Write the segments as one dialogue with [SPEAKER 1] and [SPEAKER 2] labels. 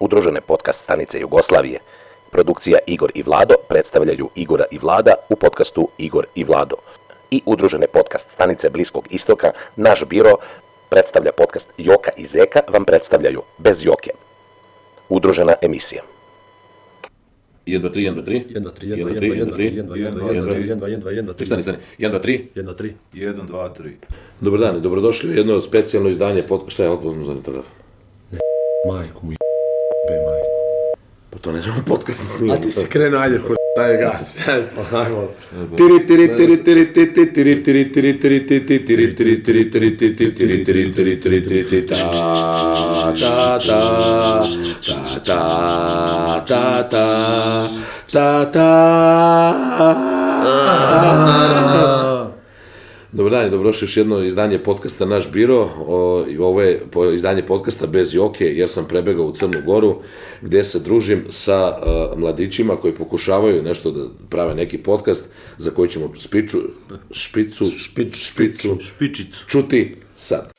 [SPEAKER 1] Удружене подкаст станица Југославије. Продукција Игор и Владо представљају Игора и Влада у подкасту Игор и Владо. И Удружене подкаст станице Блиског Истока, наш биро представља подкаст Јока и Зека вам представљају Без Јоке. Удружена емисија.
[SPEAKER 2] 1, 2, 3, 1, 2, 3.
[SPEAKER 3] 1, 2,
[SPEAKER 2] 1,
[SPEAKER 3] 3, 1,
[SPEAKER 2] 2,
[SPEAKER 3] 2,
[SPEAKER 2] 1, 2,
[SPEAKER 3] 3, 1, 2, 1, 2, 1, 2, 1, 2, 3,
[SPEAKER 2] Стани, стани. 1, 2, 3.
[SPEAKER 3] 1, 3.
[SPEAKER 4] 1, 2, 3.
[SPEAKER 2] Dobar dan i dobrodošli u jedno specijalno izdanje pod... Šta je odbozno za telefon?
[SPEAKER 3] Мајко му бе мајко.
[SPEAKER 2] Pa to ne znamo podcast ne snimamo.
[SPEAKER 3] А ти си крено, ајде, хуй, дај гас.
[SPEAKER 2] Tiri, tiri, tiri, tiri, ti, ti, tiri, tiri, tiri, tiri, ti, ti, tiri, tiri, tiri, tiri, ti, ti, tiri, tiri, tiri, tiri, tiri, ti, ta, ta, ta, ta, ta, ta, ta, ta, ta. Dobar dan i dobrodošli u još jedno izdanje podcasta Naš biro. O, i Ovo je po- izdanje podcasta bez Joke jer sam prebegao u Crnu Goru gdje se družim sa e, mladićima koji pokušavaju nešto da prave neki podcast za koji ćemo spiču, špicu, špicu, špicu,
[SPEAKER 4] Шпичицу.
[SPEAKER 2] čuti sad.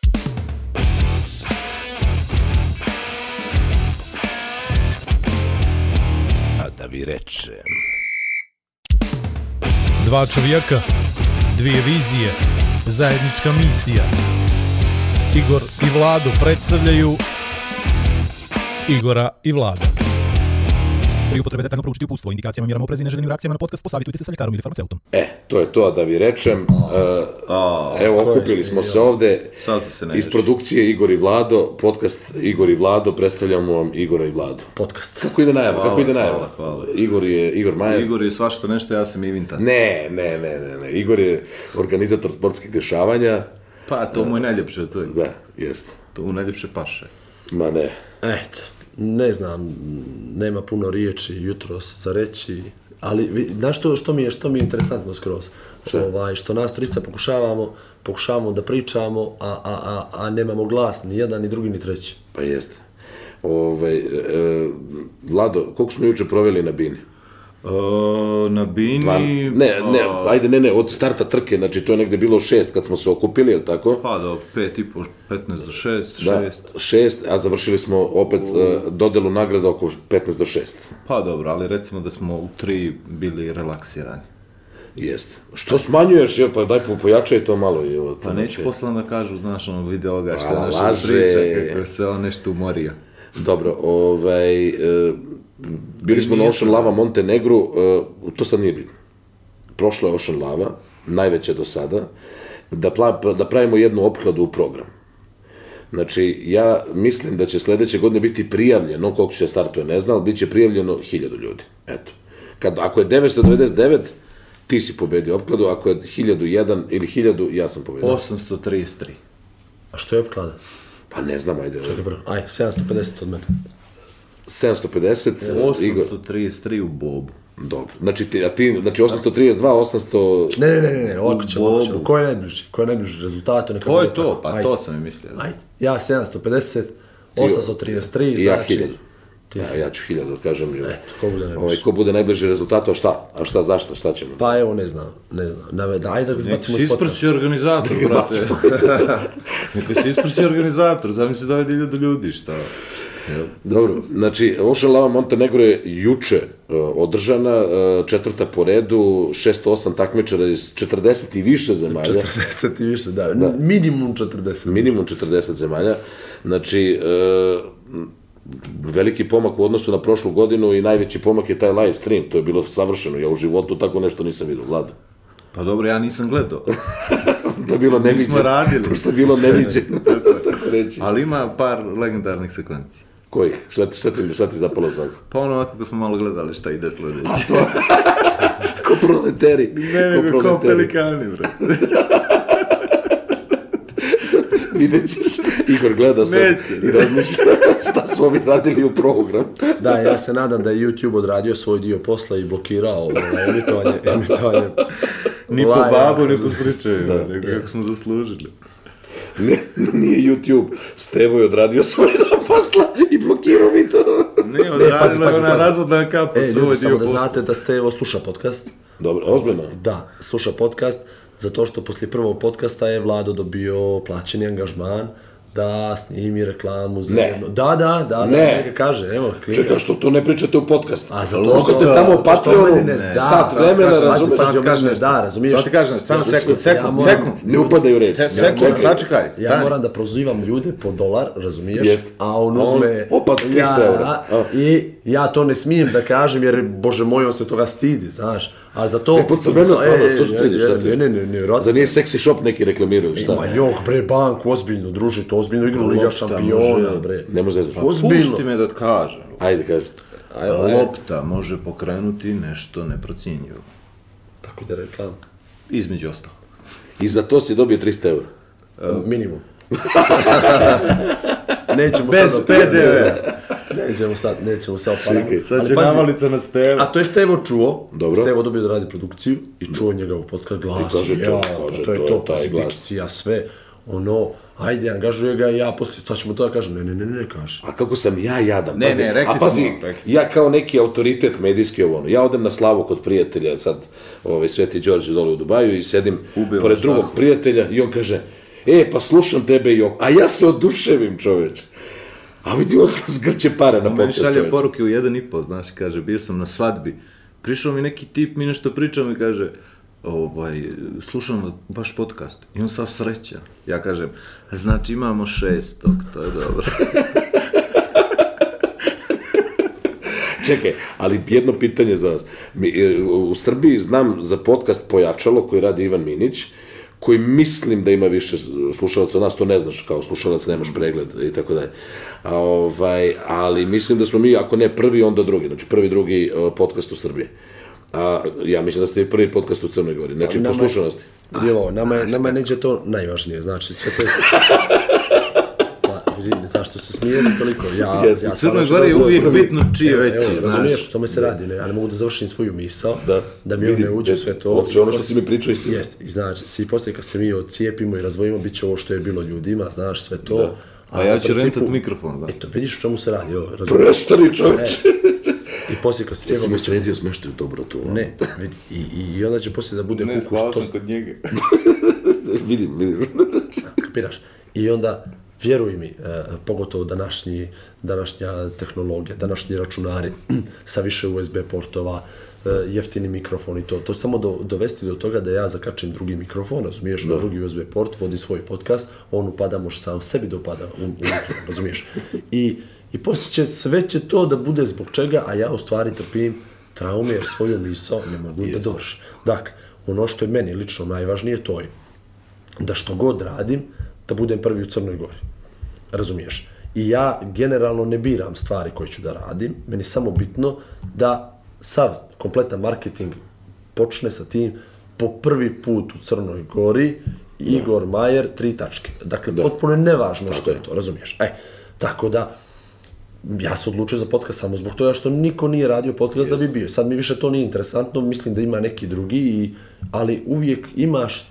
[SPEAKER 2] A da vi reče...
[SPEAKER 5] Dva čovjeka, dvije vizije, zajednička misija. Igor i Vlado predstavljaju Igora i Vlada. Pri upotrebe detaljno proučiti upustvo, indikacijama, mjerama opreza i neželjenim reakcijama na podcast, posavitujte se sa ljekarom ili farmaceutom.
[SPEAKER 2] E, to je to, a da vi rečem. e,
[SPEAKER 4] Pa,
[SPEAKER 2] evo, okupili smo se ovde.
[SPEAKER 4] Sad sam se ne
[SPEAKER 2] Iz produkcije Igor i Vlado, podcast Igor i Vlado, predstavljamo vam Igora i Vladu.
[SPEAKER 3] Подкаст.
[SPEAKER 2] Kako ide najava? Kako ide
[SPEAKER 4] hvala,
[SPEAKER 2] najava?
[SPEAKER 4] hvala.
[SPEAKER 2] Igor je, Igor Majer.
[SPEAKER 4] Igor je svašta nešto, ja sam Ivinta.
[SPEAKER 2] E, Ne, ne, ne, ne, ne. Igor je organizator sportskih dešavanja.
[SPEAKER 4] Pa, to mu je najljepše od svega.
[SPEAKER 2] Da, jest.
[SPEAKER 4] To mu najljepše paše.
[SPEAKER 2] Ma ne.
[SPEAKER 3] Ето, не знам, нема пуно ријечи јутрос за речи, али ви- знаеш што што ми е што ми е интересантно скроз. Овај што нас тројца покушавамо, покушавamo да причамо, а а а а немамо глас ни еден ни други ни треći.
[SPEAKER 2] Pa jest. Ove, e, Vlado, koliko smo juče proveli na bini?
[SPEAKER 4] E, na Bini...
[SPEAKER 2] Pa, ne, ne, ajde, ne, ne, od starta trke, znači to je negde bilo šest kad smo se okupili, jel tako?
[SPEAKER 4] Pa do 5 i po, 15 do 6,
[SPEAKER 2] Da,
[SPEAKER 4] 6.
[SPEAKER 2] šest, a završili smo opet e, dodelu nagrada oko 15 do 6.
[SPEAKER 4] Pa dobro, ali recimo da smo u 3 bili relaksirani.
[SPEAKER 2] Jest. Što smanjuješ, je, pa daj po- pojačaj to malo. Je, ovo,
[SPEAKER 4] Pa neću posle onda kažu, znaš, ono video ga što
[SPEAKER 2] Ala,
[SPEAKER 4] znaš,
[SPEAKER 2] Znači- Pa, laže.
[SPEAKER 4] on priča kako se on nešto umorio.
[SPEAKER 2] Dobro, ovaj, e, bili smo na Ocean Lava Montenegru, e, to sad nije bitno. Prošla je Ocean Lava, najveća do sada, da, pla, da pravimo jednu opkladu u program. Znači, ja mislim da će sledeće godine biti prijavljeno, koliko će startuje ne znam, ali bit će prijavljeno 1000 ljudi. Eto. Kad, ako je 999, ti si pobedio opkladu, ako je 1001 ili 1000, ja sam pobedio.
[SPEAKER 4] 833.
[SPEAKER 3] А што е обклада?
[SPEAKER 2] Pa ne znam, ajde.
[SPEAKER 3] Добро, ај 750 од мене.
[SPEAKER 2] 750, Igor.
[SPEAKER 4] 833 u Bobu.
[SPEAKER 2] Dobro. Znači, ti, a ti, znači 832, 800...
[SPEAKER 3] Не, не, не, не, не, овако ćemo, овако
[SPEAKER 4] Бобу.
[SPEAKER 3] ćemo. Кој е најближи? Кој е најближи резултат? Нека
[SPEAKER 4] To
[SPEAKER 3] буде
[SPEAKER 4] je to,
[SPEAKER 3] тако.
[SPEAKER 4] pa
[SPEAKER 3] Ајде.
[SPEAKER 4] to sam i mislio.
[SPEAKER 3] Ајде. Ја 750, 833,
[SPEAKER 2] I ja
[SPEAKER 3] значи...
[SPEAKER 2] 1000. Ja, ja ću 1000, kažem. Eto,
[SPEAKER 3] znači, ko bude najbliži. Pa
[SPEAKER 2] Ovaj, ko bude najbliži rezultatu, a šta? A šta, zašto, šta ćemo?
[SPEAKER 3] Па ево, не знам, не знам. Наве, да, ајде да го
[SPEAKER 4] Neko
[SPEAKER 3] збацимо
[SPEAKER 4] se
[SPEAKER 3] из подкаст.
[SPEAKER 4] isprći organizator, brate. Neko se isprći organizator, zamisli da dovede ljudi ljudi, šta?
[SPEAKER 2] Dobro, znači, Ocean Lava Montenegro je juče e, održana, e, četvrta po redu, 608 takmičara iz 40 i više zemalja.
[SPEAKER 3] 40 и више, да. Минимум 40.
[SPEAKER 2] minimum 40 zemalja. Znači, e, m, veliki pomak u odnosu na prošlu godinu i najveći pomak je taj live stream. To je bilo savršeno. Ja u životu tako nešto nisam vidio, Vlado.
[SPEAKER 4] Pa dobro, ja nisam gledao.
[SPEAKER 2] To je bilo neviđeno.
[SPEAKER 4] radili.
[SPEAKER 2] Pošto je bilo neviđeno, tako reći.
[SPEAKER 4] Ali ima par legendarnih sekvenci.
[SPEAKER 2] Koji? Šta ti, šta ti, šta ti zapalo za oko?
[SPEAKER 4] Pa ono ovako kad smo malo gledali šta ide sledeće.
[SPEAKER 2] Ko proleteri.
[SPEAKER 4] Ne, nego kao pelikani, bre.
[SPEAKER 2] Vidjet ćeš. Igor gleda sad
[SPEAKER 4] Neće,
[SPEAKER 2] i razmišlja šta smo mi radili u programu.
[SPEAKER 3] Да, ја се надам да е YouTube одрадио свој дио посла и блокирао ова емитовање, емитовање.
[SPEAKER 4] Ni po
[SPEAKER 3] лаја.
[SPEAKER 4] babu, ni po slučaju, da, nego kako smo zaslužili.
[SPEAKER 2] Ne, nije YouTube. Stevo je odradio svoj dan posla i blokirao mi to.
[SPEAKER 4] Ne,
[SPEAKER 3] pazi,
[SPEAKER 4] odradila je
[SPEAKER 3] pazi,
[SPEAKER 4] ona
[SPEAKER 3] pazi.
[SPEAKER 4] razvodna kapa,
[SPEAKER 3] Е,
[SPEAKER 4] svoj
[SPEAKER 3] луѓе, само
[SPEAKER 4] dio
[SPEAKER 3] да
[SPEAKER 4] posla.
[SPEAKER 3] знаете да сте во слуша подкаст.
[SPEAKER 2] Dobro, ozbiljno.
[SPEAKER 3] Да, слуша подкаст, затоа што после првиот подкаста е Владо добио плачени ангажман da snimi reklamu za
[SPEAKER 2] Ne.
[SPEAKER 3] jedno. Da, da, da,
[SPEAKER 2] Ne.
[SPEAKER 3] da, neka kaže, evo, klika.
[SPEAKER 2] Čekaj, što to ne pričate u podcastu?
[SPEAKER 3] A zato
[SPEAKER 2] Ako
[SPEAKER 3] što-
[SPEAKER 2] te tamo u
[SPEAKER 3] zato što
[SPEAKER 2] Patreonu
[SPEAKER 3] mene ne- da,
[SPEAKER 2] sat
[SPEAKER 3] sad
[SPEAKER 2] vremena,
[SPEAKER 3] kažem, pazi,
[SPEAKER 2] razumeš?
[SPEAKER 3] sad ti kažem nešto, da, razumiješ?
[SPEAKER 4] Sad ti kažem, nešto, samo
[SPEAKER 3] Razumiješ?
[SPEAKER 4] sekund,
[SPEAKER 3] Ja
[SPEAKER 4] sekund,
[SPEAKER 3] moram-
[SPEAKER 4] sekund.
[SPEAKER 2] Ne upadaju u reč.
[SPEAKER 4] Te- Sekund,
[SPEAKER 2] Čekaj.
[SPEAKER 4] sačekaj, stani.
[SPEAKER 3] Ja moram da prozivam ljude po dolar, razumiješ?
[SPEAKER 2] Jest.
[SPEAKER 3] A on
[SPEAKER 2] A on,
[SPEAKER 3] uzme...
[SPEAKER 2] opa, 300 eura. A.
[SPEAKER 3] I ja to ne smijem da kažem jer, bože moj, on se toga stidi, znaš. A za to...
[SPEAKER 2] E, pod crveno stvarno, što se stidiš, šta ti je?
[SPEAKER 3] Ne, ne, ne, ne,
[SPEAKER 2] Za
[SPEAKER 3] vjerojatno.
[SPEAKER 2] nije seksi shop neki reklamiraju,
[SPEAKER 3] E, Ma
[SPEAKER 2] šta?
[SPEAKER 3] jok, bre, banku, ozbiljno, druže, to ozbiljno igru Liga
[SPEAKER 4] Lopta,
[SPEAKER 3] šampiona,
[SPEAKER 4] može,
[SPEAKER 3] bre.
[SPEAKER 2] Ne može zezaš.
[SPEAKER 4] Pušti
[SPEAKER 3] Ozbiljno.
[SPEAKER 4] me da kažem.
[SPEAKER 2] Ajde, kaži.
[SPEAKER 4] e. Lopta može pokrenuti nešto neprocjenjivo.
[SPEAKER 3] Tako da reklam.
[SPEAKER 4] Između ostalo.
[SPEAKER 2] I za to si dobio 300 eura.
[SPEAKER 3] Minimum. nećemo
[SPEAKER 4] Bez
[SPEAKER 3] sad...
[SPEAKER 4] PDV.
[SPEAKER 3] Nećemo sad, nećemo sad opadati.
[SPEAKER 4] Sad
[SPEAKER 3] Ali
[SPEAKER 4] će
[SPEAKER 3] pazi,
[SPEAKER 4] navalica na Steva.
[SPEAKER 3] A to je Stevo čuo,
[SPEAKER 2] Dobro.
[SPEAKER 3] Stevo dobio da radi produkciju i čuo njega u podcast glas.
[SPEAKER 2] I kaže to,
[SPEAKER 3] ja,
[SPEAKER 2] kaže
[SPEAKER 3] pa to je
[SPEAKER 2] to,
[SPEAKER 3] to,
[SPEAKER 2] taj
[SPEAKER 3] pazi,
[SPEAKER 2] glas.
[SPEAKER 3] dikcija, sve, ono, ajde, angažuje ga i ja poslije, sad ćemo to da kažem, ne, ne, ne, ne, kaže.
[SPEAKER 2] A kako sam ja jadan.
[SPEAKER 4] Ne,
[SPEAKER 2] pazi,
[SPEAKER 4] ne, rekli
[SPEAKER 2] a pazi,
[SPEAKER 4] smo, rekli smo.
[SPEAKER 2] ja kao neki autoritet medijski ovo ono. Ja odem na slavu kod prijatelja, sad ovaj, Sveti Đorđe dole u Dubaju i sedim
[SPEAKER 4] Ubio
[SPEAKER 2] pored
[SPEAKER 4] me,
[SPEAKER 2] drugog
[SPEAKER 4] šta?
[SPEAKER 2] prijatelja i on kaže, e, pa slušam tebe i ovo. A ja se oduševim, čoveč. A vidi, on zgrče pare na
[SPEAKER 4] Meni
[SPEAKER 2] podcast,
[SPEAKER 4] šalje
[SPEAKER 2] čoveč.
[SPEAKER 4] poruke u jedan i pol, znaš, kaže, bio sam na svadbi. Prišao mi neki tip, mi nešto pričamo i kaže, ovaj, slušam vaš podcast. I on sav sreća. Ja kažem, znači imamo šestog, to je dobro.
[SPEAKER 2] Čekaj, ali jedno pitanje za vas. Mi, e, u Srbiji znam za podcast Pojačalo koji radi Ivan Minić, koji mislim da ima više slušalaca od nas, to ne znaš kao slušalac, nemaš pregled i tako dalje. A, ovaj, ali mislim da smo mi, ako ne prvi, onda drugi. Znači prvi, drugi e, podcast u Srbiji. A, ja mislim da ste i prvi podcast u Crnoj Gori. Znači,
[SPEAKER 3] Pa, Nama
[SPEAKER 2] po
[SPEAKER 3] je-
[SPEAKER 2] slušanosti.
[SPEAKER 3] Djelo, nama je, nama je neđe to najvažnije, znači sve to je... Pa, vidi, zašto se smijem toliko? Ja,
[SPEAKER 2] Jeste,
[SPEAKER 3] ja
[SPEAKER 2] u
[SPEAKER 3] sam
[SPEAKER 4] Crnoj
[SPEAKER 3] računao
[SPEAKER 4] Gori je
[SPEAKER 3] za
[SPEAKER 4] uvijek
[SPEAKER 3] prvi-
[SPEAKER 4] bitno čiji
[SPEAKER 3] Evo,
[SPEAKER 4] veći,
[SPEAKER 3] evo,
[SPEAKER 4] znaš.
[SPEAKER 3] Razumiješ, to me se radi, ne, ja ne mogu da završim svoju misao,
[SPEAKER 2] Da.
[SPEAKER 3] da mi on
[SPEAKER 2] Vidi,
[SPEAKER 3] ne uđe u
[SPEAKER 2] jeste,
[SPEAKER 3] sve to.
[SPEAKER 2] ovo sve ono što
[SPEAKER 3] I
[SPEAKER 2] si mi pričao, istina.
[SPEAKER 3] Jest, i znači, svi poslije kad se mi odcijepimo i razvojimo, bit će ovo što je bilo ljudima, znaš, sve to. Da.
[SPEAKER 4] A Pa ja ću rentat mikrofon, da.
[SPEAKER 3] Eto, vidiš o čemu se radi, ovo, razumiješ?
[SPEAKER 2] Prestani čoveč!
[SPEAKER 3] I poslije kad se
[SPEAKER 2] Ja sam
[SPEAKER 3] cijepamo,
[SPEAKER 2] mi sredio smeštaj u dobro tu. ono.
[SPEAKER 3] ne, vidi, i, i, i onda će poslije da bude kuku, što
[SPEAKER 4] kod njega.
[SPEAKER 2] vidim, vidim.
[SPEAKER 3] kapiraš? I onda, vjeruj mi, e, pogotovo današnji, današnja tehnologija, današnji računari sa više USB portova, e, jeftini mikrofon i to. To samo do, dovesti do toga da ja zakačim drugi mikrofon, razumiješ, na drugi USB port, vodi svoj podcast, on upada, može sam sebi dopada u, u mikrofon, razumiješ? I, i poslije će, sve će to da bude zbog čega, a ja u stvari trpim traume jer svoju misao ne mogu da dovršim. Dakle, ono što je meni lično najvažnije, to je da što god radim, da budem prvi u Crnoj Gori. Razumiješ? I ja generalno ne biram stvari koje ću da radim, meni je samo bitno da sav kompletan marketing počne sa tim po prvi put u Crnoj Gori, Igor Majer, tri tačke. Dakle, potpuno je nevažno što je to, razumiješ? E, tako da, ja se odlučio za podcast samo zbog toga što niko nije radio podcast da bi bio. Sad mi više to nije interesantno, mislim da ima neki drugi, i, ali uvijek imaš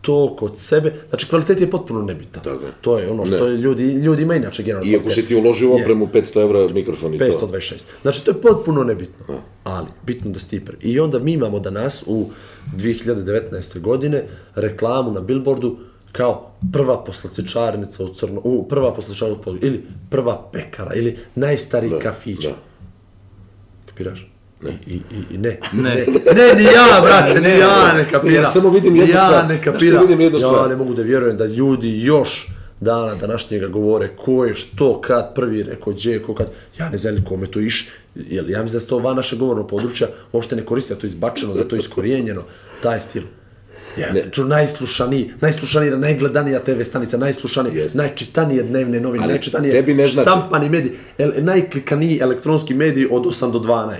[SPEAKER 3] to kod sebe. Znači, kvalitet je potpuno nebitan.
[SPEAKER 2] Tako je.
[SPEAKER 3] To je ono što
[SPEAKER 2] Ne.
[SPEAKER 3] je ljudi, ljudi ima inače generalno
[SPEAKER 2] Iako si ti uložio u opremu 500 evra mikrofon i to.
[SPEAKER 3] 526. Znači, to je potpuno nebitno. Ali, bitno da si ti prvi. I onda mi imamo danas u 2019. godine reklamu na billboardu kao prva poslastičarnica u crno, u, prva poslastičarnica u Podgorici, ili prva pekara, ili najstariji kafić.
[SPEAKER 2] da.
[SPEAKER 3] Kapiraš? Ne. I, i, i ne.
[SPEAKER 4] Ne.
[SPEAKER 3] ne, ni ja, brate,
[SPEAKER 4] Ne.
[SPEAKER 3] ni ja ne kapiram.
[SPEAKER 2] Ja samo vidim jednu
[SPEAKER 3] ja
[SPEAKER 2] stvar.
[SPEAKER 3] ne
[SPEAKER 2] Znaš što
[SPEAKER 3] kapiram.
[SPEAKER 2] vidim jednu
[SPEAKER 3] ja
[SPEAKER 2] stvar?
[SPEAKER 3] ne mogu da vjerujem da ljudi još dana današnjega govore ko je što, kad prvi rekao, gdje je, ko kad, ja ne znam je li kome to iš, jel, ja mislim da se to van naše govorno područja uopšte ne koristi, da je to izbačeno, da je to iskorijenjeno, taj stil. Ja, ne. Ču, najslušaniji, najslušanija, najgledanija TV stanica, najslušanije,
[SPEAKER 2] Jeste.
[SPEAKER 3] najčitanije dnevne novine,
[SPEAKER 2] Ali
[SPEAKER 3] najčitanije
[SPEAKER 2] tebi ne znači.
[SPEAKER 3] štampani mediji, el, najklikaniji elektronski mediji od 8 do 12.
[SPEAKER 2] Da.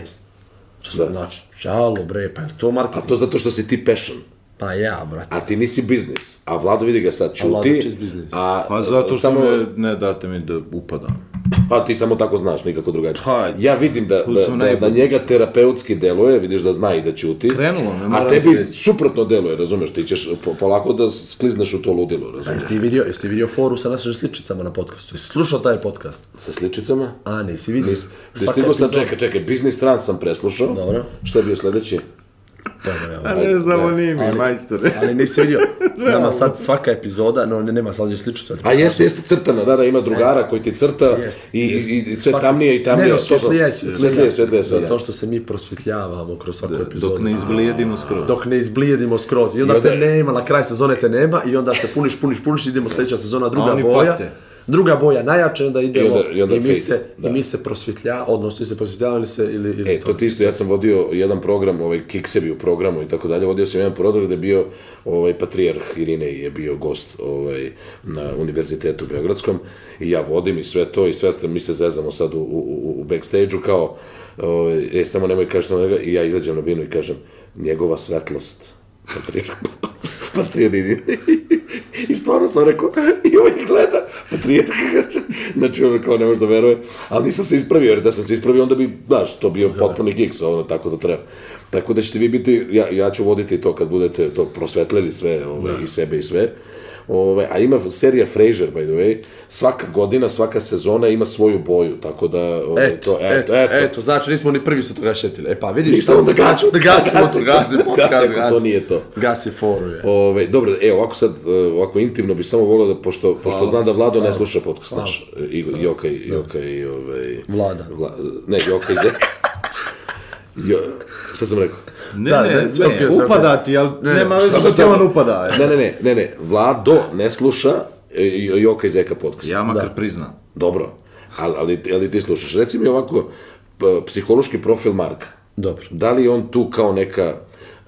[SPEAKER 3] Razumiješ? Znači, čalo bre, pa je li to
[SPEAKER 2] A
[SPEAKER 3] marketing?
[SPEAKER 2] to zato što si ti passion,
[SPEAKER 3] Pa ja, brate.
[SPEAKER 2] a ti nisi biznis. A Vlado vidi ga sad
[SPEAKER 3] Vlado
[SPEAKER 2] čuti.
[SPEAKER 3] čist biznis.
[SPEAKER 2] A,
[SPEAKER 4] Pa zato što
[SPEAKER 2] samo,
[SPEAKER 4] me ne date mi da upadam.
[SPEAKER 2] A ti samo tako znaš, nikako drugačije.
[SPEAKER 4] Pa,
[SPEAKER 2] ja vidim da,
[SPEAKER 4] tu
[SPEAKER 2] da,
[SPEAKER 4] sam
[SPEAKER 2] da, da
[SPEAKER 4] najbolji.
[SPEAKER 2] njega terapeutski deluje, vidiš da zna i da čuti.
[SPEAKER 4] Krenulo me,
[SPEAKER 2] A
[SPEAKER 4] moram
[SPEAKER 2] tebi
[SPEAKER 4] reći.
[SPEAKER 2] suprotno deluje, razumeš, ti ćeš po, polako da sklizneš u to ludilo,
[SPEAKER 3] Pa
[SPEAKER 2] razumeš.
[SPEAKER 3] jesi ti vidio, jesi ti vidio foru sa našim sličicama na podcastu? Jesi slušao taj podcast?
[SPEAKER 2] Sa sličicama?
[SPEAKER 3] A, nisi vidio?
[SPEAKER 2] Nis, Stigo sam, čekaj, čekaj, biznis stran sam preslušao.
[SPEAKER 3] Dobro.
[SPEAKER 2] Što je bio sljedeći?
[SPEAKER 3] Pojma, nema.
[SPEAKER 4] A ne znamo ni mi,
[SPEAKER 3] Ali-
[SPEAKER 4] majstore.
[SPEAKER 3] Ali nisi vidio, nama sad svaka epizoda, no ne- nema sad slično.
[SPEAKER 2] A Pa jeste, jeste crtana, da, da, ima drugara koji ti crta
[SPEAKER 3] Jeste,
[SPEAKER 2] i,
[SPEAKER 3] jeste.
[SPEAKER 2] i, i sve
[SPEAKER 3] Svaka-
[SPEAKER 2] tamnije i tamnije.
[SPEAKER 3] Ne, ne,
[SPEAKER 2] To su-
[SPEAKER 3] svjetlije, je,
[SPEAKER 2] svjetlije, svjetlije, svjetlije.
[SPEAKER 3] Zato što se mi prosvjetljavamo kroz svaku epizodu.
[SPEAKER 4] Dok ne izblijedimo skoro.
[SPEAKER 3] Dok ne izblijedimo skroz. I onda,
[SPEAKER 2] I onda-
[SPEAKER 3] te nema, na kraj sezone te nema i onda se puniš, puniš, puniš, idemo sljedeća sezona, druga
[SPEAKER 4] oni
[SPEAKER 3] boja.
[SPEAKER 4] pate.
[SPEAKER 3] Druga boja najjača, i onda idemo i,
[SPEAKER 2] onda- i onda
[SPEAKER 3] mi,
[SPEAKER 2] fade,
[SPEAKER 3] se, i
[SPEAKER 2] da.
[SPEAKER 3] mi se prosvjetljavamo, odnosno ili se prosvjetljavamo ili se... Ili, ili
[SPEAKER 2] E, to ti isto, ja sam vodio jedan program, ovaj, kiksevi u programu i tako dalje, vodio sam jedan program gde je bio ovaj, patrijarh Irinej je bio gost ovaj, na univerzitetu Beogradskom i ja vodim i sve to i sve, mi se zezamo sad u, u, u- u backstage-u kao, ovaj, e, samo nemoj kažeš na njega i ja izađem na binu i kažem, njegova svetlost, patrijarh, patrijarh Irinej. I stvarno sam rekao, i ovaj gleda, patrijarh, kaže, znači ono kao ne može da veruje, ali nisam se ispravio, jer da sam se ispravio, onda bi, znaš, to bio potpuni gigs, ono, tako da treba. Tako da ćete vi biti, ja, ja ću voditi to kad budete to prosvetlili sve, ove, i sebe i sve. Ove, a ima serija Frasier, by the way, svaka godina, svaka sezona ima svoju boju, tako da... Ove,
[SPEAKER 3] Eto,
[SPEAKER 2] to,
[SPEAKER 3] eto, eto, znači nismo ni prvi se toga šetili. E pa vidiš,
[SPEAKER 2] Ništa, onda gasi.
[SPEAKER 3] da gasimo,
[SPEAKER 2] Gasi
[SPEAKER 3] gasi,
[SPEAKER 2] to,
[SPEAKER 3] gasi,
[SPEAKER 2] gasi,
[SPEAKER 3] gasi,
[SPEAKER 2] ako to nije to.
[SPEAKER 3] Gasi foru je.
[SPEAKER 2] Ove, dobro, e, ovako sad, e, ovako intimno bi samo volio da, pošto, pošto znam da Vlado ne sluša podcast naš, e, i, Joka i, Joka i, ovaj...
[SPEAKER 3] Vlada.
[SPEAKER 2] Vla, ne, Joka i Zeka. Jo, šta sam rekao?
[SPEAKER 4] Ne,
[SPEAKER 3] Da,
[SPEAKER 4] ne,
[SPEAKER 3] ne,
[SPEAKER 4] ne,
[SPEAKER 3] sve okej, sve
[SPEAKER 4] upada ti, ali nema veze što ti on upada. je.
[SPEAKER 2] Ne, ne, ne, ne, ne, Vlado ne sluša e, Joka i Zeka podcast.
[SPEAKER 4] Ja makar priznam.
[SPEAKER 2] Dobro, ali, ali, ali ti slušaš. Reci mi ovako, p- psihološki profil Marka.
[SPEAKER 3] Dobro.
[SPEAKER 2] Da li je on tu kao neka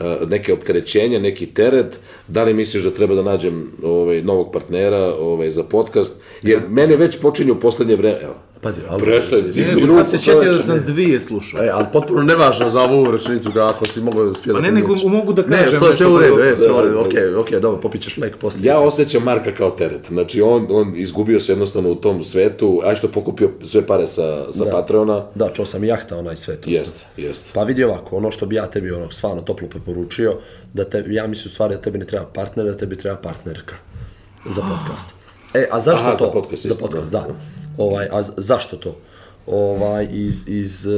[SPEAKER 2] e, neke opterećenje, neki teret, da li misliš da treba da nađem ovaj, novog partnera ovaj, za podcast, jer mene već počinju u poslednje vreme, evo,
[SPEAKER 3] Pazi, ali...
[SPEAKER 2] prestoj,
[SPEAKER 4] Ne,
[SPEAKER 2] digni
[SPEAKER 4] sad se
[SPEAKER 2] ruku,
[SPEAKER 4] sjetio da
[SPEAKER 2] čoveče.
[SPEAKER 4] sam dvije slušao.
[SPEAKER 3] E, ali potpuno nevažno za ovu rečenicu kako si mogao uspjeti.
[SPEAKER 4] Pa ne, nego mogu da kažem
[SPEAKER 3] Ne, to je sve
[SPEAKER 4] nešto
[SPEAKER 3] u redu,
[SPEAKER 4] drugo.
[SPEAKER 3] e, sve u
[SPEAKER 2] Da,
[SPEAKER 3] redu,
[SPEAKER 2] da, da.
[SPEAKER 3] okej, okej, dobro, popit ćeš lek poslije.
[SPEAKER 2] Ja osjećam Marka kao teret. Znači, on, on izgubio se jednostavno u tom svetu, a što je pokupio sve pare sa, sa Patreona.
[SPEAKER 3] Da, čuo sam i jahta onaj sve to.
[SPEAKER 2] Jest, jest.
[SPEAKER 3] Pa vidi ovako, ono što bi ja tebi ono, stvarno toplo preporučio, da te, ja mislim u stvari da tebi ne treba partner, da tebi treba partnerka za podcast. E, a zašto
[SPEAKER 2] Aha,
[SPEAKER 3] to?
[SPEAKER 2] za podcast,
[SPEAKER 3] za
[SPEAKER 2] isto,
[SPEAKER 3] podcast, da. Ovaj, a z- zašto to? Ovaj, iz, iz eh,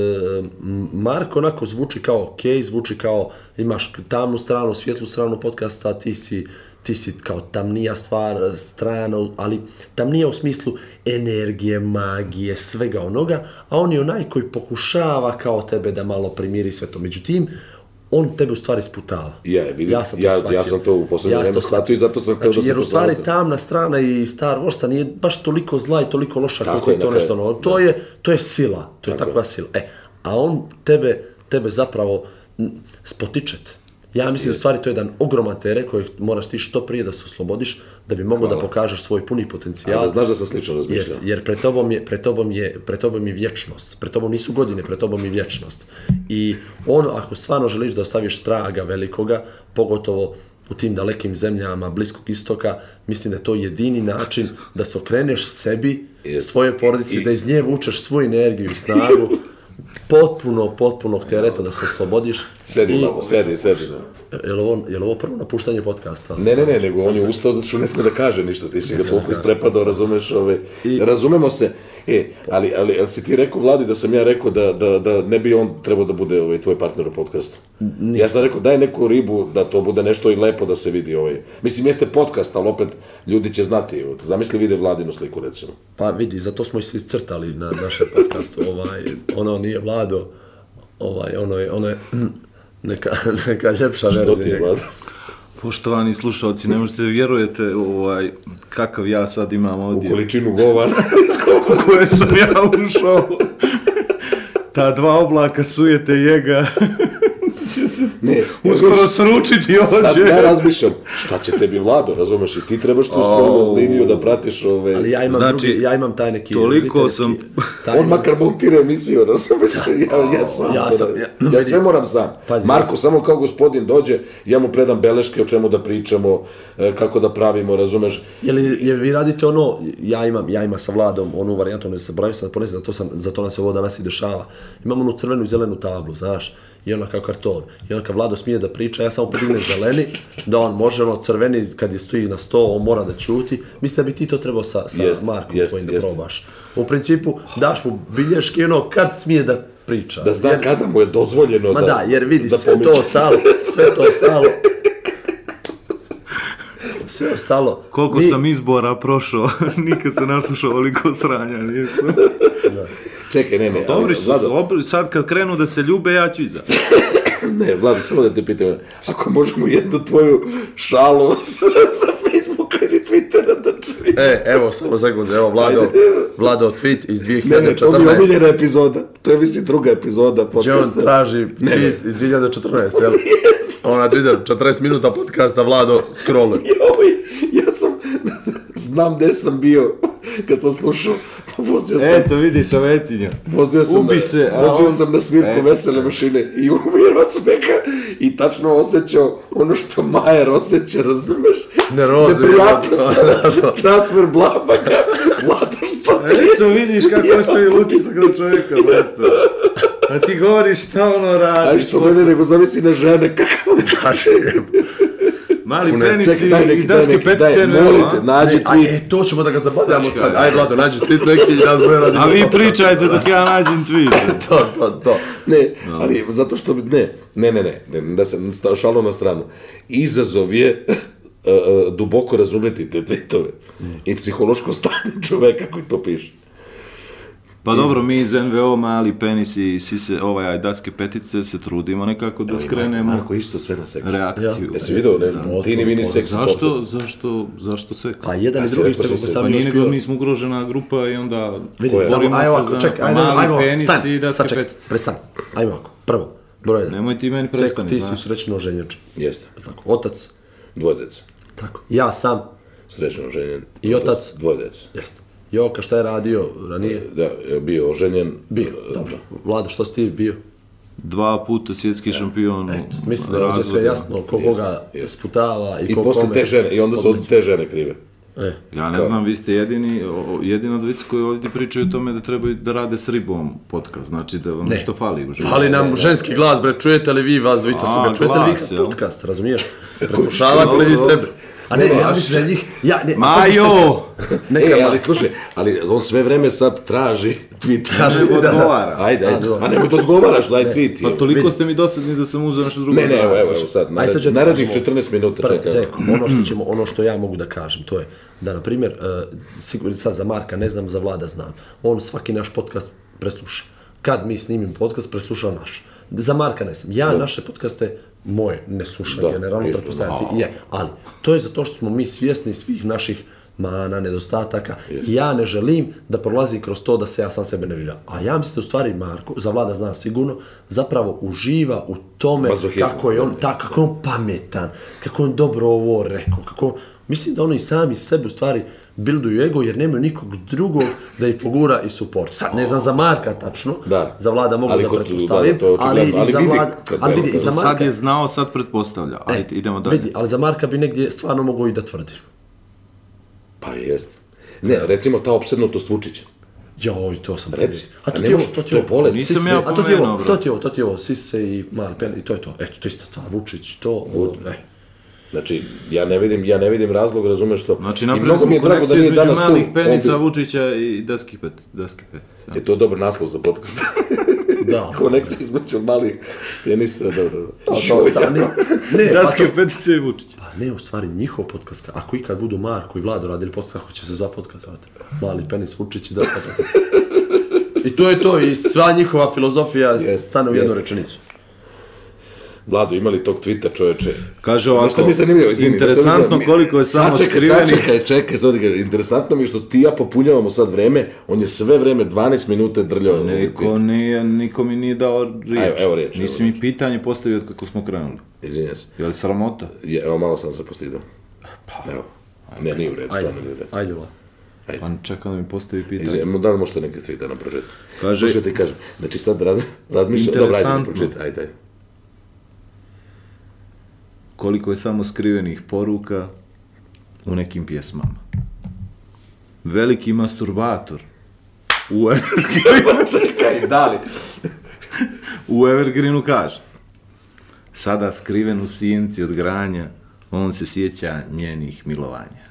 [SPEAKER 3] m- Marko onako zvuči kao ok, zvuči kao imaš tamnu stranu, svjetlu stranu podcasta, ti si, ti si kao tamnija stvar, strana, ali tamnija u smislu energije, magije, svega onoga, a on je onaj koji pokušava kao tebe da malo primiri sve to. Međutim, on tebe u stvari sputava.
[SPEAKER 2] Ja, vidim, ja- ja sam to u posljednje
[SPEAKER 3] sam
[SPEAKER 2] vreme
[SPEAKER 3] to
[SPEAKER 2] shvatio i zato sam hteo da
[SPEAKER 3] znači,
[SPEAKER 2] se
[SPEAKER 3] Jer u stvari
[SPEAKER 2] pozabavim.
[SPEAKER 3] tamna strana i Star Warsa nije baš toliko zla i toliko loša
[SPEAKER 2] Tako
[SPEAKER 3] kako je
[SPEAKER 2] je,
[SPEAKER 3] to
[SPEAKER 2] na kraju.
[SPEAKER 3] nešto novo. To je, to je sila, to je
[SPEAKER 2] Tako
[SPEAKER 3] takva
[SPEAKER 2] je.
[SPEAKER 3] sila. E, a on tebe, tebe zapravo mm, spotiče te. Ja mislim u stvari to je jedan ogroman teret kojeg moraš ti što prije da se oslobodiš da bi mogao da pokažeš svoj puni
[SPEAKER 2] Ja,
[SPEAKER 3] potencijal.
[SPEAKER 2] da znaš da sam slično razmišljao.
[SPEAKER 3] Yes, jer pred tobom, je, pred, tobom je, pred tobom je vječnost. Pred tobom nisu godine, pred tobom je vječnost. I ono, ako stvarno želiš da ostaviš traga velikoga, pogotovo u tim dalekim zemljama Bliskog istoka, mislim da je to jedini način da se okreneš sebi,
[SPEAKER 2] Yes.
[SPEAKER 3] svoje porodici, da iz nje vučeš svu energiju i snagu, potpuno, potpunog tereta da se oslobodiš.
[SPEAKER 2] Sedi,
[SPEAKER 3] I-
[SPEAKER 2] Vlado, sedi, sedi. Ne.
[SPEAKER 3] Jel ovo, jel ovo prvo napuštanje podcasta?
[SPEAKER 2] Ne, ne, ne, nego on je ustao zato što ne sme da kaže ništa, ti si ga toliko
[SPEAKER 3] da
[SPEAKER 2] isprepadao, razumeš, ove,
[SPEAKER 3] I-
[SPEAKER 2] razumemo se, e, ali, ali, ali si ti rekao Vladi da sam ja rekao da, da, da ne bi on trebao da bude ovaj, tvoj partner u podcastu? Ja sam rekao daj neku ribu da to bude nešto i lepo da se vidi ovaj, mislim jeste podcast, ali opet ljudi će znati, zamisli vide Vladinu sliku recimo.
[SPEAKER 3] Pa vidi, zato smo i se iscrtali na našem podcastu, ovaj, ono nije Vlado, ovaj, ono je, ono je neka, neka ljepša
[SPEAKER 2] To ti
[SPEAKER 3] verzija.
[SPEAKER 2] je Vlada.
[SPEAKER 4] Poštovani slušalci, ne možete da vjerujete ovaj, kakav ja sad imam ovdje.
[SPEAKER 2] Količinu govara.
[SPEAKER 4] u koje sam ja ušao. Ta dva oblaka sujete jega.
[SPEAKER 2] ne,
[SPEAKER 4] Uskoro sručiti
[SPEAKER 2] Sad ja
[SPEAKER 4] ođe.
[SPEAKER 2] razmišljam, šta će tebi Vlado, razumeš, i ti trebaš tu svoju
[SPEAKER 4] Au.
[SPEAKER 2] liniju da pratiš ove...
[SPEAKER 3] Ali ja imam,
[SPEAKER 4] Znači,
[SPEAKER 3] drugi, ja imam taj neki...
[SPEAKER 4] toliko
[SPEAKER 3] roditeljski-
[SPEAKER 4] sam-
[SPEAKER 3] taj
[SPEAKER 2] On makar montira emisiju, razumeš? Ja, ja sam.
[SPEAKER 3] Ja
[SPEAKER 2] to
[SPEAKER 3] sam,
[SPEAKER 2] da-
[SPEAKER 3] ja-
[SPEAKER 2] ja sve moram sam.
[SPEAKER 3] Pazi,
[SPEAKER 2] Marko
[SPEAKER 3] ja
[SPEAKER 2] samo kao gospodin dođe, ja mu predam beleške o čemu da pričamo, e, kako da pravimo, razumeš?
[SPEAKER 3] Je li, je vi radite ono, ja imam, ja imam sa Vladom onu varijantu, ono se bravio sam da ponesem, zato, sam, zato nam se ovo danas i dešava. Imamo onu crvenu i zelenu tablu, znaš, i ona kao karton. I onda kad Vlado smije da priča, ja samo podignem zeleni, da on može, ono crveni, kad je stoji na sto, on mora da ćuti. Mislim da bi ti to trebao sa, sa
[SPEAKER 2] Jest,
[SPEAKER 3] Markom
[SPEAKER 2] jest,
[SPEAKER 3] tvojim da
[SPEAKER 2] jest.
[SPEAKER 3] probaš. U principu, daš mu bilješke, ono, kad smije da priča.
[SPEAKER 2] Da zna kada mu je dozvoljeno
[SPEAKER 3] Ma
[SPEAKER 2] da...
[SPEAKER 3] da, jer vidi,
[SPEAKER 2] da
[SPEAKER 3] sve
[SPEAKER 2] pomisli.
[SPEAKER 3] to ostalo, sve to ostalo. Sve ostalo.
[SPEAKER 4] Koliko sam izbora prošao, nikad se naslušao ovoliko sranja, nisam.
[SPEAKER 2] Čekaj, ne, ne.
[SPEAKER 4] Pa Dobri
[SPEAKER 2] ali,
[SPEAKER 4] su,
[SPEAKER 2] Vlado,
[SPEAKER 4] dobri, sad kad krenu da se ljube, ja ću iza.
[SPEAKER 2] Ne, Vlado, samo da te pitam, ako možemo jednu tvoju šalu sa, sa Facebooka ili Twittera da čujem.
[SPEAKER 3] E, evo, samo sekund, evo, Vlado, Vlado tweet iz
[SPEAKER 2] Ne, ne, to mi je
[SPEAKER 3] 2014.
[SPEAKER 2] omiljena epizoda. To je, mislim, druga epizoda
[SPEAKER 3] Gdje on
[SPEAKER 2] podcasta.
[SPEAKER 3] traži tweet iz 2014, jel? Ona na Twitter, 40 minuta podcasta, Vlado, scrolluje.
[SPEAKER 2] Joj, ovaj, ja sam, znam gde sam bio kad sam slušao, pa vozio sam,
[SPEAKER 4] Eto, vidiš, Avetinja.
[SPEAKER 2] vozio sam,
[SPEAKER 4] ubi
[SPEAKER 2] na,
[SPEAKER 4] se, a
[SPEAKER 2] vozio
[SPEAKER 4] on-
[SPEAKER 2] sam na svirku
[SPEAKER 4] E.
[SPEAKER 2] vesele mašine i umijem od smeka i tačno osjećao ono što Majer osjeća, razumeš?
[SPEAKER 3] Nervozu,
[SPEAKER 2] Neprijatnost, ono,
[SPEAKER 3] da,
[SPEAKER 2] transfer blabaka, vlada što ti je.
[SPEAKER 4] Eto, vidiš kako
[SPEAKER 2] Ja.
[SPEAKER 4] ostavi utisak na čovjeka, mesto. A ti govoriš šta ono
[SPEAKER 2] A
[SPEAKER 4] radiš.
[SPEAKER 2] što mene nego zamisli na žene, kakav
[SPEAKER 3] Znači,
[SPEAKER 4] Mali
[SPEAKER 3] Kune,
[SPEAKER 4] penis
[SPEAKER 2] Čekaj,
[SPEAKER 4] i,
[SPEAKER 2] daj neki,
[SPEAKER 4] i
[SPEAKER 2] daj
[SPEAKER 4] daske
[SPEAKER 2] neki, daj,
[SPEAKER 4] petice. ne,
[SPEAKER 2] molite,
[SPEAKER 4] a?
[SPEAKER 2] nađi
[SPEAKER 3] Aj,
[SPEAKER 2] tweet.
[SPEAKER 3] e, to ćemo da ga zabavljamo sad. Aj, Vlado, nađi tweet neki i da zbira.
[SPEAKER 4] A vi pričajte dok ja nađem tweet.
[SPEAKER 3] To, to, to.
[SPEAKER 2] Ne, ali zato što bi, ne, ne, ne, ne, ne, da se sta- šalu na stranu. Izazov je e, e, duboko razumeti te tweetove i psihološko stanje čoveka koji to piše.
[SPEAKER 4] Pa dobro, mi iz NVO, mali penis i sise, ovaj, aj, daske petice se trudimo nekako da skrenemo
[SPEAKER 2] Marko isto sve na seksu.
[SPEAKER 4] reakciju.
[SPEAKER 2] Jesi vidio, ne, ti ni vini seks.
[SPEAKER 4] Zašto, zašto, zašto seks?
[SPEAKER 3] Pa jedan i
[SPEAKER 2] si
[SPEAKER 3] drugi
[SPEAKER 2] rekao
[SPEAKER 3] ste
[SPEAKER 2] si
[SPEAKER 3] kako
[SPEAKER 2] se-
[SPEAKER 3] sam
[SPEAKER 4] Pa
[SPEAKER 3] mi
[SPEAKER 4] nije nego
[SPEAKER 3] uspio.
[SPEAKER 4] mi smo ugrožena grupa i onda
[SPEAKER 3] Vidi, samo,
[SPEAKER 4] borimo
[SPEAKER 3] ajmo
[SPEAKER 4] se
[SPEAKER 3] ovako,
[SPEAKER 4] za
[SPEAKER 3] čekaj, ajde,
[SPEAKER 4] mali
[SPEAKER 3] ajmo,
[SPEAKER 4] penis
[SPEAKER 3] stan,
[SPEAKER 4] i daske
[SPEAKER 3] sad čekaj,
[SPEAKER 4] petice.
[SPEAKER 3] prestani, ajmo ovako, prvo, broj jedan.
[SPEAKER 4] Nemoj ti meni
[SPEAKER 3] Seko,
[SPEAKER 4] prestani,
[SPEAKER 3] ti
[SPEAKER 4] pa.
[SPEAKER 3] si srećno ženjač,
[SPEAKER 2] Jeste,
[SPEAKER 3] tako, otac,
[SPEAKER 2] dvoje dece.
[SPEAKER 3] tako, ja sam,
[SPEAKER 2] Srećno oženjen.
[SPEAKER 3] I otac?
[SPEAKER 2] Dvoje dece.
[SPEAKER 3] jeste. Joka, šta je radio ranije?
[SPEAKER 2] Da, je bio oženjen.
[SPEAKER 3] Bio, dobro. Vlada, što si ti bio?
[SPEAKER 4] Dva puta svjetski šampion.
[SPEAKER 3] Mislim da je ovdje sve
[SPEAKER 4] razvodu.
[SPEAKER 3] jasno ko koga
[SPEAKER 2] jeste.
[SPEAKER 3] sputava i,
[SPEAKER 2] I
[SPEAKER 3] ko
[SPEAKER 2] posle
[SPEAKER 3] kome.
[SPEAKER 2] te žene, i onda su od te žene krive.
[SPEAKER 3] E,
[SPEAKER 4] Ja ne znam, vi ste jedini, o- o- jedina dvojica koji ovdje pričaju o tome da trebaju da rade s ribom podcast, znači da vam nešto fali u životu.
[SPEAKER 3] Ali nam ženski glas, bre, čujete li vi vas dvojica
[SPEAKER 4] A,
[SPEAKER 3] sebe, čujete li vi
[SPEAKER 4] glas,
[SPEAKER 3] kad
[SPEAKER 4] jel?
[SPEAKER 3] podcast, razumiješ? Preslušavate li vi
[SPEAKER 4] Dobro.
[SPEAKER 3] sebe? A ne,
[SPEAKER 2] Ne,
[SPEAKER 3] ja
[SPEAKER 2] ne,
[SPEAKER 3] mislim da njih, ja, ne,
[SPEAKER 2] Pa
[SPEAKER 4] Majo!
[SPEAKER 3] neka
[SPEAKER 2] e, ali
[SPEAKER 3] vas,
[SPEAKER 2] slušaj, ali on sve vreme sad traži tweet.
[SPEAKER 3] Traži,
[SPEAKER 4] Nego
[SPEAKER 3] da, da.
[SPEAKER 4] odgovara.
[SPEAKER 2] Ajde, ajde.
[SPEAKER 3] dobro.
[SPEAKER 2] A nemoj da odgovaraš, daj tweet.
[SPEAKER 4] Pa znači,
[SPEAKER 2] je.
[SPEAKER 4] toliko ste mi dosadni da sam uzeo nešto drugo.
[SPEAKER 2] Ne, ne, evo, evo, evo sad,
[SPEAKER 3] Aj, sad ću
[SPEAKER 2] nared,
[SPEAKER 3] ja ti
[SPEAKER 2] narednih
[SPEAKER 3] kažem ovo.
[SPEAKER 2] 14 minuta
[SPEAKER 3] Prvo,
[SPEAKER 2] čekaj. Hmm.
[SPEAKER 3] Zeko, ono što, ćemo, ono što ja mogu da kažem, to je da, na primjer, uh, sigurno sad za Marka ne znam, za Vlada znam, on svaki naš podcast presluša. Kad mi snimim podcast, presluša naš. Za Marka ne znam. Ja naše podcaste moje ne slušam,
[SPEAKER 2] Da,
[SPEAKER 3] generalno
[SPEAKER 2] isto,
[SPEAKER 3] pretpostavljam ti- je, ali to je zato što smo mi svjesni svih naših mana, nedostataka. Ja ne želim da prolazi kroz to da se ja sam sebe nerviram. A ja mislim da u stvari Marko, za vlada zna sigurno, zapravo uživa u tome
[SPEAKER 2] Mazohizam.
[SPEAKER 3] kako je on ta, kako je on pametan, kako je on dobro ovo rekao, kako on, mislim da oni sami sebe u stvari bilduju ego jer nemaju nikog drugog da ih pogura i suport. Sad ne znam za Marka tačno,
[SPEAKER 2] Da.
[SPEAKER 3] za vlada mogu
[SPEAKER 2] Ali
[SPEAKER 3] da
[SPEAKER 2] kod Vlada
[SPEAKER 3] pretpostavim,
[SPEAKER 2] to je očigledno,
[SPEAKER 3] ali, i
[SPEAKER 2] ali
[SPEAKER 3] za
[SPEAKER 2] vidi
[SPEAKER 3] vlada,
[SPEAKER 2] kad-
[SPEAKER 3] ali vidi, i za
[SPEAKER 2] kad-
[SPEAKER 3] Marka,
[SPEAKER 4] Znači, Sad je znao, sad pretpostavlja.
[SPEAKER 2] E,
[SPEAKER 4] Ajde, idemo dalje.
[SPEAKER 3] Vidi, ali za Marka bi negdje stvarno mogao i da tvrdim.
[SPEAKER 2] Pa jest. Ne, recimo ta opsednutost Vučića.
[SPEAKER 3] Joj, to sam
[SPEAKER 2] Reci.
[SPEAKER 3] pomirio.
[SPEAKER 2] A
[SPEAKER 3] A to ti
[SPEAKER 2] ne
[SPEAKER 3] je ovo,
[SPEAKER 2] može,
[SPEAKER 3] to ti
[SPEAKER 2] to
[SPEAKER 3] je
[SPEAKER 2] je
[SPEAKER 3] ovo.
[SPEAKER 2] bolest.
[SPEAKER 4] Nisam
[SPEAKER 2] Sisne.
[SPEAKER 4] ja
[SPEAKER 3] A to ti je ovo,
[SPEAKER 4] pomenuo,
[SPEAKER 3] to
[SPEAKER 4] bro.
[SPEAKER 3] ti je ovo, to ti je ovo, Sise i Mali Pen, i to je to. Eto, to je ista stvar, Vučić, to, ono, e.
[SPEAKER 2] Znači, ja ne vidim, ja ne vidim razlog, razumeš što.
[SPEAKER 4] Znači,
[SPEAKER 2] I
[SPEAKER 4] napravili
[SPEAKER 2] mnogo mi je
[SPEAKER 4] smo
[SPEAKER 2] drago
[SPEAKER 4] konekciju
[SPEAKER 2] nije
[SPEAKER 4] između
[SPEAKER 2] tu,
[SPEAKER 4] malih penisa,
[SPEAKER 2] on bi-
[SPEAKER 4] Vučića i daskih pet. Daskih pet. da.
[SPEAKER 2] E, to je dobar naslov za podcast.
[SPEAKER 3] Da.
[SPEAKER 2] Konekcija između malih penisa, dobro. dobro.
[SPEAKER 3] Pa to, da, ne,
[SPEAKER 2] E,
[SPEAKER 3] ne, pa to,
[SPEAKER 4] Daske petice i Vučića.
[SPEAKER 3] Pa ne, u stvari njihov podcast, ako ikad budu Marko i Vlado radili podcast, kako će se za podcast zvati? Mali penis Vučić i da podcast. I to je to, i sva njihova filozofija
[SPEAKER 2] Jest,
[SPEAKER 3] stane u jednu
[SPEAKER 2] jest.
[SPEAKER 3] rečenicu.
[SPEAKER 2] Vlado, imali tog tvita čoveče?
[SPEAKER 4] Kaže
[SPEAKER 2] Znaš
[SPEAKER 4] ovako,
[SPEAKER 2] šta Ono mi je zanimljivo, izvini. znaš šta mi je
[SPEAKER 4] interesantno
[SPEAKER 2] zanimljivo?
[SPEAKER 4] koliko je samo
[SPEAKER 2] Sačekaj,
[SPEAKER 4] skriveni.
[SPEAKER 2] Sačekaj, čekaj, sad ga, interesantno mi je što ti i ja popunjavamo sad vreme, on je sve vreme 12 minuta drljao. ovaj
[SPEAKER 4] Niko,
[SPEAKER 2] tweet.
[SPEAKER 4] nije, niko mi nije dao riječ.
[SPEAKER 2] Evo- evo riječ,
[SPEAKER 4] Nisi
[SPEAKER 2] evo
[SPEAKER 4] mi pitanje postavio od kako smo krenuli.
[SPEAKER 2] Izvinjam se.
[SPEAKER 4] Je li sramota?
[SPEAKER 2] Je, evo, malo sam se postidao. Evo. Ne, nije u redu,
[SPEAKER 3] Ajde,
[SPEAKER 2] stvarno nije u redu.
[SPEAKER 3] ajde Vlado.
[SPEAKER 4] Pa čekam da mi postavi pitanje.
[SPEAKER 2] Izvinjam, da li možete neke tvita na pročetu?
[SPEAKER 4] Kaže-
[SPEAKER 2] Slušaj, ti kažem, znači sad raz, razmišljam, dobro, ajde na
[SPEAKER 4] Interesantno.
[SPEAKER 2] pročetu, ajde, ajde.
[SPEAKER 4] Koliko je samo skrivenih poruka u nekim pjesmama. Veliki masturbator u, Evergreenu,
[SPEAKER 2] Čekaj, da li?
[SPEAKER 4] u Evergreenu kaže Sada skriven u sjenci od granja, on se sjeća njenih milovanja.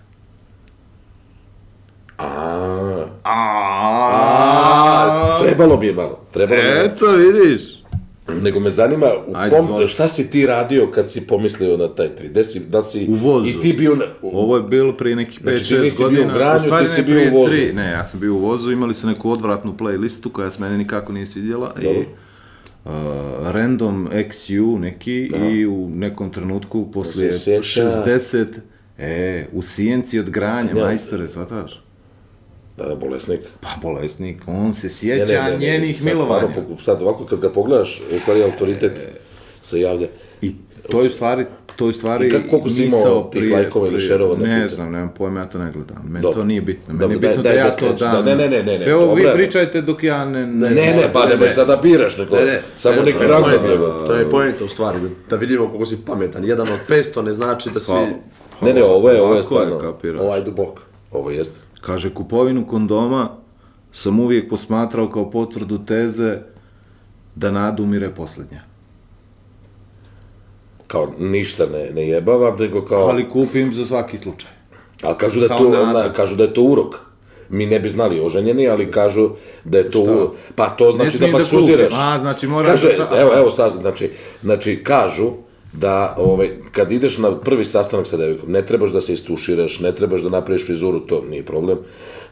[SPEAKER 2] A,
[SPEAKER 4] A, E,
[SPEAKER 2] trebalo bi je malo. Trebalo bi je malo.
[SPEAKER 4] Eto, vidiš.
[SPEAKER 2] Nego me zanima, u
[SPEAKER 4] Ajde,
[SPEAKER 2] kom,
[SPEAKER 4] izvoli.
[SPEAKER 2] šta si ti radio kad si pomislio na taj tweet? Gde si, da si,
[SPEAKER 4] U vozu.
[SPEAKER 2] I ti bio na, u,
[SPEAKER 4] Ovo je bilo prije nekih 5-6
[SPEAKER 2] Znači, ti nisi
[SPEAKER 4] godina.
[SPEAKER 2] bio u Granju,
[SPEAKER 4] U stvari
[SPEAKER 2] ti si
[SPEAKER 4] ne,
[SPEAKER 2] bio u
[SPEAKER 4] prije
[SPEAKER 2] vozu.
[SPEAKER 4] tri. Ne, ja sam bio u vozu, imali su neku odvratnu playlistu koja se mene nikako nije svidjela. I, uh, random XU neki i u nekom trenutku poslije
[SPEAKER 2] se sjeća.
[SPEAKER 4] 60 E, u sijenci od granja,
[SPEAKER 2] Ja.
[SPEAKER 4] majstore, shvataš?
[SPEAKER 2] da, da, bolesnik.
[SPEAKER 4] Pa bolesnik, on se
[SPEAKER 2] Ne,
[SPEAKER 4] sjeća
[SPEAKER 2] sad
[SPEAKER 4] njenih
[SPEAKER 2] stvarno
[SPEAKER 4] milovanja.
[SPEAKER 2] poku- Sad ovako kad ga pogledaš, u stvari autoritet se javlja.
[SPEAKER 4] I to je u stvari, to je u stvari
[SPEAKER 2] I kako- koliko si
[SPEAKER 4] misao
[SPEAKER 2] imao tih
[SPEAKER 4] prije-
[SPEAKER 2] lajkova ili
[SPEAKER 4] prije-
[SPEAKER 2] šerova na
[SPEAKER 4] Ne
[SPEAKER 2] Twitteru?
[SPEAKER 4] znam, nemam pojma, ja to ne gledam. Meni
[SPEAKER 2] Dobro.
[SPEAKER 4] to nije bitno. Meni
[SPEAKER 2] Dobro,
[SPEAKER 4] je
[SPEAKER 2] daj-
[SPEAKER 4] bitno
[SPEAKER 2] daj
[SPEAKER 4] da
[SPEAKER 2] da
[SPEAKER 4] ja to
[SPEAKER 2] skrećeš, da-
[SPEAKER 4] dam.
[SPEAKER 2] ne, ne, ne, ne, ne,
[SPEAKER 4] Evo vi
[SPEAKER 2] dobro je.
[SPEAKER 4] pričajte dok ja ne...
[SPEAKER 2] Ne, ne, pa nemoj sad da biraš, nego
[SPEAKER 3] Ne, ne,
[SPEAKER 2] samo
[SPEAKER 3] evo,
[SPEAKER 2] neka
[SPEAKER 3] to je
[SPEAKER 2] ranga
[SPEAKER 3] poenta,
[SPEAKER 2] bjeva.
[SPEAKER 3] To je poenta u stvari, da, da vidimo koliko si pametan. Jedan od 500 ne znači da si
[SPEAKER 2] Ne, ne, ovo je, ovo je
[SPEAKER 4] Ovako je
[SPEAKER 2] stvarno.
[SPEAKER 4] kapiraš.
[SPEAKER 3] ovaj dubok.
[SPEAKER 2] Ovo jeste.
[SPEAKER 4] Kaže, kupovinu kondoma sam uvijek posmatrao kao potvrdu teze da nada umire posljednja.
[SPEAKER 2] Kao ništa ne, ne jebavam, nego kao...
[SPEAKER 4] Ali kupim za svaki slučaj.
[SPEAKER 2] Ali kažu da, je
[SPEAKER 4] Kao
[SPEAKER 2] to,
[SPEAKER 4] nada.
[SPEAKER 2] na, kažu da je to urok. Mi ne bi znali oženjeni, ali kažu da je to... u- Pa to znači da
[SPEAKER 4] smije da
[SPEAKER 2] baksuziraš.
[SPEAKER 4] kupim. A, znači moraš
[SPEAKER 2] Kaže,
[SPEAKER 4] da sa-
[SPEAKER 2] evo, evo sad, znači, znači kažu da ovaj, kad ideš na prvi sastanak sa devikom, ne trebaš da se istuširaš, ne trebaš da napraviš frizuru, to nije problem.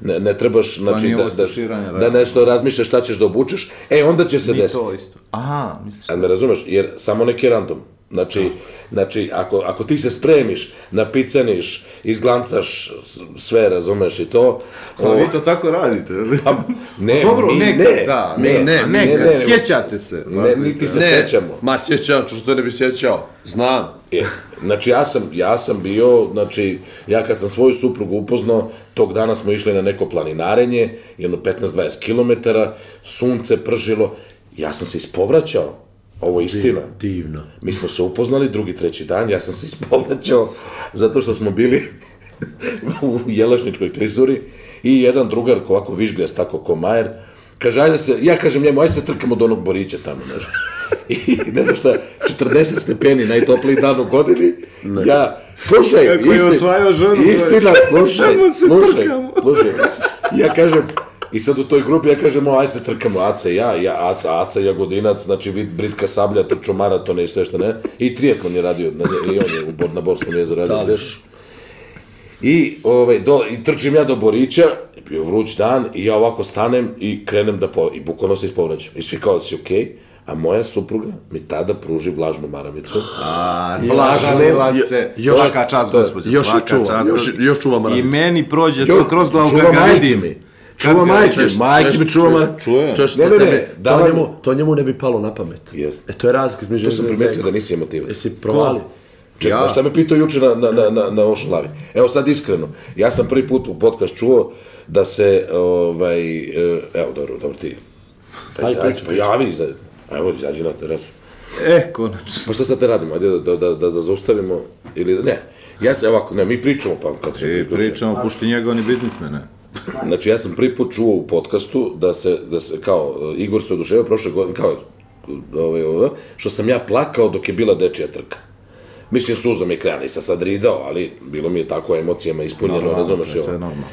[SPEAKER 2] Ne, ne trebaš, znači,
[SPEAKER 4] nije ovo
[SPEAKER 2] da,
[SPEAKER 4] istuširanje,
[SPEAKER 2] da, da
[SPEAKER 4] realno.
[SPEAKER 2] nešto razmišljaš šta ćeš da obučeš, e, onda će se
[SPEAKER 4] I
[SPEAKER 2] desiti.
[SPEAKER 4] to isto. Aha, misliš
[SPEAKER 2] A me razumeš, jer samo neki random. Znači, znači ako, ako ti se spremiš, napicaniš, izglancaš s- sve, razumeš i to.
[SPEAKER 4] Pa
[SPEAKER 2] o, Pa,
[SPEAKER 4] vi to tako radite, ili?
[SPEAKER 2] ne,
[SPEAKER 4] Dobro,
[SPEAKER 2] mi
[SPEAKER 4] nekad,
[SPEAKER 2] ne,
[SPEAKER 4] da.
[SPEAKER 2] ne,
[SPEAKER 4] Ne, ne,
[SPEAKER 2] mi
[SPEAKER 4] nekad.
[SPEAKER 2] ne, ne.
[SPEAKER 4] Sjećate se.
[SPEAKER 2] Ne, niti se sećamo.
[SPEAKER 3] ma sjećam, ću što ne bi sjećao. Znam.
[SPEAKER 2] E, Znači, ja sam, ja sam bio, znači, ja kad sam svoju suprugu upoznao, tog dana smo išli na neko planinarenje, jedno 15-20 km, sunce pržilo, ja sam se ispovraćao, ovo je istina.
[SPEAKER 3] Divno.
[SPEAKER 2] Mi smo se upoznali drugi, treći dan, ja sam se ispovraćao zato što smo bili u jelašničkoj klizuri i jedan drugar, ko ovako vižgas, tako ko Majer, kaže, ajde se, ja kažem njemu, ajde se trkamo do onog borića tamo, znaš. I ne znam šta, 40 stepeni, najtopliji dan u godini, ja, slušaj,
[SPEAKER 4] Kako je
[SPEAKER 2] isti-
[SPEAKER 4] osvajao ženu,
[SPEAKER 2] istina,
[SPEAKER 4] broj.
[SPEAKER 2] slušaj,
[SPEAKER 4] Samo se
[SPEAKER 2] slušaj,
[SPEAKER 4] trkamo.
[SPEAKER 2] slušaj, ja kažem, I sad u toj grupi ja kažem, o, ajde se trkamo, Aca i ja, ja Aca, Aca, Jagodinac, znači vid, Britka Sablja, trčo maratone i sve što ne. I triatlon je radio, na, i on je u, Bor- na Borskom jezeru radio triatlon. I, ovaj, do, I trčim ja do Borića, bio je vruć dan i ja ovako stanem i krenem da po, i bukvalno se ispovraćam. I svi kao si okej, a moja supruga mi tada pruži vlažnu maramicu.
[SPEAKER 4] A,
[SPEAKER 2] Vlažno.
[SPEAKER 4] slažela se.
[SPEAKER 3] Jo-
[SPEAKER 4] svaka čast,
[SPEAKER 2] to je-
[SPEAKER 4] gospođo,
[SPEAKER 3] još je
[SPEAKER 4] svaka
[SPEAKER 3] čuva,
[SPEAKER 4] čast.
[SPEAKER 3] još- još čuva
[SPEAKER 4] I
[SPEAKER 3] maramicu.
[SPEAKER 4] meni prođe to kroz glavu
[SPEAKER 2] čuva
[SPEAKER 4] kad ga
[SPEAKER 2] majke
[SPEAKER 4] vidim.
[SPEAKER 2] mi. Čuva
[SPEAKER 4] ga
[SPEAKER 2] majke,
[SPEAKER 4] čuješ,
[SPEAKER 2] majke mi čuva majke.
[SPEAKER 4] Čuje.
[SPEAKER 3] Češ,
[SPEAKER 2] Ne,
[SPEAKER 3] to
[SPEAKER 2] ne, ne,
[SPEAKER 3] tebe-
[SPEAKER 2] da
[SPEAKER 3] to,
[SPEAKER 2] vam-
[SPEAKER 3] njemu, to njemu ne bi palo na pamet.
[SPEAKER 2] Jest.
[SPEAKER 3] E, to je razlik između...
[SPEAKER 2] To sam primetio da nisi emotivac.
[SPEAKER 3] Jesi provali?
[SPEAKER 2] Čekaj,
[SPEAKER 4] Ja.
[SPEAKER 2] ja. šta me pitao juče na, na, na, na, na Ocean Lavi? Evo sad iskreno, ja sam prvi put u podcast čuo da se, ovaj, e, evo dobro, dobro ti. Pa,
[SPEAKER 3] Ajde,
[SPEAKER 2] ajde, ajde,
[SPEAKER 3] pričaj,
[SPEAKER 2] pa javi, izađi. Evo, izađi na terasu.
[SPEAKER 4] E, konačno.
[SPEAKER 2] Pa šta sad te radimo, ajde da, da, da, da zaustavimo ili da ne. Ja se, ovako, ne, mi pričamo pa kad se
[SPEAKER 4] E,
[SPEAKER 2] priključimo.
[SPEAKER 4] pričamo, pušti njega, on je biznismene.
[SPEAKER 2] Znači, ja sam prvi put čuo u podcastu da se, da se kao, e, Igor se oduševio prošle godine, kao, ovaj, ovaj, što sam ja plakao dok je bila dečija trka. Mislim, suza mi je krenula, nisam sad ridao, ali bilo mi je tako emocijama ispunjeno, razumeš
[SPEAKER 4] to je
[SPEAKER 2] ovo.
[SPEAKER 4] sve normalno.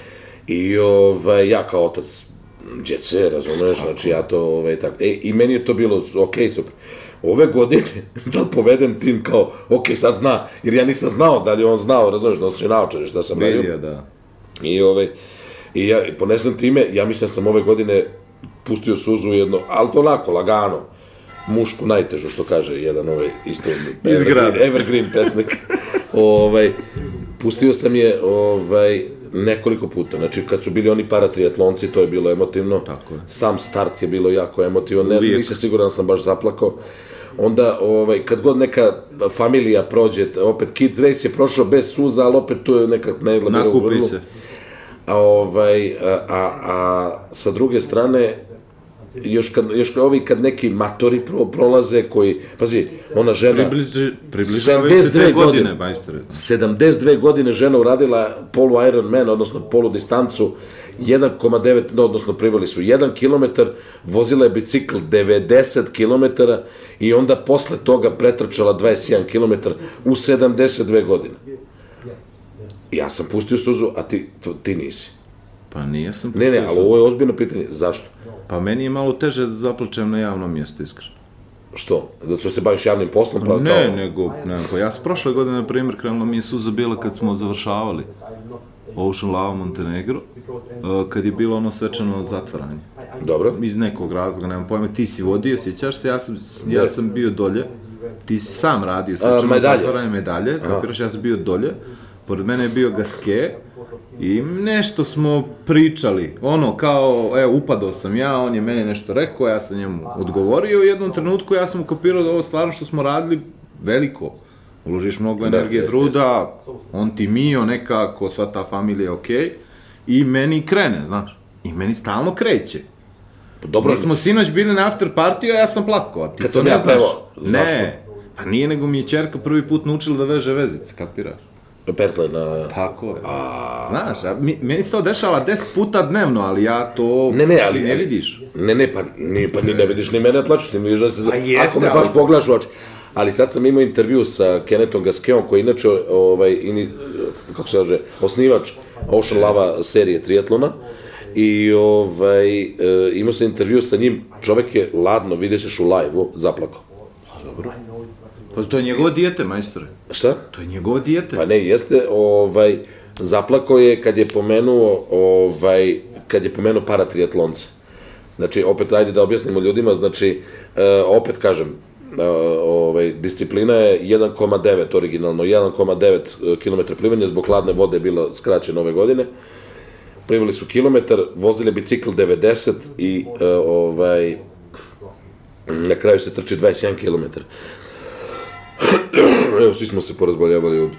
[SPEAKER 2] I ovaj, ja kao otac djece, razumeš, znači ja to ovaj, tako. E, I meni je to bilo ok, super. Ove godine, da povedem tim kao, ok, sad zna, jer ja nisam znao da li je on znao, razumeš, nosio naočare šta sam radio.
[SPEAKER 4] Vidio, da.
[SPEAKER 2] I, ovaj, I ja ponesem time, ja mislim da sam ove godine pustio suzu jedno, ali to onako, lagano, mušku najtežu, što kaže jedan ovaj isto
[SPEAKER 4] Iz
[SPEAKER 2] evergreen,
[SPEAKER 4] grada.
[SPEAKER 2] evergreen pesnik. ovaj, pustio sam je ovaj, nekoliko puta, znači kad su bili oni paratriatlonci, to je bilo emotivno,
[SPEAKER 4] Tako je.
[SPEAKER 2] sam start je bilo jako emotivan, ne,
[SPEAKER 4] Uvijek.
[SPEAKER 2] nisam siguran da sam baš zaplakao, onda ovaj, kad god neka familija prođe, t- opet Kids Race je prošao bez suza, ali opet tu je neka negla bila u
[SPEAKER 4] Nakupi
[SPEAKER 2] grlu.
[SPEAKER 4] se.
[SPEAKER 2] A ovaj, a, a, a sa druge strane, još kad, još kad ovi kad neki matori pro, prolaze koji, pazi, ona žena,
[SPEAKER 4] Približi, približavaju se
[SPEAKER 2] 72
[SPEAKER 4] te godine,
[SPEAKER 2] godine.
[SPEAKER 4] majstore.
[SPEAKER 2] 72 godine žena uradila polu Ironman, odnosno polu distancu, 1,9, no, odnosno priveli su 1 km, vozila je bicikl 90 km i onda posle toga pretrčala 21 km u 72 godine. Ja sam pustio suzu, a ti, t- ti nisi.
[SPEAKER 4] Pa nisam.
[SPEAKER 2] Ne, ne, ali ovo je ozbiljno pitanje. Zašto?
[SPEAKER 4] Pa meni je malo teže da zaplačem na javnom mjestu, iskreno.
[SPEAKER 2] Što? Zato što se baviš javnim poslom, pa
[SPEAKER 4] ne,
[SPEAKER 2] kao...
[SPEAKER 4] nego, ne, pa ja s prošle godine, na primjer, krenula mi je suza bila kad smo završavali Ocean Lava Montenegro, e, kad je bilo ono svečano zatvaranje.
[SPEAKER 2] Dobro.
[SPEAKER 4] Iz nekog razloga, nemam pojma, ti si vodio, sjećaš se, ja sam, ja
[SPEAKER 2] Da.
[SPEAKER 4] sam bio dolje, ti si sam radio svečano
[SPEAKER 2] medalje.
[SPEAKER 4] zatvaranje medalje, kapiraš, ja sam bio dolje, pored mene je bio Gaske, I nešto smo pričali, ono kao, e, upadao sam ja, on je meni nešto rekao, ja sam njemu odgovorio, u jednom trenutku ja sam ukapirao da ovo stvarno što smo radili, veliko. Uložiš mnogo energije,
[SPEAKER 2] jeste,
[SPEAKER 4] truda, on ti mio nekako, sva ta familija, okej, i meni krene, znaš, i meni stalno kreće.
[SPEAKER 2] Pa Dobro,
[SPEAKER 4] Mi smo sinoć bili na after partiju, a ja sam plakao, a ti
[SPEAKER 2] Kad
[SPEAKER 4] to
[SPEAKER 2] sam
[SPEAKER 4] ne
[SPEAKER 2] ja
[SPEAKER 4] znaš.
[SPEAKER 2] pevao, zašto?
[SPEAKER 4] Ne, pa nije nego mi je čerka prvi put naučila da veže vezice, kapiraš?
[SPEAKER 2] pertle na...
[SPEAKER 4] Tako je. A... Znaš, a mi, meni se to dešava 10 puta dnevno, ali ja to
[SPEAKER 2] Ne, ne, ali-
[SPEAKER 4] ne
[SPEAKER 2] ali-
[SPEAKER 4] vidiš.
[SPEAKER 2] Ne, ne, pa ni, pa ni ne vidiš ni mene plaćaš, ni vidiš da se...
[SPEAKER 4] A Pa jeste,
[SPEAKER 2] ako me
[SPEAKER 4] ali-
[SPEAKER 2] baš pogledaš u oči. Ali sad sam imao intervju sa Kenetom Gaskeom, koji je inače, ovaj, ini, kako se kaže, osnivač Ocean Lava serije triatlona. I ovaj, e, imao sam intervju sa njim, čovek je ladno, vidjet ćeš u live-u, zaplakao.
[SPEAKER 4] Pa to je njegovo dijete, majstore.
[SPEAKER 2] Šta?
[SPEAKER 4] To je njegovo dijete.
[SPEAKER 2] Pa ne, jeste, ovaj, zaplako je kad je pomenuo, ovaj, kad je pomenuo paratriatlonce. Znači, opet, ajde da objasnimo ljudima, znači, e, opet kažem, e, ovaj, disciplina je 1,9 originalno, 1,9 km plivanja zbog hladne vode je bila skraćena ove godine. Plivali su kilometar, vozili bicikl 90 i e, ovaj, na kraju se trči 21 km. Evo, svi smo se porazboljavali od,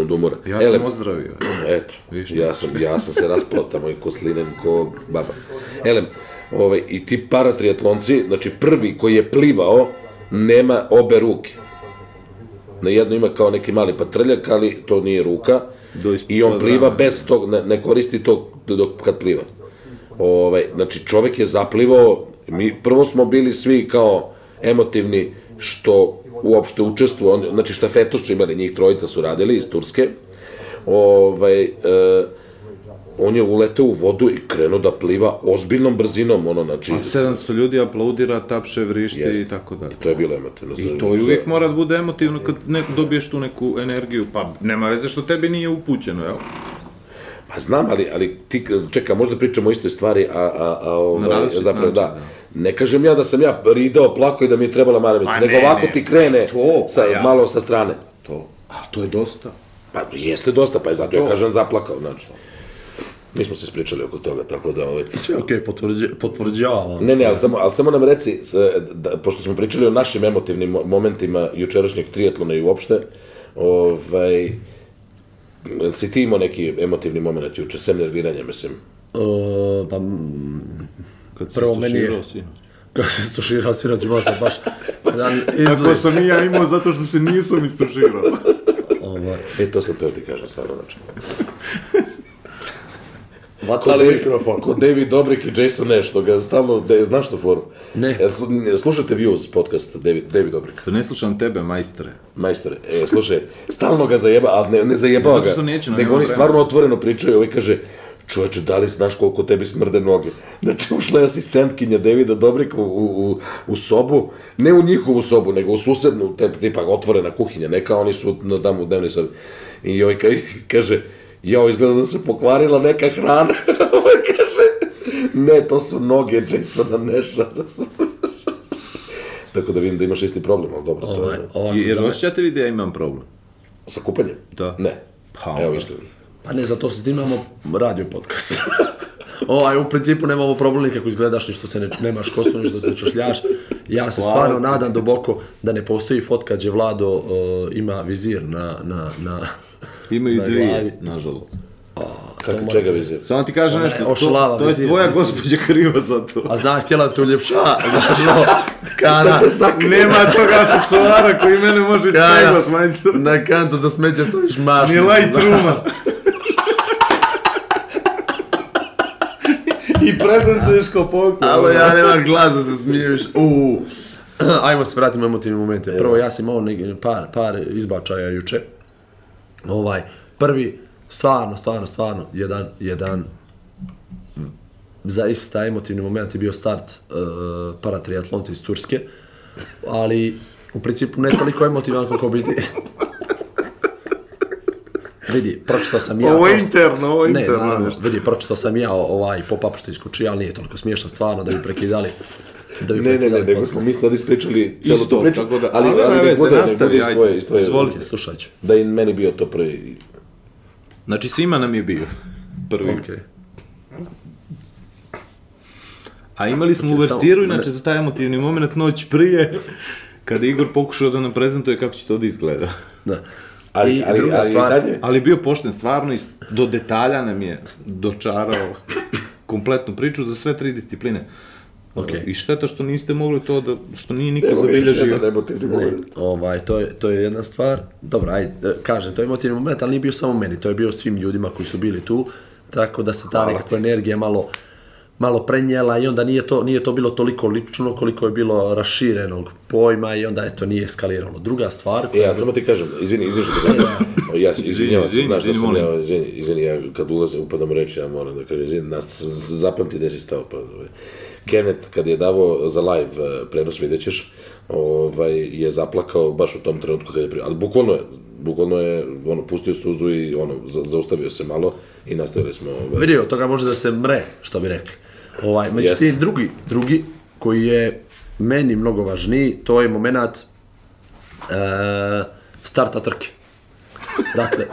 [SPEAKER 2] od umora.
[SPEAKER 4] Ja
[SPEAKER 2] Ele,
[SPEAKER 4] sam ozdravio.
[SPEAKER 2] Eto,
[SPEAKER 4] Viš
[SPEAKER 2] ja sam, ja sam se raspao tamo i koslinem ko baba. Elem, ovaj, i ti paratriatlonci, znači prvi koji je plivao, nema obe ruke. Na jednu ima kao neki mali patrljak, ali to nije ruka.
[SPEAKER 4] Do ispod
[SPEAKER 2] I on pliva
[SPEAKER 4] rame.
[SPEAKER 2] bez tog, ne, ne koristi to dok, kad pliva. Ovaj, znači čovek je zaplivao, mi prvo smo bili svi kao emotivni što uopšte učestvuju, on, znači štafetu su imali, njih trojica su radili iz Turske, ovaj, e, on je uleteo u vodu i krenuo da pliva ozbiljnom brzinom, ono, znači,
[SPEAKER 4] A 700 ljudi aplaudira, tapše, vrišti
[SPEAKER 2] Jeste.
[SPEAKER 4] i tako dalje.
[SPEAKER 2] to je bilo emotivno.
[SPEAKER 4] I to je uvijek mora da bude emotivno kad ne, dobiješ tu neku energiju, pa nema veze što tebi nije upućeno, jel?
[SPEAKER 2] Pa znam, ali, ali ti, čeka, možda pričamo o istoj stvari, a, a, a
[SPEAKER 4] Na
[SPEAKER 2] ovaj,
[SPEAKER 4] različit
[SPEAKER 2] zapravo,
[SPEAKER 4] način,
[SPEAKER 2] da. Ne kažem ja da sam ja ridao, plako i da mi je trebala maramica,
[SPEAKER 4] Pa
[SPEAKER 2] nego
[SPEAKER 4] ne,
[SPEAKER 2] ovako
[SPEAKER 4] ne,
[SPEAKER 2] ti krene
[SPEAKER 4] to, pa
[SPEAKER 2] sa,
[SPEAKER 4] ja.
[SPEAKER 2] malo sa strane.
[SPEAKER 4] To. A to je dosta.
[SPEAKER 2] Pa jeste dosta, pa je zato ja
[SPEAKER 4] To.
[SPEAKER 2] kažem zaplakao, znači. Mi smo se ispričali oko toga, tako da... Ovaj...
[SPEAKER 3] Sve okej, potvrđe, potvrđavam.
[SPEAKER 2] Ne, ne, ali samo, ali samo nam reci, s, da, pošto smo pričali o našim emotivnim mo- momentima jučerašnjeg triatlona i uopšte, ovaj, jel si ti imao neki emotivni moment juče, sem nerviranja, mislim?
[SPEAKER 3] E, pa, mm,
[SPEAKER 4] Kad
[SPEAKER 3] Prvo, meni je- kada se stuširao sinoć, imao sam baš jedan izliv.
[SPEAKER 4] sam i ja imao zato što se nisam istuširao.
[SPEAKER 3] Ovaj,
[SPEAKER 2] E, to sam teo ti kažem, stvarno, znači.
[SPEAKER 3] Vatali
[SPEAKER 2] David-
[SPEAKER 3] mikrofon.
[SPEAKER 2] Ko David Dobrik i Jason Nash, što ga stalno, da je, znaš tu foru?
[SPEAKER 3] Ne.
[SPEAKER 2] E, slu- Slušajte Views podcast David, David Dobrik,
[SPEAKER 4] Pa ne slušam tebe, majstore.
[SPEAKER 2] majstore. E, slušaj, stalno ga zajeba, ali ne, ne zajebava
[SPEAKER 4] Zato
[SPEAKER 2] ga.
[SPEAKER 4] što neću, no,
[SPEAKER 2] Nego
[SPEAKER 4] nemam
[SPEAKER 2] oni
[SPEAKER 4] vremena.
[SPEAKER 2] stvarno otvoreno pričaju, ovaj kaže, čoveče, da li znaš koliko tebi smrde noge? Znači, ušla je asistentkinja Davida Dobrika u, u, u, u sobu, ne u njihovu sobu, nego u susednu, te, tipa otvorena kuhinja, neka oni su na tamo u dnevnoj sobi. I ovaj ka, kaže, jao, izgleda da se pokvarila neka hrana. ovaj kaže, ne, to su noge Jasona Neša. Tako da vidim da imaš isti problem, ali dobro, to
[SPEAKER 3] ovaj,
[SPEAKER 2] je...
[SPEAKER 3] ovako
[SPEAKER 4] Ti, jer
[SPEAKER 3] za me-
[SPEAKER 4] osjećate vi da ja imam problem?
[SPEAKER 2] Pa Sa kupanjem?
[SPEAKER 4] Da.
[SPEAKER 2] Ne.
[SPEAKER 4] Pa
[SPEAKER 2] Evo,
[SPEAKER 4] onda.
[SPEAKER 2] iskreno.
[SPEAKER 3] Pa ne, zato što snimamo radio podcast. ovaj, u principu nemamo problem ni kako izgledaš, ni što se ne, nemaš kosu, ni što se ne češljaš. Ja se stvarno nadam duboko da ne postoji fotka gdje Vlado uh, ima vizir na, na, na...
[SPEAKER 4] Imaju
[SPEAKER 3] Na glavi.
[SPEAKER 4] dvije, nažalost.
[SPEAKER 2] Kako, čega vizir?
[SPEAKER 4] Samo ti kažem
[SPEAKER 3] Ona je
[SPEAKER 4] nešto, to,
[SPEAKER 3] ošlava,
[SPEAKER 4] to je
[SPEAKER 3] vizir,
[SPEAKER 4] tvoja
[SPEAKER 3] mislim.
[SPEAKER 4] gospođa kriva za to.
[SPEAKER 3] A znam, htjela da te uljepša, znaš no, kana,
[SPEAKER 4] Nema tog asesora koji mene može
[SPEAKER 3] Kaja,
[SPEAKER 4] ispeglat, majstor.
[SPEAKER 3] na kantu za smeće staviš mašnicu.
[SPEAKER 4] Ni Lightrooma. I prezentuješ kao ono. poklon.
[SPEAKER 3] Ali ja nemam glas da se smiješ. Uuu. Ajmo se vratimo emotivnim momente. Prvo, ja sam imao neki- par, par izbačaja juče. Ovaj, prvi, stvarno, stvarno, stvarno, jedan, jedan zaista emotivni moment je bio start uh, paratriatlonca iz Turske, ali u principu ne toliko emotivan koliko biti. vidi, pročitao sam ja...
[SPEAKER 4] Ovo je
[SPEAKER 3] proč-
[SPEAKER 4] interno, ovo je
[SPEAKER 3] ne,
[SPEAKER 4] interno,
[SPEAKER 3] naravno,
[SPEAKER 4] nešto.
[SPEAKER 3] vidi, pročitao sam ja ovaj pop-up što iskuči, ali nije toliko smiješno stvarno da bi prekidali. Da bi
[SPEAKER 2] Ne, ne, ne,
[SPEAKER 3] prekidali
[SPEAKER 2] nego
[SPEAKER 3] podcast.
[SPEAKER 2] smo mi sad ispričali cijelu
[SPEAKER 4] Isto,
[SPEAKER 2] tu priču,
[SPEAKER 4] tako da-
[SPEAKER 2] ali,
[SPEAKER 4] ali
[SPEAKER 2] ali,
[SPEAKER 4] nema
[SPEAKER 2] ali
[SPEAKER 4] veze,
[SPEAKER 2] nek bude, nek
[SPEAKER 4] nastavi,
[SPEAKER 2] bude iz
[SPEAKER 4] ajde,
[SPEAKER 2] tvoje, iz tvoje
[SPEAKER 4] izvoli.
[SPEAKER 3] Ok, Slušat ću.
[SPEAKER 2] Da je i meni bio to prvi...
[SPEAKER 4] Znači svima nam je bio prvi.
[SPEAKER 3] Okay.
[SPEAKER 4] A Pa imali smo
[SPEAKER 3] Okej,
[SPEAKER 4] uvertiru,
[SPEAKER 3] samo-
[SPEAKER 4] inače za taj emotivni moment noć prije, kada je Igor pokušao da nam prezentuje kako će to da izgleda.
[SPEAKER 3] Da.
[SPEAKER 2] Ali,
[SPEAKER 3] I
[SPEAKER 2] ali,
[SPEAKER 3] druga
[SPEAKER 2] ali,
[SPEAKER 3] stvar-
[SPEAKER 2] dalje,
[SPEAKER 4] Ali je bio pošten, stvarno, i do detalja nam je dočarao kompletnu priču za sve tri discipline.
[SPEAKER 3] Okej.
[SPEAKER 4] I šteta što niste mogli to da, što nije niko
[SPEAKER 2] evo ga još
[SPEAKER 4] zabilježio.
[SPEAKER 2] jedan emotivni moment.
[SPEAKER 3] Ovaj, to, je, to je jedna stvar. Dobro, ajde, e, kažem, to je emotivni moment, ali nije bio samo meni, to je bio svim ljudima koji su bili tu, tako da se ta nekakva energija malo, malo prenijela i onda nije to, nije to bilo toliko lično koliko je bilo raširenog pojma i onda eto nije eskaliralo. Druga stvar,
[SPEAKER 2] E, ja samo ti kažem, izvini, izvini što ti kažem. Ja se izvinjavam se,
[SPEAKER 4] izvini,
[SPEAKER 2] znaš da
[SPEAKER 4] izvini,
[SPEAKER 2] sam
[SPEAKER 4] molim.
[SPEAKER 2] ja, izvini, izvini, ja kad ulazim, upadam u reč, ja moram da kažem, izvini, nas, zapamti gde si stao. Pa, ovaj. Kenneth, kad je davao za live eh, prenos, vidjet ćeš, ovaj, je zaplakao baš u tom trenutku kad je pri... Ali bukvalno je, bukvalno je, ono, pustio suzu i ono, za, zaustavio se malo i nastavili smo... Ovaj,
[SPEAKER 3] vidio, Pa od toga može da se mre, što bi rekli. Ovaj,
[SPEAKER 2] Jeste.
[SPEAKER 3] međutim, drugi, drugi koji je meni mnogo važniji, to je moment e, starta trke. Dakle,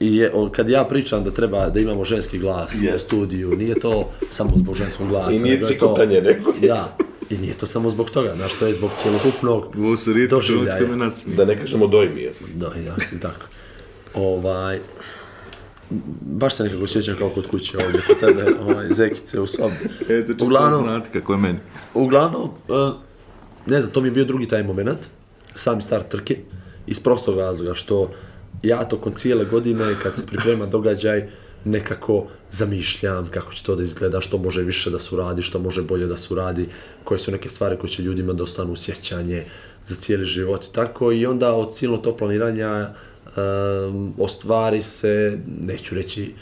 [SPEAKER 3] I je, o, kad ja pričam da treba da imamo ženski glas u studiju, nije to samo zbog ženskog glasa.
[SPEAKER 2] I nije
[SPEAKER 3] nego je to-
[SPEAKER 2] cikotanje neko.
[SPEAKER 3] Da, i nije to samo zbog toga, znaš, to je zbog cjelokupnog
[SPEAKER 4] Ovo su rijetki
[SPEAKER 3] doživljaja.
[SPEAKER 4] trenutka me nasmije.
[SPEAKER 2] Da ne kažemo dojmije.
[SPEAKER 3] Da, ja, tako. Ovaj, baš se nekako osjećam kao kod kuće ovdje, kod tebe, ovaj, zekice u sobi.
[SPEAKER 4] Eto, čisto
[SPEAKER 3] Uglavnom-
[SPEAKER 4] znate kako je meni.
[SPEAKER 3] Uglavnom, eh, ne znam, to mi je bio drugi taj moment, sami start trke, iz prostog razloga što ja tokom cijele godine kad se priprema događaj nekako zamišljam kako će to da izgleda, što može više da se uradi, što može bolje da se uradi, koje su neke stvari koje će ljudima da ostanu u sjećanje za cijeli život i tako i onda od cijelog to planiranja um, ostvari se, neću reći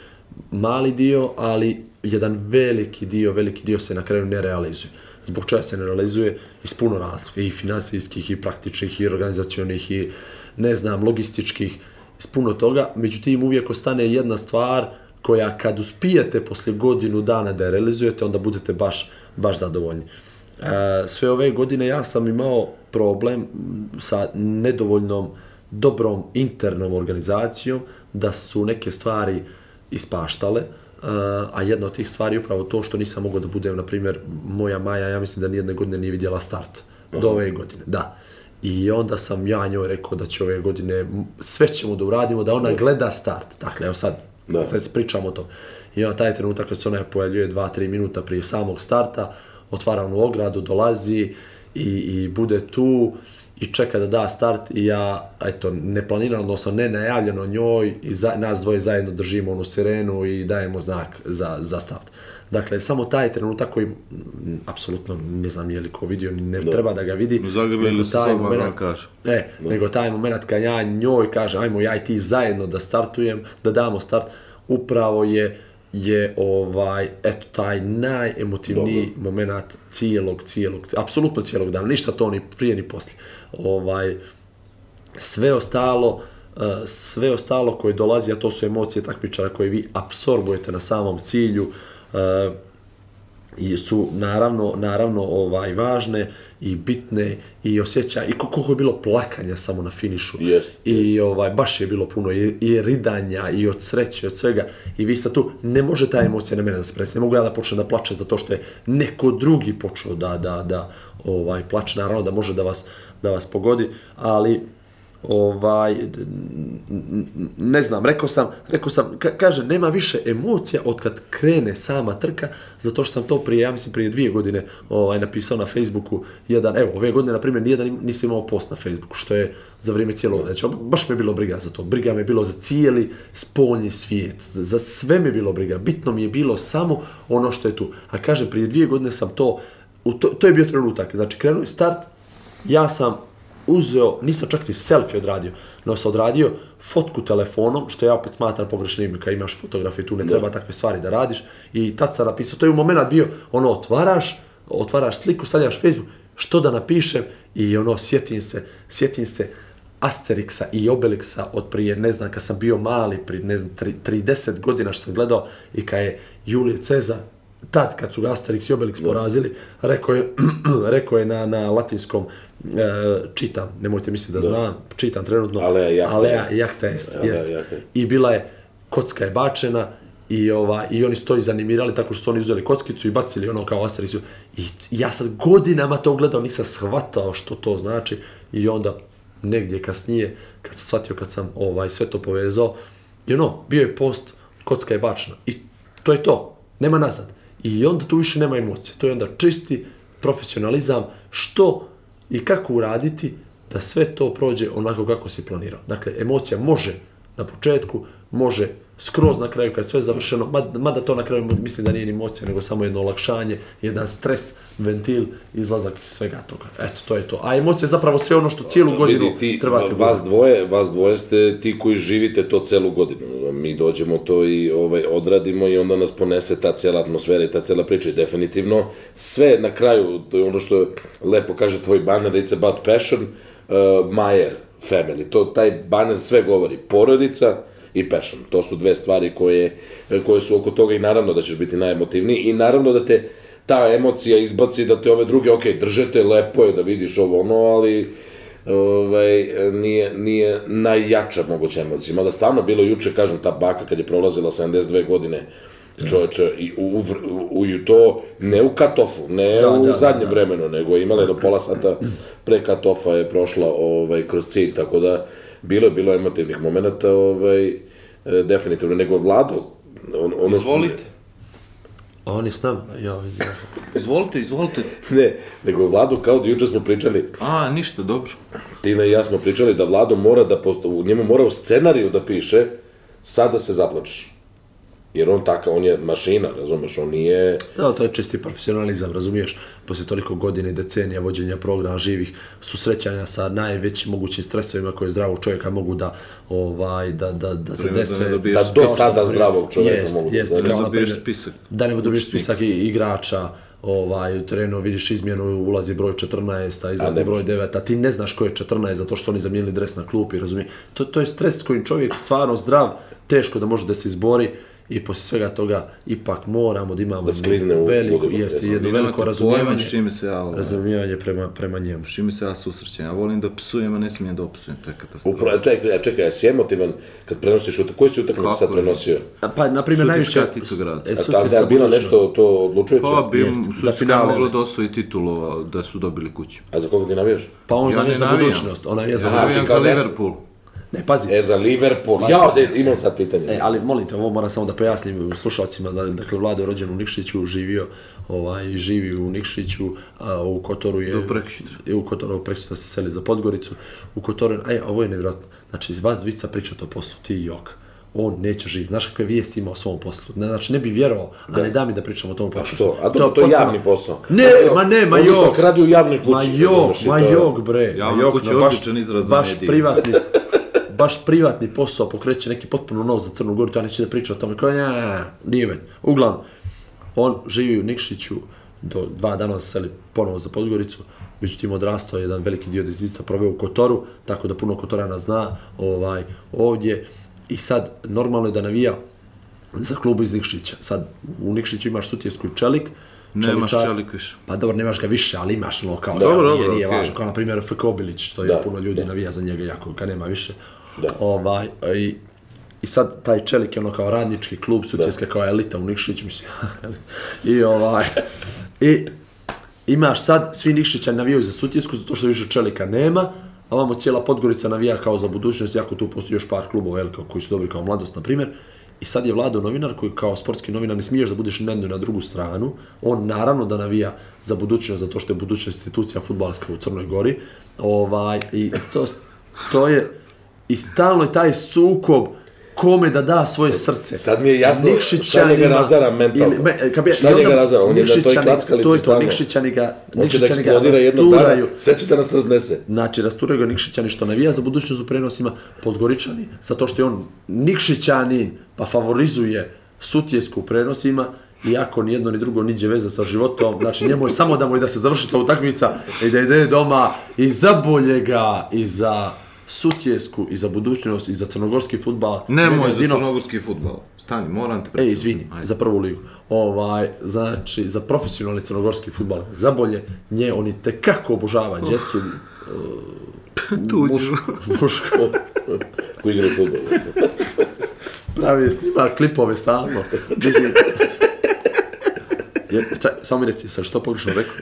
[SPEAKER 3] mali dio, ali jedan veliki dio, veliki dio se na kraju ne realizuje. Zbog čega se ne realizuje? Iz puno razloga, i finansijskih, i praktičnih, i organizacijonih, i ne znam, logističkih, iz puno toga. Međutim, uvijek ostane jedna stvar koja kad uspijete poslije godinu dana da je realizujete, onda budete baš, baš zadovoljni. E, sve ove godine ja sam imao problem m, sa nedovoljnom dobrom internom organizacijom da su neke stvari ispaštale e, a jedna od tih stvari je upravo to što nisam mogao da budem, na primjer, moja Maja, ja mislim da nijedne godine nije vidjela start do ove godine, da. I onda sam ja njoj rekao da će ove godine, m, sve ćemo da uradimo, da ona gleda start. Dakle, evo sad,
[SPEAKER 2] Da.
[SPEAKER 3] sad se pričamo o tom. I onda taj trenutak kad se ona pojavljuje 2-3 minuta prije samog starta, otvara onu ogradu, dolazi i, i bude tu i čeka da da start i ja, eto, neplanirano, odnosno ne najavljeno njoj i za, nas dvoje zajedno držimo onu sirenu i dajemo znak za, za start. Dakle, samo taj trenutak koji, m, apsolutno ne znam je li ko vidio, ni ne treba da ga vidi.
[SPEAKER 4] Zagrlili
[SPEAKER 3] nego
[SPEAKER 4] su
[SPEAKER 3] taj
[SPEAKER 4] se oba,
[SPEAKER 3] momenat-
[SPEAKER 4] ono kaže.
[SPEAKER 3] E, nego taj moment kad ja njoj kažem, ajmo ja i ti zajedno da startujem, da damo start, upravo je je ovaj, eto, taj najemotivniji Dobro. moment cijelog, cijelog, apsolutno cijelog dana, ništa to ni prije ni poslije. Ovaj, sve ostalo e, sve ostalo koje dolazi, a to su emocije takmičara koje vi apsorbujete na samom cilju, e, i su naravno naravno ovaj važne i bitne i osjeća i kol- koliko je bilo plakanja samo na finišu.
[SPEAKER 2] Jest,
[SPEAKER 3] I ovaj baš je bilo puno i, i ridanja i od sreće od svega i vi ste tu ne može ta emocija na mene da se prenese. Ne mogu ja da počnem da plačem zato što je neko drugi počeo da da da ovaj plače naravno da može da vas da vas pogodi, ali ovaj ne znam, rekao sam, rekao sam, ka, kaže, nema više emocija od kad krene sama trka, zato što sam to prije, ja mislim, prije dvije godine ovaj, napisao na Facebooku, jedan, evo, ove godine, na primjer, nijedan im- nisam imao post na Facebooku, što je za vrijeme cijelog, znači, baš me je bilo briga za to, briga me je bilo za cijeli spoljni svijet, za, za sve me je bilo briga, bitno mi je bilo samo ono što je tu, a kaže, prije dvije godine sam to, u to, to je bio trenutak, znači, krenuo je start, ja sam uzeo, nisam čak ni selfie odradio, No se odradio fotku telefonom, što ja opet smatram pogrešnim, kad imaš fotografije tu ne treba takve stvari da radiš. I tad sam napisao, to je u moment bio, ono otvaraš, otvaraš sliku, stavljaš Facebook, što da napišem i ono sjetim se, sjetim se Asterixa i Obelixa od prije, ne znam, kad sam bio mali, pri ne znam, tri- 30 godina što sam gledao i kad je Julije Cezar, tad kad su ga Asterix i Obelix porazili, rekao je, rekao je na, na latinskom, e, čitam, nemojte misliti da, znam, čitam trenutno,
[SPEAKER 2] Alea jacta
[SPEAKER 3] Alea
[SPEAKER 2] est.
[SPEAKER 3] jacta est,
[SPEAKER 2] Alea
[SPEAKER 3] jest.
[SPEAKER 2] jacta est.
[SPEAKER 3] I bila je, kocka je bačena, I, ova, I oni su to izanimirali tako što su oni uzeli kockicu i bacili ono kao Asterix. I c- ja sad godinama to gledao, nisam shvatao što to znači. I onda negdje kasnije, kad sam shvatio, kad sam ovaj, sve to povezao, i ono, bio je post, kocka je bačena. I to je to, nema nazad. I onda tu više nema emocije. To je onda čisti profesionalizam, što i kako uraditi da sve to prođe onako kako si planirao. Dakle, emocija može na početku, može skroz na kraju kad je sve završeno, mada, mada to na kraju mislim da nije ni emocija, nego samo jedno olakšanje, jedan stres, ventil, izlazak iz svega toga. Eto, to je to. A emocija je zapravo sve ono što cijelu godinu
[SPEAKER 2] Vidi, ti,
[SPEAKER 3] trebate
[SPEAKER 2] vas dvoje, vas dvoje ste ti koji živite to celu godinu. Mi dođemo to i ovaj, odradimo i onda nas ponese ta cijela atmosfera i ta cijela priča i definitivno sve na kraju, to je ono što je lepo kaže tvoj banner, it's about passion, uh, Mayer family, to, taj banner sve govori, porodica i passion, to su dve stvari koje, koje su oko toga i naravno da ćeš biti najemotivniji i naravno da te ta emocija izbaci da te ove druge, ok, držete, lepo je da vidiš ovo ono, ali ovaj, nije, nije najjača moguća emocija. Mada stvarno bilo juče, kažem, ta baka kad je prolazila 72 godine, čoveče, i u, u, vr- u, u to, ne u katofu, ne da, u da,
[SPEAKER 3] da,
[SPEAKER 2] zadnjem da, da. vremenu, nego je imala jedno pola sata pre katofa je prošla ovaj, kroz cilj, tako da bilo je bilo emotivnih momenta, ovaj, e, definitivno, nego Vlado, on, ono
[SPEAKER 4] Izvolite.
[SPEAKER 3] A on je s nama, ja, ja sam.
[SPEAKER 4] Izvolite, izvolite.
[SPEAKER 2] Što, ne, nego Vlado, kao da juče smo pričali,
[SPEAKER 4] A, ništa, dobro.
[SPEAKER 2] Tina i ja smo pričali da Vlado mora da, post- u njemu mora u scenariju da piše sada se zaplačeš. Jer on taka, on je mašina, razumeš, on nije...
[SPEAKER 3] Da, to je čisti profesionalizam, razumiješ? Poslije toliko godine i decenija vođenja programa živih, susrećanja sa najvećim mogućim stresovima koje zdravog čovjeka mogu da, ovaj, da, da, da se
[SPEAKER 4] Vreme da ne
[SPEAKER 3] dese.
[SPEAKER 4] dobiješ
[SPEAKER 2] Da do
[SPEAKER 3] Kao što,
[SPEAKER 2] tada
[SPEAKER 3] na primjer,
[SPEAKER 2] zdravog čovjeka
[SPEAKER 3] jest,
[SPEAKER 2] mogu da
[SPEAKER 3] jest,
[SPEAKER 2] se
[SPEAKER 4] dese.
[SPEAKER 3] kao,
[SPEAKER 4] Da
[SPEAKER 3] na primjer,
[SPEAKER 4] dobiješ spisak
[SPEAKER 3] Da ne dobiješ
[SPEAKER 4] učesnika.
[SPEAKER 3] spisak i igrača, ovaj, u terenu vidiš izmjenu, ulazi broj 14, a izlazi
[SPEAKER 2] ne
[SPEAKER 3] broj 9, a ti ne znaš ko je 14 zato što su oni zamijenili dres na klupi, razumije? To, to je stres s kojim čovjek stvarno zdrav, teško da može da se izbori i poslije svega toga ipak moramo da imamo da
[SPEAKER 2] sklizne u
[SPEAKER 3] veliko,
[SPEAKER 2] ludilo,
[SPEAKER 3] jeste,
[SPEAKER 2] jesam.
[SPEAKER 3] jedno
[SPEAKER 4] Vi nemate
[SPEAKER 3] veliko
[SPEAKER 4] pojma
[SPEAKER 3] razumijevanje,
[SPEAKER 4] s čime se ja, ovaj,
[SPEAKER 3] razumijevanje prema, prema njemu.
[SPEAKER 4] s čime se ja susrećem. Ja volim da psujem, a ne smijem da opsujem, to je katastrofa.
[SPEAKER 2] Upravo, čekaj, čekaj, jesi emotivan kad prenosiš utakmicu? Koji si utakmicu
[SPEAKER 4] Kako
[SPEAKER 2] sad
[SPEAKER 4] ne?
[SPEAKER 2] prenosio?
[SPEAKER 3] A Pa, na primjer,
[SPEAKER 4] Sutjeska
[SPEAKER 3] najviše...
[SPEAKER 4] Titograd.
[SPEAKER 3] E,
[SPEAKER 2] A ta, da
[SPEAKER 3] Sutjeska
[SPEAKER 2] je bilo nešto
[SPEAKER 3] budućnost.
[SPEAKER 2] to odlučujuće?
[SPEAKER 4] Pa, bi
[SPEAKER 3] Jeste, za
[SPEAKER 4] za
[SPEAKER 3] finale,
[SPEAKER 4] finale moglo
[SPEAKER 3] ne?
[SPEAKER 4] da osvoji titulu a, da su dobili kuću.
[SPEAKER 2] A za koga ti navijaš?
[SPEAKER 3] Pa on
[SPEAKER 4] Ja
[SPEAKER 3] zavija
[SPEAKER 4] ne
[SPEAKER 3] za
[SPEAKER 4] navijam.
[SPEAKER 3] budućnost, ona je za
[SPEAKER 4] Ja
[SPEAKER 3] budućnost.
[SPEAKER 4] navijam
[SPEAKER 2] kao
[SPEAKER 4] za
[SPEAKER 2] des-
[SPEAKER 4] Liverpool.
[SPEAKER 3] Ne, pazi,
[SPEAKER 2] E, za Liverpool. Ja, ovdje imam sad pitanje.
[SPEAKER 3] E, ali molim te, ovo moram samo da pojasnim slušalcima, da, dakle, Vlado je rođen u Nikšiću, živio, ovaj, živi u Nikšiću, a u Kotoru je...
[SPEAKER 4] Do preksutra.
[SPEAKER 3] I u Kotoru, prekšutra se seli za Podgoricu, u Kotoru, aj, ovo je nevjerojatno, znači, vas dvica pričate o poslu, ti i Jok, on neće živjeti, znaš kakve vijesti ima o svom poslu, ne, znači, ne bi vjerovao, ali da mi da pričamo o tom poslu.
[SPEAKER 2] Što? A dobro, to je
[SPEAKER 3] potpuno-
[SPEAKER 2] javni posao.
[SPEAKER 3] Ne,
[SPEAKER 2] Evo,
[SPEAKER 3] ma ne, ma
[SPEAKER 2] oni
[SPEAKER 3] Jok.
[SPEAKER 2] to kradu u javnoj kući,
[SPEAKER 3] Ma
[SPEAKER 2] razumeš,
[SPEAKER 3] Jok,
[SPEAKER 2] i
[SPEAKER 3] ma
[SPEAKER 2] to je-
[SPEAKER 3] Jok, bre.
[SPEAKER 4] Javna
[SPEAKER 3] ma Jok,
[SPEAKER 4] kuća
[SPEAKER 3] na
[SPEAKER 4] je
[SPEAKER 3] baš-
[SPEAKER 4] odličan izraz za
[SPEAKER 3] Baš
[SPEAKER 4] medije.
[SPEAKER 3] privatni, baš privatni posao pokreće neki potpuno nov za Crnu Goru, to ja neću da pričam o tome, kao ja, nije već. Uglavnom, on živi u Nikšiću, do dva dana se seli ponovo za Podgoricu, međutim odrastao je jedan veliki dio djetinjstva proveo u Kotoru, tako da puno Kotorana zna ovaj, ovdje i sad normalno je da navija za klub iz Nikšića. Sad u Nikšiću imaš Sutjesku i Čelik,
[SPEAKER 4] Nemaš
[SPEAKER 3] Čeličar-
[SPEAKER 4] Čelik više.
[SPEAKER 3] Pa dobro, nemaš ga više, ali imaš ono kao,
[SPEAKER 4] Dobro,
[SPEAKER 3] nije,
[SPEAKER 4] dobro,
[SPEAKER 3] nije
[SPEAKER 4] okej.
[SPEAKER 3] važno, kao na primjer FK Obilić, što je
[SPEAKER 2] Da,
[SPEAKER 3] puno ljudi
[SPEAKER 2] da.
[SPEAKER 3] navija za njega jako, ga nema više.
[SPEAKER 2] Da.
[SPEAKER 3] Ovaj, i, I sad taj Čelik je ono kao radnički klub, sutjeska kao elita u Nikšiću, mislim, elita. I ovaj, i imaš sad, svi Nikšića navijaju za Sutjesku, zato što više Čelika nema, a vamo cijela Podgorica navija kao za budućnost, jako tu postoji još par klubova jel, kao, koji su dobri kao mladost, na primjer. I sad je Vlado novinar koji kao sportski novinar ne smiješ da budeš na jednu i na drugu stranu. On naravno da navija za budućnost, zato što je budućnost institucija futbalska u Crnoj Gori. Ovaj, i to, to je, i stalno je taj sukob kome da da svoje srce.
[SPEAKER 2] Sad mi je jasno šta njega
[SPEAKER 3] ima-
[SPEAKER 2] razara mentalno.
[SPEAKER 3] kapira-
[SPEAKER 2] Šta
[SPEAKER 3] i onda
[SPEAKER 2] njega razara? On je na toj
[SPEAKER 3] Nikšićani-
[SPEAKER 2] klackalici
[SPEAKER 3] To je to,
[SPEAKER 2] stalno.
[SPEAKER 3] Nikšićani ga,
[SPEAKER 2] Hoće da
[SPEAKER 3] Nikšićani ga
[SPEAKER 2] eksplodira jednog dana,
[SPEAKER 3] rasturaju.
[SPEAKER 2] sve će da nas raznese.
[SPEAKER 3] Znači, rasturaju ga Nikšićani što navija za budućnost u prenosima Podgoričani, zato što je on Nikšićanin, pa favorizuje Sutjesku u prenosima, iako ni jedno ni drugo niđe veze sa životom, znači njemu je samo da mu je da se završi ta utakmica i da ide doma i za boljega i za Sutjesku i za budućnost i za crnogorski futbal.
[SPEAKER 4] Nemoj za crnogorski futbal. Stani, moram te
[SPEAKER 3] E,
[SPEAKER 4] prekinuti.
[SPEAKER 3] izvini,
[SPEAKER 4] Ajde.
[SPEAKER 3] za prvu ligu. Ovaj, znači, za profesionalni crnogorski futbal, za bolje, nje oni tekako obožavaju djecu,
[SPEAKER 4] Oh.
[SPEAKER 3] e,
[SPEAKER 4] Tuđu.
[SPEAKER 3] muško,
[SPEAKER 2] Ko igra futbol.
[SPEAKER 3] pravi snima klipove stalno. Mislim, je, čak, samo mi reci, sam što pogrešno rekao?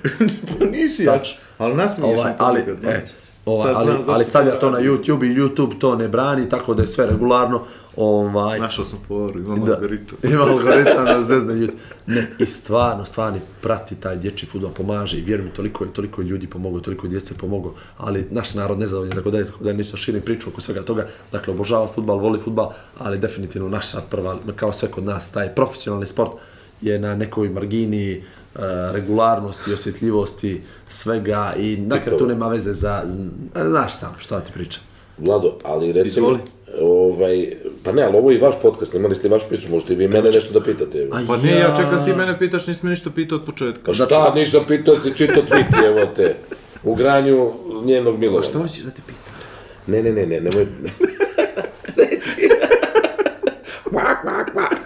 [SPEAKER 4] Pa nisi ja.
[SPEAKER 3] Tač.
[SPEAKER 4] Ali nasmiješ
[SPEAKER 3] Ovaj,
[SPEAKER 4] me
[SPEAKER 3] ali,
[SPEAKER 4] ponekad, znaš.
[SPEAKER 3] e, ovaj,
[SPEAKER 4] Sad
[SPEAKER 3] ali,
[SPEAKER 4] znam zašto
[SPEAKER 3] ali stavlja to na
[SPEAKER 4] radi.
[SPEAKER 3] YouTube i YouTube to ne brani, tako da je sve regularno. Ovaj,
[SPEAKER 4] Našao sam foru, imam
[SPEAKER 3] Da.
[SPEAKER 4] algoritam.
[SPEAKER 3] Ima algoritam da zezne ljudi. Ne, i stvarno, stvarno prati taj dječji futbol, pomaže i vjeruj mi, toliko je, toliko je ljudi pomogao, toliko je djece pomogao, ali naš narod nezadovoljan, tako dalje, tako dalje, neću da širim priču oko svega toga, dakle, obožava futbal, voli futbal, ali definitivno naša prva, kao sve kod nas, taj profesionalni sport je na nekoj margini e, regularnosti, osjetljivosti, svega
[SPEAKER 4] E
[SPEAKER 3] i dakle, tu nema veze za, znaš sam šta ti pričam.
[SPEAKER 2] Vlado, ali recimo...
[SPEAKER 4] Izvoli.
[SPEAKER 2] Ovaj, pa ne, ali ovo je i vaš podcast, imali ste i vaš priču, možete i vi mene nešto da pitate. evo.
[SPEAKER 4] Pa ne, ja čekam ti mene pitaš, nisi me ništa pitao od početka.
[SPEAKER 2] Pa šta, nisam pitao, ti čitao tweet, evo te. U granju njenog Milovana.
[SPEAKER 4] Što hoćeš da te pitam?
[SPEAKER 2] Ne, ne, ne, ne, nemoj... Reci. Kvak, kvak, kvak.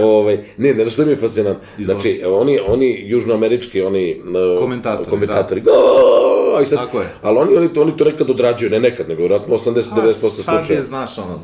[SPEAKER 2] ovaj, ne, ne, što mi je fascinantno. Znači, oni, oni južnoamerički, oni... uh,
[SPEAKER 4] Komentatori,
[SPEAKER 2] Komentatori, go! I sad,
[SPEAKER 4] Tako je.
[SPEAKER 2] Ali oni, oni, to, oni to nekad odrađuju, ne nekad, nego vjerojatno 80-90%
[SPEAKER 4] Sad je,
[SPEAKER 2] slučaja.
[SPEAKER 4] znaš, ono,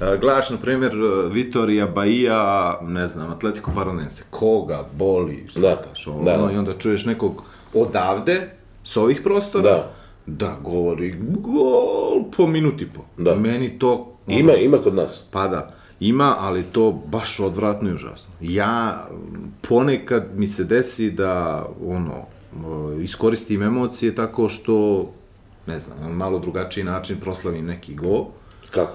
[SPEAKER 4] e, gledaš, na primjer, e, Vitorija, Bahia, ne znam, Atletico Paranense, koga boli, sataš,
[SPEAKER 2] Da,
[SPEAKER 4] ono,
[SPEAKER 2] da, da.
[SPEAKER 4] i onda čuješ nekog odavde, s ovih prostora,
[SPEAKER 2] Da.
[SPEAKER 4] da govori gol po minuti po.
[SPEAKER 2] Da.
[SPEAKER 4] Meni to... ono,
[SPEAKER 2] Ima, ima kod nas.
[SPEAKER 4] Pa da, ima, ali to baš odvratno i užasno. Ja m, ponekad mi se desi da ono m, iskoristim emocije tako što ne znam, na malo drugačiji način proslavim neki gol.
[SPEAKER 2] Kako?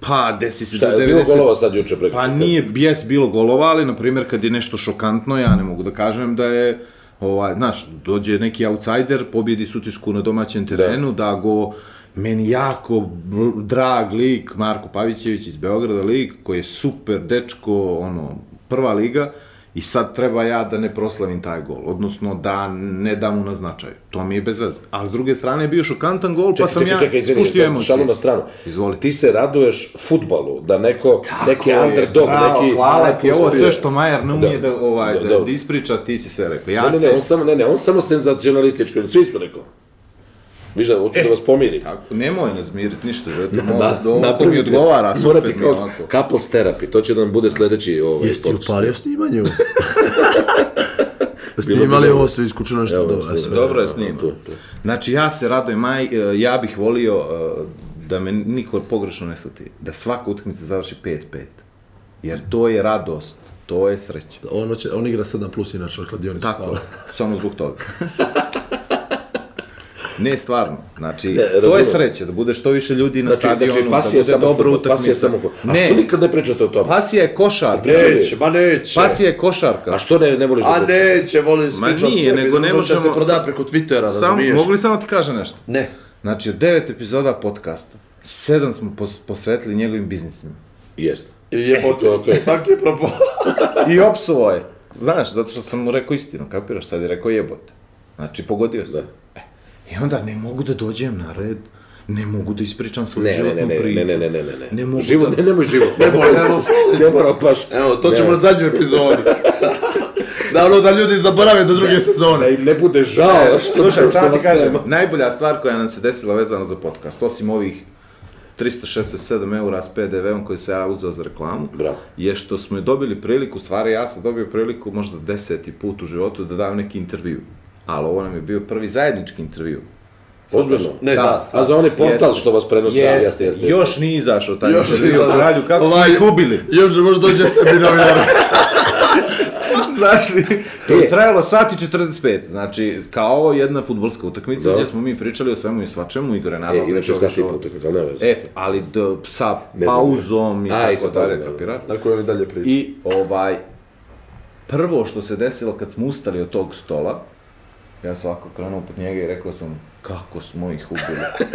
[SPEAKER 4] Pa desi se
[SPEAKER 2] Šta,
[SPEAKER 4] da
[SPEAKER 2] je bilo golova sad juče preko?
[SPEAKER 4] Pa nije bijes bilo golova, ali na primjer kad je nešto šokantno, ja ne mogu da kažem da je ovaj, znaš, dođe neki outsider, pobjedi sutisku na domaćem terenu, da, go meni jako bl- drag lik Marko Pavićević iz Beograda lik koji je super dečko, ono prva liga i sad treba ja da ne proslavim taj gol, odnosno da ne dam mu na značaju. To mi je bez veze. A s druge strane je bio šokantan gol, pa sam ja spuštio
[SPEAKER 2] sad,
[SPEAKER 4] emocije.
[SPEAKER 2] šalu na stranu.
[SPEAKER 4] Izvoli.
[SPEAKER 2] Ti se raduješ futbalu, da neko, neki
[SPEAKER 4] Tako je,
[SPEAKER 2] underdog,
[SPEAKER 4] bravo,
[SPEAKER 2] neki...
[SPEAKER 4] Hvala ti, ovo
[SPEAKER 2] uspije.
[SPEAKER 4] sve što Majer ne umije
[SPEAKER 2] Da,
[SPEAKER 4] da, ovaj,
[SPEAKER 2] da,
[SPEAKER 4] da, da,
[SPEAKER 2] dobro.
[SPEAKER 4] ispriča, ti si sve rekao.
[SPEAKER 2] Ne,
[SPEAKER 4] Ja
[SPEAKER 2] ne, ne,
[SPEAKER 4] sam-
[SPEAKER 2] on samo, ne, ne, on samo senzacionalistički, svi smo rekao. Viš da,
[SPEAKER 4] E.
[SPEAKER 2] hoću da vas pomirim.
[SPEAKER 4] Tako, nemoj nas miriti ništa, želite,
[SPEAKER 2] Da,
[SPEAKER 4] da,
[SPEAKER 2] da,
[SPEAKER 4] da, ovo mi
[SPEAKER 2] napravite-
[SPEAKER 4] odgovara,
[SPEAKER 2] morate
[SPEAKER 4] super mi je
[SPEAKER 2] kao
[SPEAKER 4] ovako.
[SPEAKER 2] couples therapy, to će da nam bude sledeći ovaj
[SPEAKER 3] Jesi ti
[SPEAKER 2] podcast.
[SPEAKER 3] upalio snimanje ovo? Jeste
[SPEAKER 2] Bilo bi
[SPEAKER 3] imali
[SPEAKER 2] dobro.
[SPEAKER 3] ovo sve iskučeno nešto
[SPEAKER 2] Evo,
[SPEAKER 3] dobro?
[SPEAKER 2] snimam.
[SPEAKER 3] sve.
[SPEAKER 4] Dobro je snima.
[SPEAKER 2] to, to.
[SPEAKER 4] Znači, ja se radujem, maj, e, ja bih volio e, da me niko pogrešno ne shvati, da svaka utakmica završi 5-5. Jer to je radost, to je sreća.
[SPEAKER 3] On, hoće, on igra 7 plus inače na kladionicu.
[SPEAKER 4] Tako,
[SPEAKER 3] stvarno.
[SPEAKER 4] samo zbog toga. Ne, stvarno. Znači, to je
[SPEAKER 2] razumem.
[SPEAKER 4] sreće, da bude što više ljudi na
[SPEAKER 2] Znači,
[SPEAKER 4] stadionu,
[SPEAKER 2] znači, pasija je
[SPEAKER 4] da bude
[SPEAKER 2] samo
[SPEAKER 4] dobra
[SPEAKER 2] fudbal, pasija je
[SPEAKER 4] utakmica.
[SPEAKER 2] samo fudbal. A
[SPEAKER 4] Ne, Pa-
[SPEAKER 2] što nikad ne pričate o tome?
[SPEAKER 4] pasija je košarka.
[SPEAKER 2] Neće,
[SPEAKER 3] ma neće.
[SPEAKER 4] Pasija je košarka.
[SPEAKER 2] A što ne, ne voliš da pričaš?
[SPEAKER 3] neće, volim
[SPEAKER 4] Ma nije, nego ne
[SPEAKER 3] može
[SPEAKER 4] možemo...
[SPEAKER 3] se proda preko Twittera,
[SPEAKER 4] Sam-
[SPEAKER 3] razumiješ?
[SPEAKER 4] Mogu li samo ti kažem nešto?
[SPEAKER 3] Ne.
[SPEAKER 4] Znači, od devet epizoda podcasta, sedam smo pos- posvetili njegovim biznisima.
[SPEAKER 2] Jeste. Je to, okej.
[SPEAKER 3] Svaki je propao.
[SPEAKER 4] I opsovo je. Znaš, zato što sam mu rekao istinu, kapiraš? Sad je rekao jebote. Znači, pogodio sam. E, I onda ne mogu da dođem na red, ne mogu da ispričam svoju
[SPEAKER 2] Ne, ne,
[SPEAKER 4] životnu
[SPEAKER 2] ne, ne,
[SPEAKER 4] priču.
[SPEAKER 2] ne, ne, ne, ne, ne,
[SPEAKER 4] Ne mogu
[SPEAKER 2] Život,
[SPEAKER 4] da-
[SPEAKER 2] ne, nemoj život. Ne,
[SPEAKER 3] nemoj, nemoj.
[SPEAKER 2] ne, propaš.
[SPEAKER 3] Evo, to ćemo
[SPEAKER 2] Ne.
[SPEAKER 3] na zadnjoj epizodi. da, ono, da ljudi zaborave do druge
[SPEAKER 2] Da
[SPEAKER 3] sezone.
[SPEAKER 2] im ne bude žao što...
[SPEAKER 4] Slušaj,
[SPEAKER 2] što
[SPEAKER 4] sad ti
[SPEAKER 2] vas
[SPEAKER 4] kažem,
[SPEAKER 2] nema.
[SPEAKER 4] najbolja stvar koja nam se desila vezano za podcast, osim ovih 367 eura s PDV-om koji se ja uzeo za reklamu,
[SPEAKER 2] Bravo.
[SPEAKER 4] je što smo dobili priliku, u stvari ja sam dobio priliku možda deseti put u životu da dam neki intervju. Ali ovo nam je bio prvi zajednički intervju.
[SPEAKER 2] Ozbiljno.
[SPEAKER 3] Ne, da,
[SPEAKER 2] A za onaj portal što vas prenosi,
[SPEAKER 4] Jeste,
[SPEAKER 2] jeste, jeste, jeste.
[SPEAKER 4] Još nije izašao taj
[SPEAKER 3] Još
[SPEAKER 4] intervju,
[SPEAKER 3] nije, da.
[SPEAKER 4] Ralju, kako
[SPEAKER 3] Ovaj-
[SPEAKER 4] smo ih ubili?
[SPEAKER 3] Još možda dođe sebi novinar.
[SPEAKER 4] izašli. To
[SPEAKER 2] E.
[SPEAKER 4] je trajalo sat i 45, znači kao jedna futbolska utakmica
[SPEAKER 2] Da.
[SPEAKER 4] gdje smo mi pričali o svemu i svačemu, Igor je
[SPEAKER 2] E,
[SPEAKER 4] naravno
[SPEAKER 2] inače
[SPEAKER 4] pričao
[SPEAKER 2] sad
[SPEAKER 4] još
[SPEAKER 2] i
[SPEAKER 4] o-
[SPEAKER 2] utakmica, ali ne veze.
[SPEAKER 4] E, ali d, sa
[SPEAKER 2] Ne znam.
[SPEAKER 4] pauzom i
[SPEAKER 2] A, i sa
[SPEAKER 4] tako dalje,
[SPEAKER 2] pauzom, da.
[SPEAKER 4] kapiraš?
[SPEAKER 3] Tako je oni dalje pričaju.
[SPEAKER 4] I ovaj, prvo što se desilo kad smo ustali od tog stola, ja sam ovako krenuo pod njega i rekao sam, kako smo ih ubili.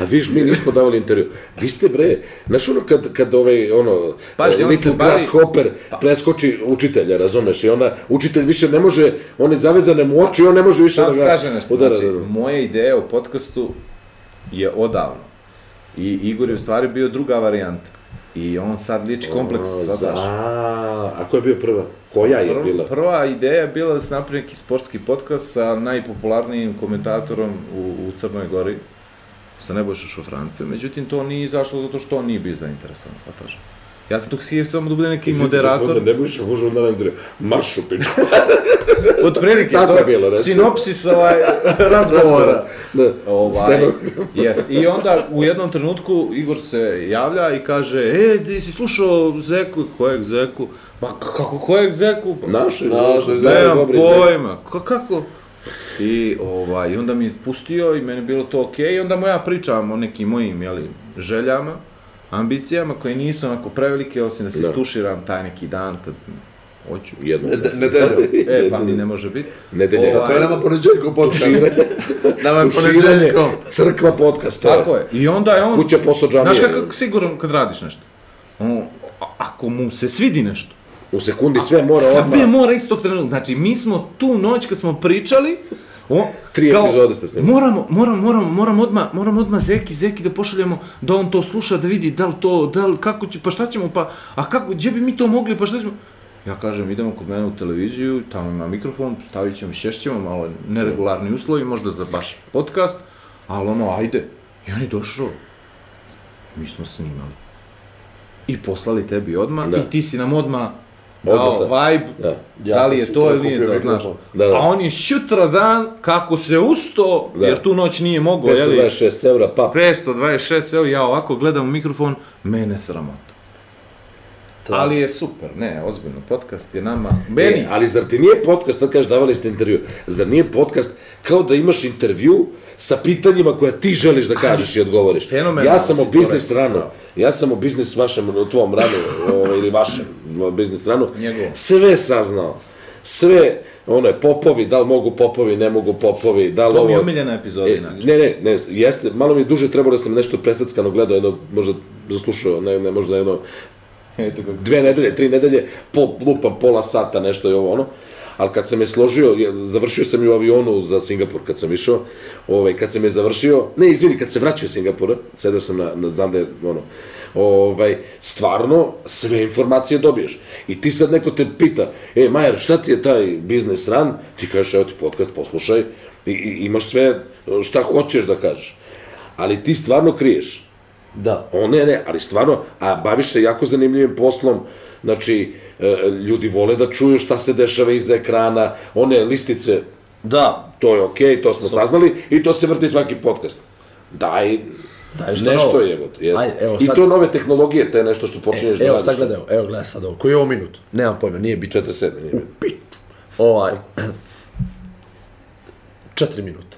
[SPEAKER 2] A viš, mi nismo davali intervju. Vi ste bre, znaš ono kad, kad ovaj, ono,
[SPEAKER 4] Pazi,
[SPEAKER 2] eh,
[SPEAKER 4] on se
[SPEAKER 2] Little
[SPEAKER 4] bavi- Pa-
[SPEAKER 2] Grasshopper preskoči učitelja, razumeš, i ona, učitelj više ne može, on je zavezane mu oči, on ne može više da
[SPEAKER 4] Sad
[SPEAKER 2] ga
[SPEAKER 4] kaže nešto,
[SPEAKER 2] udara.
[SPEAKER 4] znači,
[SPEAKER 2] da, da.
[SPEAKER 4] moja ideja o podcastu je odavno. I Igor je u stvari bio druga varijanta. I on sad liči kompleks,
[SPEAKER 2] A, za-
[SPEAKER 4] sadaš.
[SPEAKER 2] A, a ko je bio prva? Koja je
[SPEAKER 4] Prva-
[SPEAKER 2] bila?
[SPEAKER 4] Prva ideja je bila da se napravi neki sportski podcast sa najpopularnijim komentatorom u, u Crnoj Gori, sa Nebojša Šofrance. Međutim, to nije izašlo zato što on nije bio zainteresovan, shvataš. Ja sam tu ksijev samo da bude neki moderator.
[SPEAKER 2] Ne budeš, može onda na intervju. Marš u pičku.
[SPEAKER 4] Od prilike,
[SPEAKER 2] Tako
[SPEAKER 4] to-
[SPEAKER 2] je bilo, recimo.
[SPEAKER 4] sinopsis ovaj, razgovora.
[SPEAKER 2] Da,
[SPEAKER 4] Ovaj,
[SPEAKER 2] steno-
[SPEAKER 4] yes. I onda u jednom trenutku Igor se javlja i kaže, e, di si slušao Zeku, kojeg Zeku? Ma k- kako kojeg Zeku? Pa,
[SPEAKER 2] Naše Zeku,
[SPEAKER 4] naše,
[SPEAKER 2] znaju
[SPEAKER 4] nemam
[SPEAKER 2] dobri Zeku.
[SPEAKER 4] pojma, ka, kako? I ovaj, i onda mi je pustio i meni je bilo to okej, i onda mu ja pričam o nekim mojim, jeli, željama, ambicijama koje nisu onako prevelike, osim da se
[SPEAKER 2] Da.
[SPEAKER 4] istuširam taj neki dan kad hoću.
[SPEAKER 2] Jedno.
[SPEAKER 6] Nedelju.
[SPEAKER 4] E, pa mi ne može biti. Ovaj,
[SPEAKER 2] Nedelja.
[SPEAKER 6] To je nama poneđeljko podcast.
[SPEAKER 2] Tuširanje,
[SPEAKER 6] Nama je
[SPEAKER 2] tuširanje,
[SPEAKER 6] poneđeljkom.
[SPEAKER 2] crkva podcast. to
[SPEAKER 4] Tako je. I onda je on...
[SPEAKER 2] Kuća posao džamije.
[SPEAKER 4] Znaš kako siguran kad radiš nešto? On, a- ako mu se svidi nešto,
[SPEAKER 2] U sekundi sve mora odmah.
[SPEAKER 4] sve mora istog trenutka. Znači, mi smo tu noć kad smo pričali, o,
[SPEAKER 2] Tri epizode ste snimali.
[SPEAKER 4] Moramo, moramo, moramo, moramo odmah, moramo odmah Zeki, Zeki da pošaljemo, da on to sluša, da vidi da li to, da li, kako će, pa šta ćemo, pa, a kako, gdje bi mi to mogli, pa šta ćemo? Ja kažem, idemo kod mene u televiziju, tamo ima mikrofon, stavit ćemo, šešćemo, malo neregularni uslovi, možda za baš podcast, ali ono, ajde. I on je došao. Mi smo snimali. I poslali tebi odmah,
[SPEAKER 2] Da.
[SPEAKER 4] i ti si nam odmah
[SPEAKER 2] Odmah
[SPEAKER 4] dao
[SPEAKER 2] sam.
[SPEAKER 4] vibe,
[SPEAKER 2] Da.
[SPEAKER 4] da,
[SPEAKER 6] Ja
[SPEAKER 4] da li
[SPEAKER 6] sam
[SPEAKER 4] je
[SPEAKER 6] sutra
[SPEAKER 4] to ili nije
[SPEAKER 6] kupio
[SPEAKER 4] to, znaš.
[SPEAKER 6] mikrofon.
[SPEAKER 2] Da, da.
[SPEAKER 4] A on je šutra dan, kako se usto,
[SPEAKER 2] Da.
[SPEAKER 4] jer tu noć nije mogao, jeli?
[SPEAKER 2] 526 evra, pa
[SPEAKER 4] 526, evo ja ovako gledam u mikrofon, mene sramota. Ali je super, ne, ozbiljno, podcast je nama, meni,
[SPEAKER 2] E, ali zar ti nije podcast, sad kažeš davali ste intervju, zar nije podcast kao da imaš intervju sa pitanjima koja ti želiš da kažeš i odgovoriš.
[SPEAKER 4] fenomenalno
[SPEAKER 2] Ja sam
[SPEAKER 4] si
[SPEAKER 2] o
[SPEAKER 4] to
[SPEAKER 2] biznis
[SPEAKER 4] rekao,
[SPEAKER 2] ranu,
[SPEAKER 4] bravo.
[SPEAKER 2] ja sam o biznis vašem, o tvom ranu, ovaj, ili vašem o biznis ranu,
[SPEAKER 4] Njegovom.
[SPEAKER 2] sve saznao. Sve, ono je, popovi, da li mogu popovi, ne mogu popovi, da li
[SPEAKER 4] to mi je
[SPEAKER 2] ovo...
[SPEAKER 4] omiljena epizoda
[SPEAKER 2] E,
[SPEAKER 4] inače.
[SPEAKER 2] ne, ne, ne, jeste, malo mi je duže trebalo da sam nešto presackano gledao, jedno, možda zaslušao, ne, ne, možda jedno
[SPEAKER 4] Eto kako.
[SPEAKER 2] dve nedelje, tri nedelje, po, lupam pola sata, nešto je ovo ono. Ali kad sam je složio, je- završio sam ju u avionu za Singapur kad sam išao, ovaj, kad sam je završio, ne, izvini, kad se vraćao iz Singapura, sedeo sam na, na znam da je, ono, ovaj, stvarno sve informacije dobiješ. I ti sad neko te pita, e, Majer, šta ti je taj biznes ran? Ti kažeš, evo ti podcast, poslušaj, i, i imaš sve šta hoćeš da kažeš. Ali ti stvarno kriješ.
[SPEAKER 6] Da.
[SPEAKER 2] O ne, ne, ali stvarno, a baviš se jako zanimljivim poslom, znači, e, ljudi vole da čuju šta se dešava iza ekrana, one listice,
[SPEAKER 6] Da.
[SPEAKER 2] to je okej, to smo saznali, i to se vrti svaki podcast. Daj,
[SPEAKER 3] Daj, što
[SPEAKER 2] nešto
[SPEAKER 3] E, novo.
[SPEAKER 2] je, god, jeste.
[SPEAKER 3] Aj, evo
[SPEAKER 2] I
[SPEAKER 3] sad- E,
[SPEAKER 2] to nove tehnologije, to je nešto što počinješ da
[SPEAKER 3] Evo
[SPEAKER 2] radiš.
[SPEAKER 3] sad gledaj, evo, evo gledaj sad ovo, koji je ovo minut? Nemam pojma, nije bitno.
[SPEAKER 2] 47, nije bilo.
[SPEAKER 3] Ovaj, četiri minuta.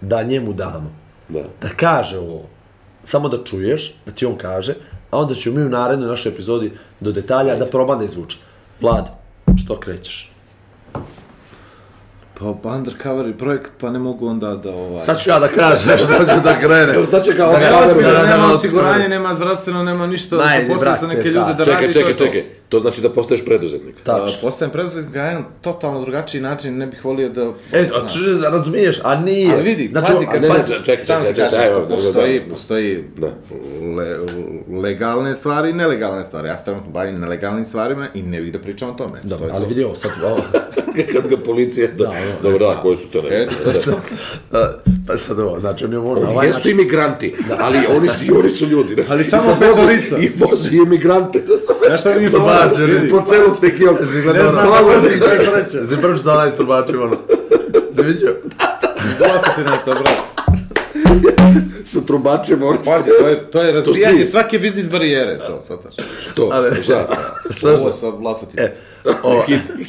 [SPEAKER 3] Da njemu damo.
[SPEAKER 2] Da.
[SPEAKER 3] Da kaže ovo. Samo da čuješ, da ti on kaže, a onda ćemo mi u narednoj našoj epizodi do detalja da proba da izvuče. Vlad, što krećeš?
[SPEAKER 4] Pa undercover je projekt, pa ne mogu onda da ovaj...
[SPEAKER 3] Sad ću ja da kažem što ću da krene.
[SPEAKER 2] Evo sad će kao
[SPEAKER 4] Da,
[SPEAKER 2] odgovor-
[SPEAKER 4] ozbiljno,
[SPEAKER 3] da, da,
[SPEAKER 4] nema
[SPEAKER 3] da,
[SPEAKER 4] osiguranje, nema zdravstveno, nema ništa, da
[SPEAKER 3] Najde,
[SPEAKER 4] se poslao sa
[SPEAKER 3] brate,
[SPEAKER 4] neke ljude
[SPEAKER 3] da.
[SPEAKER 4] da radi,
[SPEAKER 2] Čekaj,
[SPEAKER 4] to je
[SPEAKER 2] čekaj,
[SPEAKER 4] to.
[SPEAKER 2] čekaj, to znači da postaješ preduzetnik.
[SPEAKER 4] Tačno.
[SPEAKER 3] Tačno.
[SPEAKER 4] Znači, Postajem preduzetnik na jedan totalno drugačiji način, ne bih volio da...
[SPEAKER 3] E, a če, razumiješ, a nije.
[SPEAKER 4] Ali vidi,
[SPEAKER 3] znači,
[SPEAKER 4] pazi,
[SPEAKER 3] a-
[SPEAKER 4] kad
[SPEAKER 2] ne, ne,
[SPEAKER 3] pazi,
[SPEAKER 2] čekaj, čekaj,
[SPEAKER 4] sam ti
[SPEAKER 2] čekaj,
[SPEAKER 4] kažem
[SPEAKER 2] daj,
[SPEAKER 4] što
[SPEAKER 2] evo, da, da,
[SPEAKER 4] postoji,
[SPEAKER 2] da.
[SPEAKER 4] postoji
[SPEAKER 2] Da.
[SPEAKER 4] le, legalne stvari i nelegalne stvari. Ja se trenutno bavim nelegalnim stvarima i ne bih da pričam o tome.
[SPEAKER 3] Dobro,
[SPEAKER 4] to je
[SPEAKER 3] ali
[SPEAKER 4] to.
[SPEAKER 3] vidi ovo, sad, ovo,
[SPEAKER 2] Kad ga policija... Da,
[SPEAKER 3] ono,
[SPEAKER 2] Dobro, da, koji su to ne...
[SPEAKER 4] E,
[SPEAKER 3] a, pa sad ovo, znači, on je možda
[SPEAKER 2] Ovaj jesu imigranti, ali oni su, i oni su ljudi. ne?
[SPEAKER 4] Ali
[SPEAKER 2] I
[SPEAKER 4] samo
[SPEAKER 2] sad
[SPEAKER 4] petorica.
[SPEAKER 2] vozi- I vozi imigrante.
[SPEAKER 4] Znaš šta mi je
[SPEAKER 6] Bađe, vidi.
[SPEAKER 2] Po celom Pekionu.
[SPEAKER 4] Ne znam da vozim, to je sreće.
[SPEAKER 3] Znači,
[SPEAKER 6] Zim prvo što dala iz turbačima, ono. Si vidio?
[SPEAKER 4] Zvala se ti na to, brate.
[SPEAKER 2] sa trubačem moraš...
[SPEAKER 4] Pazi, to je, to je razbijanje
[SPEAKER 2] stoji.
[SPEAKER 4] svake biznis barijere, to, sataš.
[SPEAKER 2] To,
[SPEAKER 3] Ali-
[SPEAKER 2] šta?
[SPEAKER 4] Ovo sa
[SPEAKER 3] E,
[SPEAKER 4] vlasoticom.
[SPEAKER 3] o,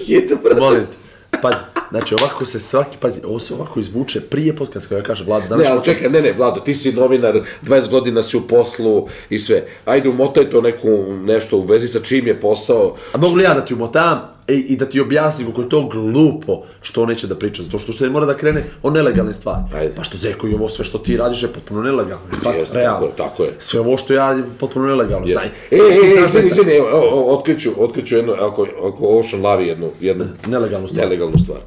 [SPEAKER 2] Hit, brate.
[SPEAKER 3] molim te. Pazi, znači ovako se svaki, pazi, ovo se ovako izvuče prije podcasta, kao ja kažem, Vlada, danas
[SPEAKER 2] Ne, ali čekaj, ne, ne, Vlado, ti si novinar, 20 godina si u poslu i sve. Ajde, umotaj to neku, nešto u vezi sa čim je posao.
[SPEAKER 3] A mogu li ja da ti umotam i, i da ti objasnim koliko je to glupo što on neće da priča, zato što, što je mora da krene o nelegalne stvari.
[SPEAKER 2] Ajde.
[SPEAKER 3] Pa što Zeko i ovo sve što ti radiš je potpuno nelegalno. je li
[SPEAKER 4] Pa,
[SPEAKER 3] Tako,
[SPEAKER 2] Jeste,
[SPEAKER 3] realno.
[SPEAKER 2] tako je, tako je.
[SPEAKER 3] Sve ovo što ja radim je potpuno nelegalno.
[SPEAKER 2] E,
[SPEAKER 3] Znaj,
[SPEAKER 2] e, e, izvini, izvini, evo, evo, evo, otkriću, otkriću jednu, ako, ako Ocean lavi jednu, jednu
[SPEAKER 3] Nelegalnu stvar.
[SPEAKER 2] nelegalnu stvar.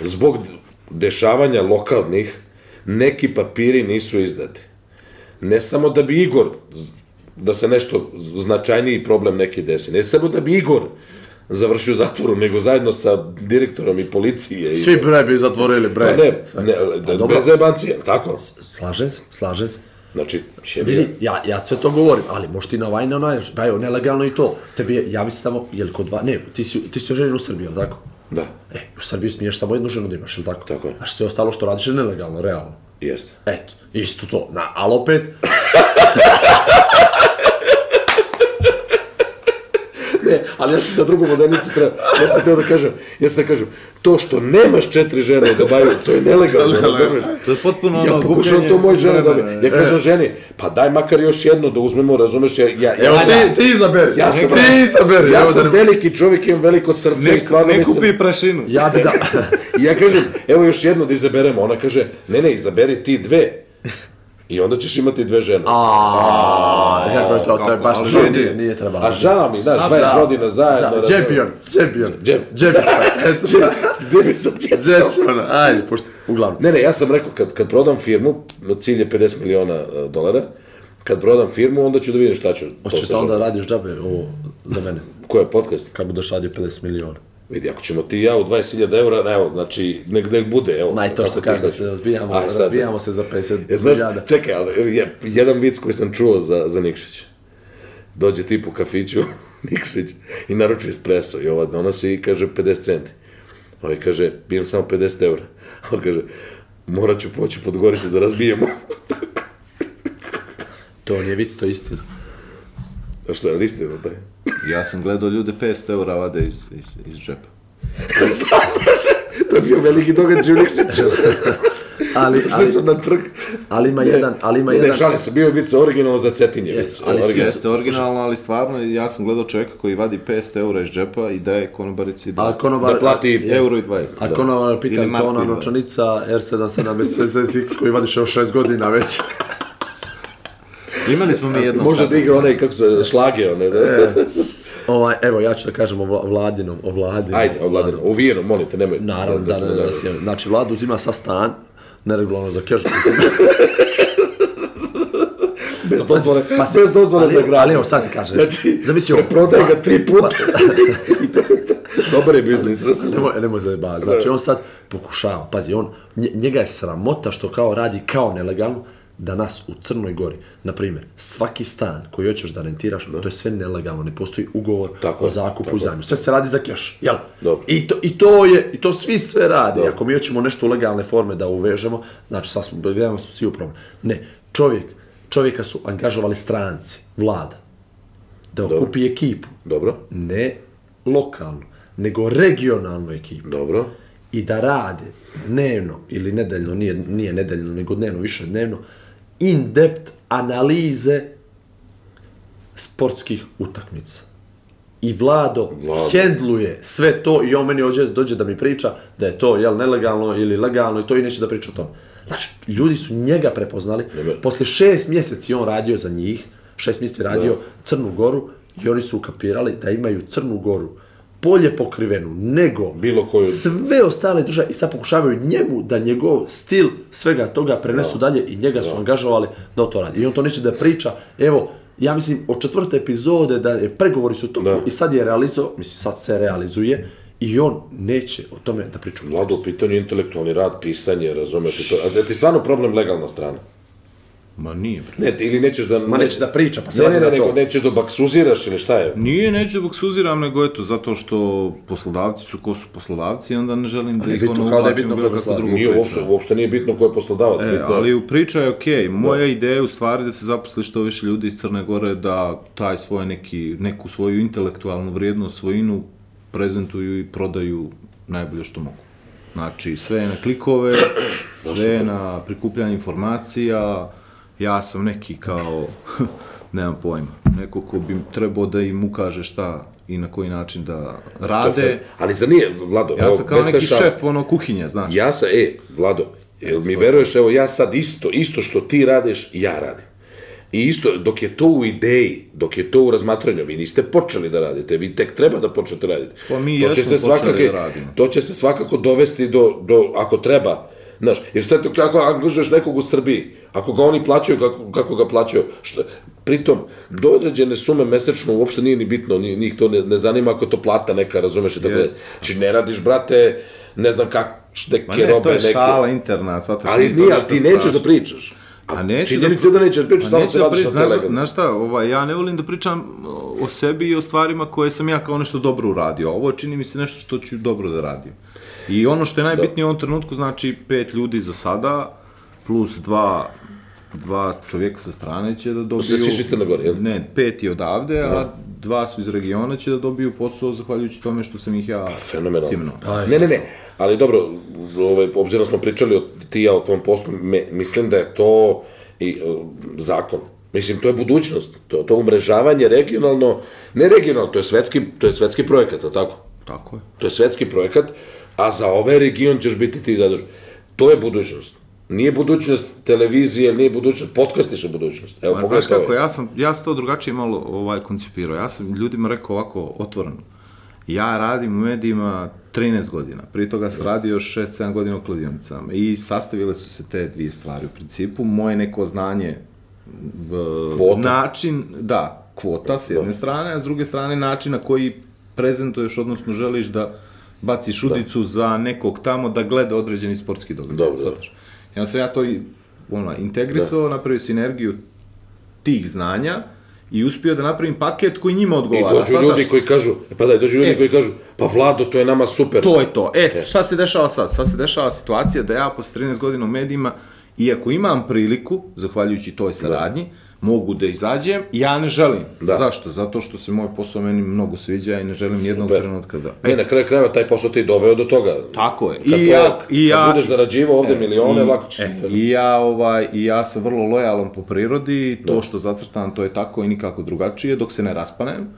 [SPEAKER 2] Zbog dešavanja lokalnih, neki papiri nisu izdati. Ne samo da bi Igor, da se nešto značajniji problem neki desi, ne samo da bi Igor završio u zatvoru, nego zajedno sa direktorom i policije. I,
[SPEAKER 4] Svi bre bi zatvorili,
[SPEAKER 2] Pa
[SPEAKER 4] bre.
[SPEAKER 2] ne, ne, da,
[SPEAKER 3] dobro.
[SPEAKER 2] bez zajebancije, jel tako?
[SPEAKER 3] Slažem se, slažem se.
[SPEAKER 2] Znači,
[SPEAKER 3] Vidi, ja, ja sve to govorim, ali možeš ti na ovaj, na onaj, pa evo, nelegalno i to. Tebi je, ja mislim samo, jel kod dva, ne, ti si, ti si oženjen u Srbiji, jel tako?
[SPEAKER 2] Da,
[SPEAKER 3] E, u Srbiji smiješ samo jednu ženu da imaš, jel tako?
[SPEAKER 2] Tako je.
[SPEAKER 3] Znači sve ostalo što radiš je nelegalno, realno.
[SPEAKER 2] jeste.
[SPEAKER 3] Eto, isto to. Na, ali opet,
[SPEAKER 2] Ne, E, ali ja sam na drugu vodenicu treba, ja sam teo da kažem, ja sam da kažem, to što nemaš četiri žene da bavio, to je nelegalno, razumiješ?
[SPEAKER 4] To je potpuno
[SPEAKER 2] Ja
[SPEAKER 4] ono
[SPEAKER 2] pokušavam
[SPEAKER 4] gubljenje
[SPEAKER 2] to moj žene
[SPEAKER 4] vremena, E.
[SPEAKER 2] dobiti. Ja
[SPEAKER 4] ne.
[SPEAKER 2] kažem ženi, pa daj makar još jednu da uzmemo, razumeš, ja,
[SPEAKER 3] E,
[SPEAKER 2] ja,
[SPEAKER 4] Evo
[SPEAKER 2] ja,
[SPEAKER 4] ti, ti izaberi.
[SPEAKER 2] ja sam,
[SPEAKER 4] ti izaberi.
[SPEAKER 2] ja
[SPEAKER 4] evo
[SPEAKER 2] sam
[SPEAKER 4] da
[SPEAKER 2] veliki čovjek, imam veliko srce i
[SPEAKER 4] ne,
[SPEAKER 2] stvarno
[SPEAKER 4] ne
[SPEAKER 2] mislim,
[SPEAKER 4] kupi prašinu.
[SPEAKER 3] ja bi da...
[SPEAKER 2] I ja kažem, evo još jednu da izaberemo, ona kaže, ne, ne, izaberi ti dve. I onda ćeš imati dve žene. E,
[SPEAKER 3] Aaaa, kako je to, to je
[SPEAKER 4] kako,
[SPEAKER 3] baš
[SPEAKER 4] ali
[SPEAKER 3] nije,
[SPEAKER 4] nije.
[SPEAKER 3] nije, nije trebalo.
[SPEAKER 2] A žao mi, znaš, 20 godina zajedno. razumeš?
[SPEAKER 3] Džepion, džepion,
[SPEAKER 2] Džep.
[SPEAKER 3] džepion, eto,
[SPEAKER 2] Gdje bi sa djecom?
[SPEAKER 3] džepion, ajde, pošto, uglavnom.
[SPEAKER 2] Ne, ne, ja sam rekao, kad, kad prodam firmu, cilj je 50 miliona e, dolara, kad prodam firmu, onda ću da vidim šta ću. to
[SPEAKER 3] Hoćeš
[SPEAKER 2] sa
[SPEAKER 3] da Pa onda
[SPEAKER 2] želim.
[SPEAKER 3] radiš džabe ovo za mene,
[SPEAKER 2] Ko je podcast?
[SPEAKER 3] kad budeš radio 50 miliona.
[SPEAKER 2] Vidi, ako ćemo ti i ja u 20.000 eura, evo, znači, nek, nek bude, evo.
[SPEAKER 3] Ma i to
[SPEAKER 2] kako
[SPEAKER 3] što
[SPEAKER 2] ti
[SPEAKER 3] kažeš da
[SPEAKER 2] hoćeš.
[SPEAKER 3] se razbijamo,
[SPEAKER 2] Aj, sad,
[SPEAKER 3] razbijamo se za 50
[SPEAKER 2] E, znaš,
[SPEAKER 3] milijada.
[SPEAKER 2] čekaj, ali e, je jedan vic koji sam čuo za, za Nikšića. Dođe tip u kafiću, Nikšić, i naruči espresso. I ova donosi i kaže 50 centi. Ovaj kaže, pijem samo 50 eura. A on kaže, morat ću poći podgorice da razbijemo.
[SPEAKER 3] To nije vic, to je istina.
[SPEAKER 2] A što je listina taj?
[SPEAKER 4] Ja sam gledao ljude 500 eura vade iz, iz, iz džepa.
[SPEAKER 2] to je bio veliki događaj u Nikšiću.
[SPEAKER 3] Ali,
[SPEAKER 2] Išli
[SPEAKER 3] ali,
[SPEAKER 2] su na trg.
[SPEAKER 3] ali ima
[SPEAKER 2] Ne,
[SPEAKER 3] jedan, ali ima
[SPEAKER 2] ne,
[SPEAKER 3] jedan...
[SPEAKER 2] Ne, šalim se, bio je vic originalno za Cetinje.
[SPEAKER 3] Jes,
[SPEAKER 2] vic,
[SPEAKER 3] ali svi
[SPEAKER 2] originalno.
[SPEAKER 4] Jeste originalno, ali stvarno ja sam gledao čovjeka koji vadi 500 eura iz džepa i daje konobarici da,
[SPEAKER 3] A konobar,
[SPEAKER 2] Da plati
[SPEAKER 3] Jeste.
[SPEAKER 4] euro i 20.
[SPEAKER 3] A konobar pita
[SPEAKER 4] Ili
[SPEAKER 3] je to
[SPEAKER 4] Marko
[SPEAKER 3] ona
[SPEAKER 4] Ivan.
[SPEAKER 3] novčanica R77SX koju vadiš još 6 godina već.
[SPEAKER 4] Imali smo mi jedno...
[SPEAKER 2] Može da igra onaj, kako se, šlage one, da?
[SPEAKER 3] ovaj, evo, ja ću da kažem o vla- Vladinom, o Vladinom.
[SPEAKER 2] Ajde, ovladano, u vijenu, molim te, nemoj.
[SPEAKER 3] Naravno, da,
[SPEAKER 2] se ne
[SPEAKER 3] da, da, da,
[SPEAKER 2] naljutiš.
[SPEAKER 3] sjajno. Znači, Vlada uzima sa stan, neregularno za keš.
[SPEAKER 2] Bez dozvole,
[SPEAKER 3] pa si-
[SPEAKER 2] bez dozvole
[SPEAKER 3] ali
[SPEAKER 2] za
[SPEAKER 3] evo-
[SPEAKER 2] gradnje.
[SPEAKER 3] ali evo sad ti kažem,
[SPEAKER 2] Znači,
[SPEAKER 3] zamisli ovo. Pa-
[SPEAKER 2] preprodaje ga tri puta. I to, to, dobar je biznis.
[SPEAKER 3] nemoj, nemoj zajebati. Znači, on sad pokušava, pazi, on, nje- njega je sramota što kao radi kao nelegalno, danas u Crnoj Gori, na primjer, svaki stan koji hoćeš da rentiraš, to je sve nelegalno, ne postoji ugovor
[SPEAKER 2] Tako
[SPEAKER 3] o
[SPEAKER 2] je,
[SPEAKER 3] zakupu
[SPEAKER 2] tako
[SPEAKER 3] i zajmu. Sve se radi za keš, jel?
[SPEAKER 2] Dobro.
[SPEAKER 3] I to, I to je, i to svi sve rade. Ako mi hoćemo nešto u legalne forme da uvežemo, znači sad smo, gledamo su svi u problem. Ne, čovjek, čovjeka su angažovali stranci, vlada, da okupi ekipu
[SPEAKER 2] Dobro,
[SPEAKER 3] ne lokalno, nego regionalnu ekipu
[SPEAKER 2] dobro.
[SPEAKER 3] i da rade dnevno ili nedeljno, nije, nije nedeljno, nego dnevno, više dnevno, in-depth analize sportskih utakmica. I Vlado,
[SPEAKER 2] Vlado.
[SPEAKER 3] hendluje sve to i on meni ođe, dođe da mi priča da je to jel, nelegalno ili legalno i to i neće da priča o tome. Znači, ljudi su njega prepoznali,
[SPEAKER 2] Nebe.
[SPEAKER 3] posle šest mjeseci je on radio za njih, šest mjeseci je radio Crnu Goru i oni su ukapirali da imaju Crnu Goru bolje pokrivenu nego
[SPEAKER 2] Bilo koju-
[SPEAKER 3] sve ostale države i sad pokušavaju njemu da njegov stil svega toga prenesu dalje i njega su angažovali da to radi. I on to neće da priča, evo, ja mislim od četvrte epizode da je pregovori su to
[SPEAKER 2] Da.
[SPEAKER 3] i sad je realizo, mislim sad se realizuje i on neće o tome da priča.
[SPEAKER 2] Vlado, u pitanju intelektualni rad, pisanje, razumeš i to. A da ti je stvarno problem legalna strana?
[SPEAKER 4] Ma nije, bre.
[SPEAKER 2] Ne, ti- ili nećeš da...
[SPEAKER 3] Ma neće da priča, pa se
[SPEAKER 2] Ne,
[SPEAKER 3] vadi
[SPEAKER 2] ne,
[SPEAKER 3] na
[SPEAKER 2] ne,
[SPEAKER 3] to.
[SPEAKER 2] nego nećeš da baksuziraš ili šta je?
[SPEAKER 4] Nije, neću zbog suziram, nego eto, zato što poslodavci su ko su poslodavci i onda ne želim da
[SPEAKER 3] je
[SPEAKER 4] ih
[SPEAKER 3] bitno,
[SPEAKER 4] ono
[SPEAKER 3] kao da je
[SPEAKER 4] uvlačim u
[SPEAKER 3] bitno
[SPEAKER 4] bilo
[SPEAKER 3] ko je
[SPEAKER 4] kakvu drugu
[SPEAKER 2] Nije,
[SPEAKER 4] priču.
[SPEAKER 2] uopšte, uopšte nije bitno ko je poslodavac,
[SPEAKER 4] E,
[SPEAKER 2] bitno je-
[SPEAKER 4] ali u priča je okej. Moja ideja je u stvari da se zaposli što više ljudi iz Crne Gore, da taj svoj neki, neku svoju intelektualnu vrijednost, svojinu prezentuju i prodaju najbolje što mogu. Znači, sve je na klikove, sve je na prikupljanje informacija, ja sam neki kao, nemam pojma, neko ko bi trebao da im ukaže šta i na koji način da
[SPEAKER 2] To se-
[SPEAKER 4] rade.
[SPEAKER 2] Ali za nije, Vlado,
[SPEAKER 4] Ja
[SPEAKER 2] evo,
[SPEAKER 4] sam kao
[SPEAKER 2] bez
[SPEAKER 4] neki
[SPEAKER 2] fešala.
[SPEAKER 4] šef, ono, kuhinje, znaš.
[SPEAKER 2] Ja sam, e, Vlado, jel mi veruješ, evo ja sad isto, isto što ti radiš, ja radim. I isto, dok je to u ideji, dok je to u razmatranju, vi niste počeli da radite, vi tek treba da počnete raditi.
[SPEAKER 4] Pa mi
[SPEAKER 2] to će
[SPEAKER 4] jesmo
[SPEAKER 2] se svakako,
[SPEAKER 4] počeli da radimo.
[SPEAKER 2] To će se svakako dovesti do, do ako treba, znaš, jer šta ti, ako angažuješ nekog u Srbiji, ako ga oni plaćaju, kako, kako ga plaćaju, šta, pritom, do određene sume mesečno uopšte nije ni bitno, ni- njih to ne, ne zanima ako je to plata neka, razumeš i tako dalje.
[SPEAKER 4] Jest.
[SPEAKER 2] Znači, ne radiš, brate, ne znam kak, šte,
[SPEAKER 4] Ma
[SPEAKER 2] neke
[SPEAKER 4] ne, to
[SPEAKER 2] robe
[SPEAKER 4] je
[SPEAKER 2] neke.
[SPEAKER 4] šala interna, svataš.
[SPEAKER 2] Ali
[SPEAKER 4] nije to
[SPEAKER 2] nije, ali
[SPEAKER 4] ništa
[SPEAKER 2] ti nećeš
[SPEAKER 4] strašno.
[SPEAKER 2] da pričaš.
[SPEAKER 4] A neću
[SPEAKER 2] Činjenica je da nećeš pričati,
[SPEAKER 4] A
[SPEAKER 2] stalno
[SPEAKER 4] neću
[SPEAKER 2] se
[SPEAKER 4] da
[SPEAKER 2] radiš sa
[SPEAKER 4] pričam, znaš-
[SPEAKER 2] telegram.
[SPEAKER 4] Znaš šta, ovaj, ja ne volim da pričam o- o sebi i o stvarima koje sam ja kao nešto dobro uradio. Ovo čini mi se nešto što ću dobro da radim. I ono što je najbitnije u ovom trenutku, znači pet ljudi za sada, plus dva dva čovjeka sa strane će da dobiju...
[SPEAKER 2] svi su iz Crne Gore, jel?
[SPEAKER 4] Ne, pet je odavde, a dva su iz regiona će da dobiju posao zahvaljujući tome što sam ih ja
[SPEAKER 2] Pa Fenomenalno.
[SPEAKER 4] cimnuo.
[SPEAKER 2] Ne, ne, ne, ali dobro, ovaj, obzirom smo pričali o ti i ja o tvom poslu, me, mislim da je to i, e, zakon. Mislim, to je budućnost, to, to umrežavanje regionalno, ne regionalno, to je svetski, to je svetski projekat, je li tako?
[SPEAKER 4] Tako je.
[SPEAKER 2] To je svetski projekat, a za ovaj region ćeš biti ti zadužen. To je budućnost. Nije budućnost televizije, nije budućnost, podcasti su budućnost. Evo,
[SPEAKER 4] Ma,
[SPEAKER 2] pogledaj
[SPEAKER 4] Pa znaš kako,
[SPEAKER 2] ovaj.
[SPEAKER 4] ja sam, ja sam to drugačije malo ovaj, koncipirao. Ja sam ljudima rekao ovako, otvoreno. Ja radim u medijima 13 godina. Prije toga sam radio 6-7 godina u kladionicama. I sastavile su se te dvije stvari u principu. Moje neko znanje v,
[SPEAKER 2] Kvota.
[SPEAKER 4] način, da, kvota s jedne strane, a s druge strane način na koji prezentuješ, odnosno želiš da baciš udicu za nekog tamo da gleda određeni sportski događaj.
[SPEAKER 2] Dobro,
[SPEAKER 4] Sad,
[SPEAKER 2] dobro.
[SPEAKER 4] I onda sam ja to i, ono, integrisao, napravio sinergiju tih znanja i uspio da napravim paket koji njima
[SPEAKER 2] I
[SPEAKER 4] odgovara.
[SPEAKER 2] dođu
[SPEAKER 4] Sad,
[SPEAKER 2] ljudi
[SPEAKER 4] znaš,
[SPEAKER 2] koji kažu, e, pa da, dođu ljudi
[SPEAKER 4] E.
[SPEAKER 2] koji kažu, pa Vlado, to je nama super.
[SPEAKER 4] To je to. E, šta se dešava sad? Sad se dešava situacija da ja posle 13 godina u medijima, iako imam priliku, zahvaljujući toj saradnji, mogu da izađem, ja ne želim.
[SPEAKER 2] Da.
[SPEAKER 4] Zašto? Zato što se moj posao meni mnogo sviđa i ne želim nijednog
[SPEAKER 2] Super.
[SPEAKER 4] trenutka da... E,
[SPEAKER 2] Ne, E, na kraju krajeva taj posao te i doveo do toga.
[SPEAKER 4] Tako je.
[SPEAKER 2] Kad to-
[SPEAKER 4] I ja, i ja,
[SPEAKER 2] Kad budeš zarađivao ovde milione,
[SPEAKER 4] i-
[SPEAKER 2] lako ćeš...
[SPEAKER 4] e, I ja, ovaj, i ja sam vrlo lojalan po prirodi, i to što zacrtam to je tako i nikako drugačije, dok se ne raspanem.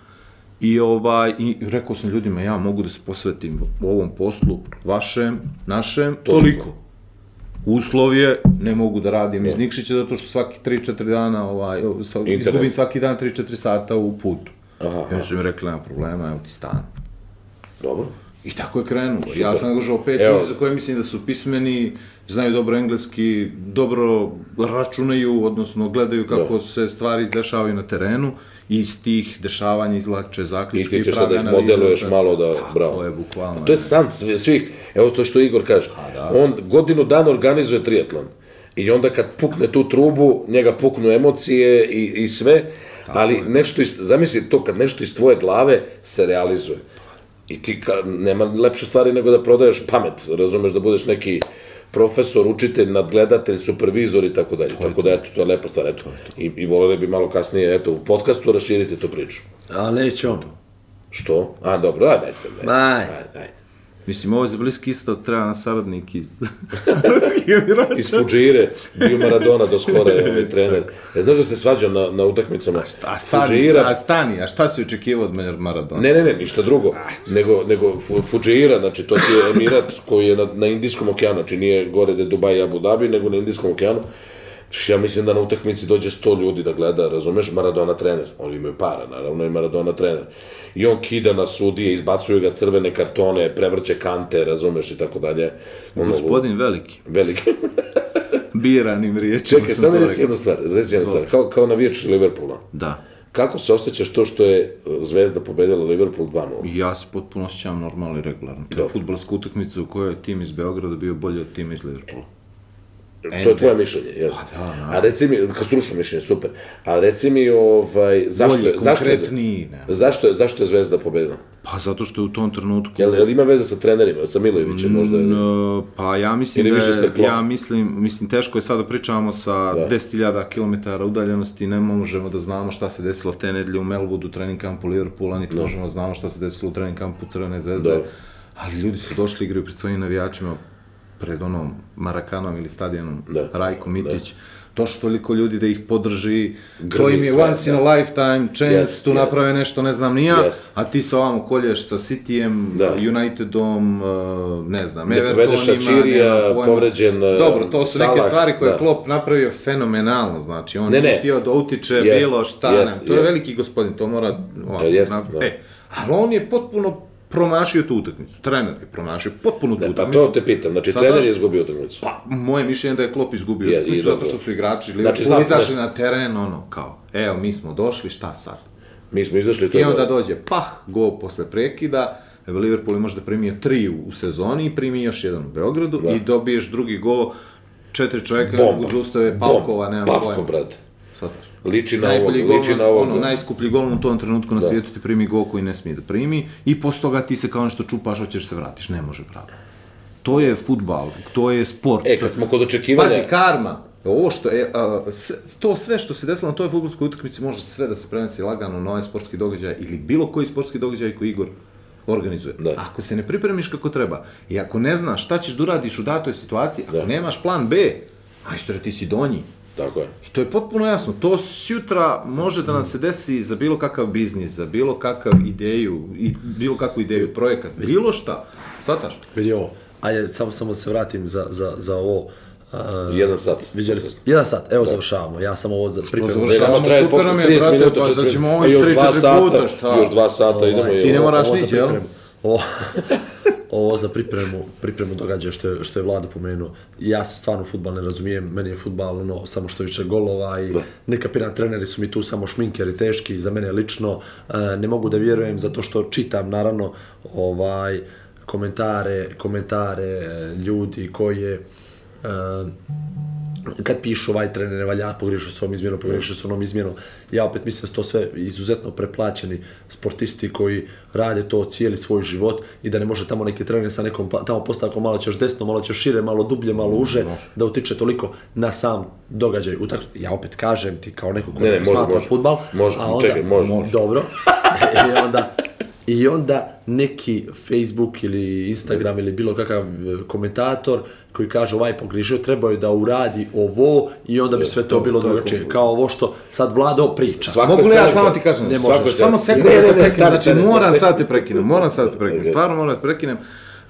[SPEAKER 4] I ovaj, i rekao sam ljudima, ja mogu da se posvetim ovom poslu, vašem, našem, toliko. Uslov je, ne mogu da radim iz Nikšića zato što svaki 3-4 dana, ovaj, sa,
[SPEAKER 2] Internet.
[SPEAKER 4] izgubim svaki dan 3-4 sata u putu.
[SPEAKER 2] Aha,
[SPEAKER 4] Ja sam mi rekli, nema problema, evo ti stan.
[SPEAKER 2] dobro.
[SPEAKER 4] I tako je krenulo. Ja sam angažovao pet
[SPEAKER 2] Evo.
[SPEAKER 4] ljudi za koje mislim da su pismeni, znaju dobro engleski, dobro računaju, odnosno gledaju kako se stvari dešavaju na terenu i iz tih dešavanja izlače
[SPEAKER 2] I
[SPEAKER 4] zaključke
[SPEAKER 2] ti ćeš sad da ih
[SPEAKER 4] analize.
[SPEAKER 2] modeluješ
[SPEAKER 4] Sad-
[SPEAKER 2] malo da... Bravo.
[SPEAKER 4] To je bukvalno.
[SPEAKER 2] To je san sve- svih. Evo to što Igor kaže. On godinu dana organizuje triatlon. I onda kad pukne tu trubu, njega puknu emocije i, i sve, ali nešto iz, zamisli to kad nešto iz tvoje glave se realizuje. I ti ka, nema lepše stvari nego da prodaješ pamet, razumeš da budeš neki profesor, učitelj, nadgledatelj, supervizor i tako dalje. Tako da eto, to je lepa stvar, eto. I, i voleli bi malo kasnije, eto, u podcastu raširiti tu priču.
[SPEAKER 3] A neće on.
[SPEAKER 2] Što? A, dobro, ajde, ajde, sad, ajde,
[SPEAKER 3] Aj.
[SPEAKER 2] ajde, ajde.
[SPEAKER 4] Mislim, ovo je za bliski istok, treba nam saradnik iz... Ruskih Emirata.
[SPEAKER 2] iz Fuđire, bio Maradona do skora je ovaj trener. E, znaš da se svađa na, na utakmicama?
[SPEAKER 4] a stani,
[SPEAKER 2] Fuđira-
[SPEAKER 4] a stani, a šta si očekivao od Mar- Maradona?
[SPEAKER 2] Ne, ne, ne, ništa drugo. Nego, nego Fu- Fujaira, znači to ti je emirat koji je na, na Indijskom okeanu, znači nije gore da je Dubaj i Abu Dhabi, nego na Indijskom okeanu. Znači, Ja mislim da na utakmici dođe 100 ljudi da gleda, razumeš, Maradona trener. Oni imaju para, naravno, i Maradona trener. I on kida na sudije, izbacuje ga crvene kartone, prevrće kante, razumeš, i tako dalje. Ono,
[SPEAKER 4] Gospodin veliki,
[SPEAKER 2] Veliki.
[SPEAKER 4] biranim riječima
[SPEAKER 2] Čekaj,
[SPEAKER 4] sam
[SPEAKER 2] samo
[SPEAKER 4] to
[SPEAKER 2] reci jednu stvar, reci jednu stvar, kao, kao navijač Liverpoola.
[SPEAKER 4] Da.
[SPEAKER 2] Kako se osjećaš to što je e, Zvezda pobedila Liverpool 2-0?
[SPEAKER 4] Ja se potpuno osjećam normalno i regularno. To je
[SPEAKER 2] Dobro.
[SPEAKER 4] futbalska utakmica u kojoj je tim iz Beograda bio bolji od tima iz Liverpoola.
[SPEAKER 2] To je tvoje mišljenje, jel?
[SPEAKER 4] Pa da, naravno.
[SPEAKER 2] A reci mi, kao stručno mišljenje, super. A reci mi, ovaj, zašto, je, zašto, je,
[SPEAKER 4] konkretniji, ne.
[SPEAKER 2] zašto, je, zašto je Zvezda pobedila?
[SPEAKER 4] Pa zato što je u tom trenutku...
[SPEAKER 2] Jel, jel ima veze sa trenerima, sa Milojevićem možda? Mm,
[SPEAKER 4] N, pa ja mislim
[SPEAKER 2] Ili
[SPEAKER 4] da
[SPEAKER 2] više sa
[SPEAKER 4] je,
[SPEAKER 2] Klopp?
[SPEAKER 4] ja mislim, mislim teško je sada pričamo sa da. 10.000 km udaljenosti, ne možemo da znamo šta se desilo te nedelje u Melwoodu, trening kampu Liverpoola, niti da. možemo da znamo šta se desilo u trening kampu Crvene zvezde.
[SPEAKER 2] Da.
[SPEAKER 4] Da. Ali ljudi su došli igraju pred svojim navijačima pred onom Marakanom ili stadionom
[SPEAKER 2] Da.
[SPEAKER 4] da. Rajko Mitić. Da. Došlo toliko ljudi da ih podrži. to
[SPEAKER 2] Grmi
[SPEAKER 4] im je
[SPEAKER 2] sve,
[SPEAKER 4] once in
[SPEAKER 2] da.
[SPEAKER 4] a lifetime chance,
[SPEAKER 2] Jest,
[SPEAKER 4] yes, tu
[SPEAKER 2] jest.
[SPEAKER 4] yes. naprave nešto, ne znam ni ja,
[SPEAKER 2] Jest.
[SPEAKER 4] yes. a ti se ovamo kolješ sa Cityjem,
[SPEAKER 2] Da.
[SPEAKER 4] da. Unitedom, uh, ne znam,
[SPEAKER 2] Ne
[SPEAKER 4] Evertonima,
[SPEAKER 2] povedeš Shaqirija,
[SPEAKER 4] nemam pojma.
[SPEAKER 2] povređen, uh,
[SPEAKER 4] Dobro, to su neke
[SPEAKER 2] Salah,
[SPEAKER 4] stvari koje
[SPEAKER 2] da.
[SPEAKER 4] da. Klopp napravio fenomenalno, znači on
[SPEAKER 2] Ne,
[SPEAKER 4] ne,
[SPEAKER 2] ne.
[SPEAKER 4] ne. htio da utiče
[SPEAKER 2] Jest,
[SPEAKER 4] bilo šta,
[SPEAKER 2] jest,
[SPEAKER 4] ne, to je
[SPEAKER 2] jest.
[SPEAKER 4] veliki gospodin, to mora ovako,
[SPEAKER 2] Jest,
[SPEAKER 4] na-
[SPEAKER 2] da.
[SPEAKER 4] e, ali on je potpuno promašio tu utakmicu, trener je promašio potpuno tu
[SPEAKER 2] ne, pa
[SPEAKER 4] utakmicu.
[SPEAKER 2] to te pitam, znači
[SPEAKER 4] Sada-
[SPEAKER 2] trener je izgubio utakmicu.
[SPEAKER 4] Pa, moje mišljenje je da je Klopp izgubio
[SPEAKER 2] Je,
[SPEAKER 4] je,
[SPEAKER 2] i
[SPEAKER 4] utakmicu zato
[SPEAKER 2] dobro.
[SPEAKER 4] što su igrači
[SPEAKER 2] Znači,
[SPEAKER 4] znači,
[SPEAKER 2] znam,
[SPEAKER 4] izašli
[SPEAKER 2] znaš-
[SPEAKER 4] na teren, ono, kao, evo, mi smo došli, šta sad?
[SPEAKER 2] Mi smo izašli, to
[SPEAKER 4] I
[SPEAKER 2] je
[SPEAKER 4] onda
[SPEAKER 2] dobro.
[SPEAKER 4] dođe, pah, go posle prekida, Evo, Liverpool je možda primio tri u, u sezoni i primi još jedan u Beogradu
[SPEAKER 2] Da.
[SPEAKER 4] da. i dobiješ drugi go, četiri čovjeka ne
[SPEAKER 2] Bomba.
[SPEAKER 4] mogu zaustave,
[SPEAKER 2] Bomba.
[SPEAKER 4] Pavkova, nema
[SPEAKER 2] Pavko,
[SPEAKER 4] pojma.
[SPEAKER 2] brate.
[SPEAKER 4] Svataš.
[SPEAKER 2] Liči na ovog,
[SPEAKER 4] Najbolji gol,
[SPEAKER 2] liči na ovog.
[SPEAKER 4] ono, najskuplji gol u tom trenutku na da. svijetu ti primi gol koji ne smije da primi i posle toga ti se kao nešto čupaš, hoćeš se vratiš, ne može pravo. To je futbal, to je sport.
[SPEAKER 2] E, kad smo kod očekivanja...
[SPEAKER 4] Pazi, karma. Ovo što je, a, s- to sve što se desilo na toj futbolskoj utakmici može sve da se prenese lagano na ovaj sportski događaj ili bilo koji sportski događaj koji Igor organizuje.
[SPEAKER 2] Da.
[SPEAKER 4] Ako se ne pripremiš kako treba i ako ne znaš šta ćeš da uradiš u datoj situaciji, ako
[SPEAKER 2] Da.
[SPEAKER 4] nemaš plan B, majstore, ti si donji.
[SPEAKER 2] Tako je.
[SPEAKER 4] I to je potpuno jasno. To sutra može da nam se desi za bilo kakav biznis, za bilo kakav ideju, i bilo kakvu ideju, projekat, bilo šta. Svataš?
[SPEAKER 3] Vidi ovo, ajde samo, samo da se vratim za, za, za ovo. Uh,
[SPEAKER 2] Jedan sat.
[SPEAKER 3] Vidjeli smo. Jedan sat, evo završavamo, ja sam ovo za pripremio.
[SPEAKER 4] završavamo?
[SPEAKER 2] Nama traje
[SPEAKER 4] Pa Super nam
[SPEAKER 2] podcast
[SPEAKER 4] je,
[SPEAKER 2] 30
[SPEAKER 4] brate,
[SPEAKER 2] minuta,
[SPEAKER 4] pa
[SPEAKER 2] 40
[SPEAKER 4] znači,
[SPEAKER 2] minuta,
[SPEAKER 4] ovo je
[SPEAKER 2] još
[SPEAKER 4] tri,
[SPEAKER 2] 2
[SPEAKER 4] četiri
[SPEAKER 2] sata,
[SPEAKER 4] puta, šta?
[SPEAKER 2] još 2 sata idemo.
[SPEAKER 3] Ovaj,
[SPEAKER 2] jel?
[SPEAKER 4] ti ne moraš
[SPEAKER 3] ovo za
[SPEAKER 4] nić, jel?
[SPEAKER 3] pripremu. Ovo, ovo za pripremu, pripremu događaja što je, što je Vlada pomenuo. Ja se stvarno u futbal ne razumijem, meni je futbal ono, samo što više golova i ne kapiram, treneri su mi tu samo šminkeri teški, za mene lično e, ne mogu da vjerujem zato što čitam naravno ovaj komentare, komentare e, ljudi koji je e, kad pišu ovaj trener ne valja, pogriješio s ovom izmjenom, pogriješio s onom izmjenom, ja opet mislim da su to sve izuzetno preplaćeni sportisti koji rade to cijeli svoj život i da ne može tamo neki trener sa nekom pa- tamo postavkom malo ćeš desno, malo ćeš šire, malo dublje, malo
[SPEAKER 2] Mm,
[SPEAKER 3] uže, da utiče toliko na sam događaj. Utak... Ja opet kažem ti kao neko ko
[SPEAKER 2] Ne, ne,
[SPEAKER 3] ne,
[SPEAKER 2] može,
[SPEAKER 3] smatra
[SPEAKER 2] može.
[SPEAKER 3] futbal,
[SPEAKER 2] Može, čekaj, može.
[SPEAKER 3] dobro, i onda I onda neki Facebook ili Instagram ili bilo kakav e, komentator koji kaže ovaj pogrižio, trebao je da uradi ovo i onda bi sve to bilo drugačije. Kao ovo što sad Vlado priča.
[SPEAKER 2] Svako
[SPEAKER 4] Mogu li ja
[SPEAKER 2] selektor-
[SPEAKER 4] samo ti kažem?
[SPEAKER 3] Ne
[SPEAKER 4] nešto?
[SPEAKER 3] možeš.
[SPEAKER 4] Samo
[SPEAKER 2] selektor-
[SPEAKER 4] sekund
[SPEAKER 2] Ne, ne,
[SPEAKER 4] da
[SPEAKER 2] ne,
[SPEAKER 4] te prekinem,
[SPEAKER 2] stari, stari,
[SPEAKER 4] znači moram
[SPEAKER 2] stari.
[SPEAKER 4] sad te prekinem, moram sad te prekinem, stvarno moram da te prekinem.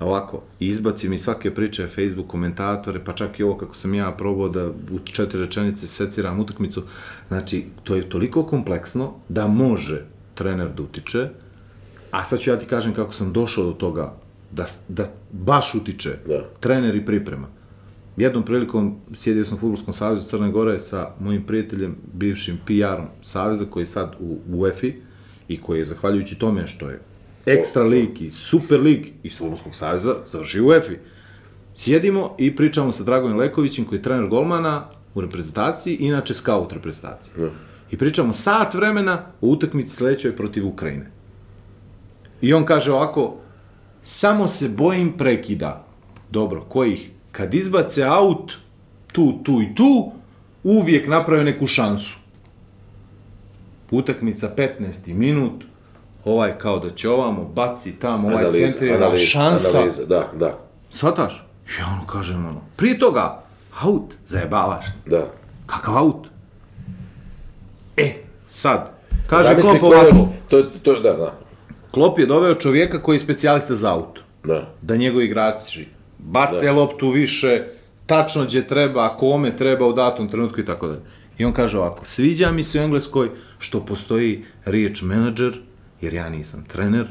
[SPEAKER 4] Ovako, izbaci mi svake priče Facebook komentatore, pa čak i ovo kako sam ja probao da u četiri rečenice seciram utakmicu. Znači, to je toliko kompleksno da može trener da utiče, a sad ću ja ti kažem kako sam došao do toga da, da baš utiče
[SPEAKER 2] Da.
[SPEAKER 4] trener i priprema. Jednom prilikom sjedio sam u Futbolskom savjezu Crne Gore sa mojim prijateljem, bivšim PR-om Saveza, koji je sad u UEFI i koji je, zahvaljujući tome što je ekstra lig i super lig iz Futbolskog saveza, završio u UEFI. Sjedimo i pričamo sa Dragojem Lekovićem, koji je trener golmana u reprezentaciji, inače scout reprezentaciji. I pričamo sat vremena o utakmici sledećoj protiv Ukrajine. I on kaže ovako, samo se bojim prekida. Dobro, kojih? Kad izbace aut tu, tu i tu, uvijek naprave neku šansu. Utakmica 15. minut, ovaj kao da će ovamo, baci tamo, ovaj
[SPEAKER 2] Analiza,
[SPEAKER 4] centrira,
[SPEAKER 2] analiza,
[SPEAKER 4] šansa.
[SPEAKER 2] Analiza, da, da,
[SPEAKER 4] Svataš? Ja ono kažem ono, prije toga, aut, zajebavaš.
[SPEAKER 2] da.
[SPEAKER 4] Kakav aut? E, sad, kaže
[SPEAKER 2] Zamisli
[SPEAKER 4] Klopp
[SPEAKER 2] ko još-
[SPEAKER 4] ovako,
[SPEAKER 2] To je, to je, da, da.
[SPEAKER 4] Klopp je doveo čovjeka koji je specijalista za auto
[SPEAKER 2] Da.
[SPEAKER 4] da njegovi igrači bace da. loptu više, tačno gdje treba, kome treba u datom trenutku i tako dalje. I on kaže ovako, sviđa mi se u Engleskoj što postoji riječ menadžer, jer ja nisam trener,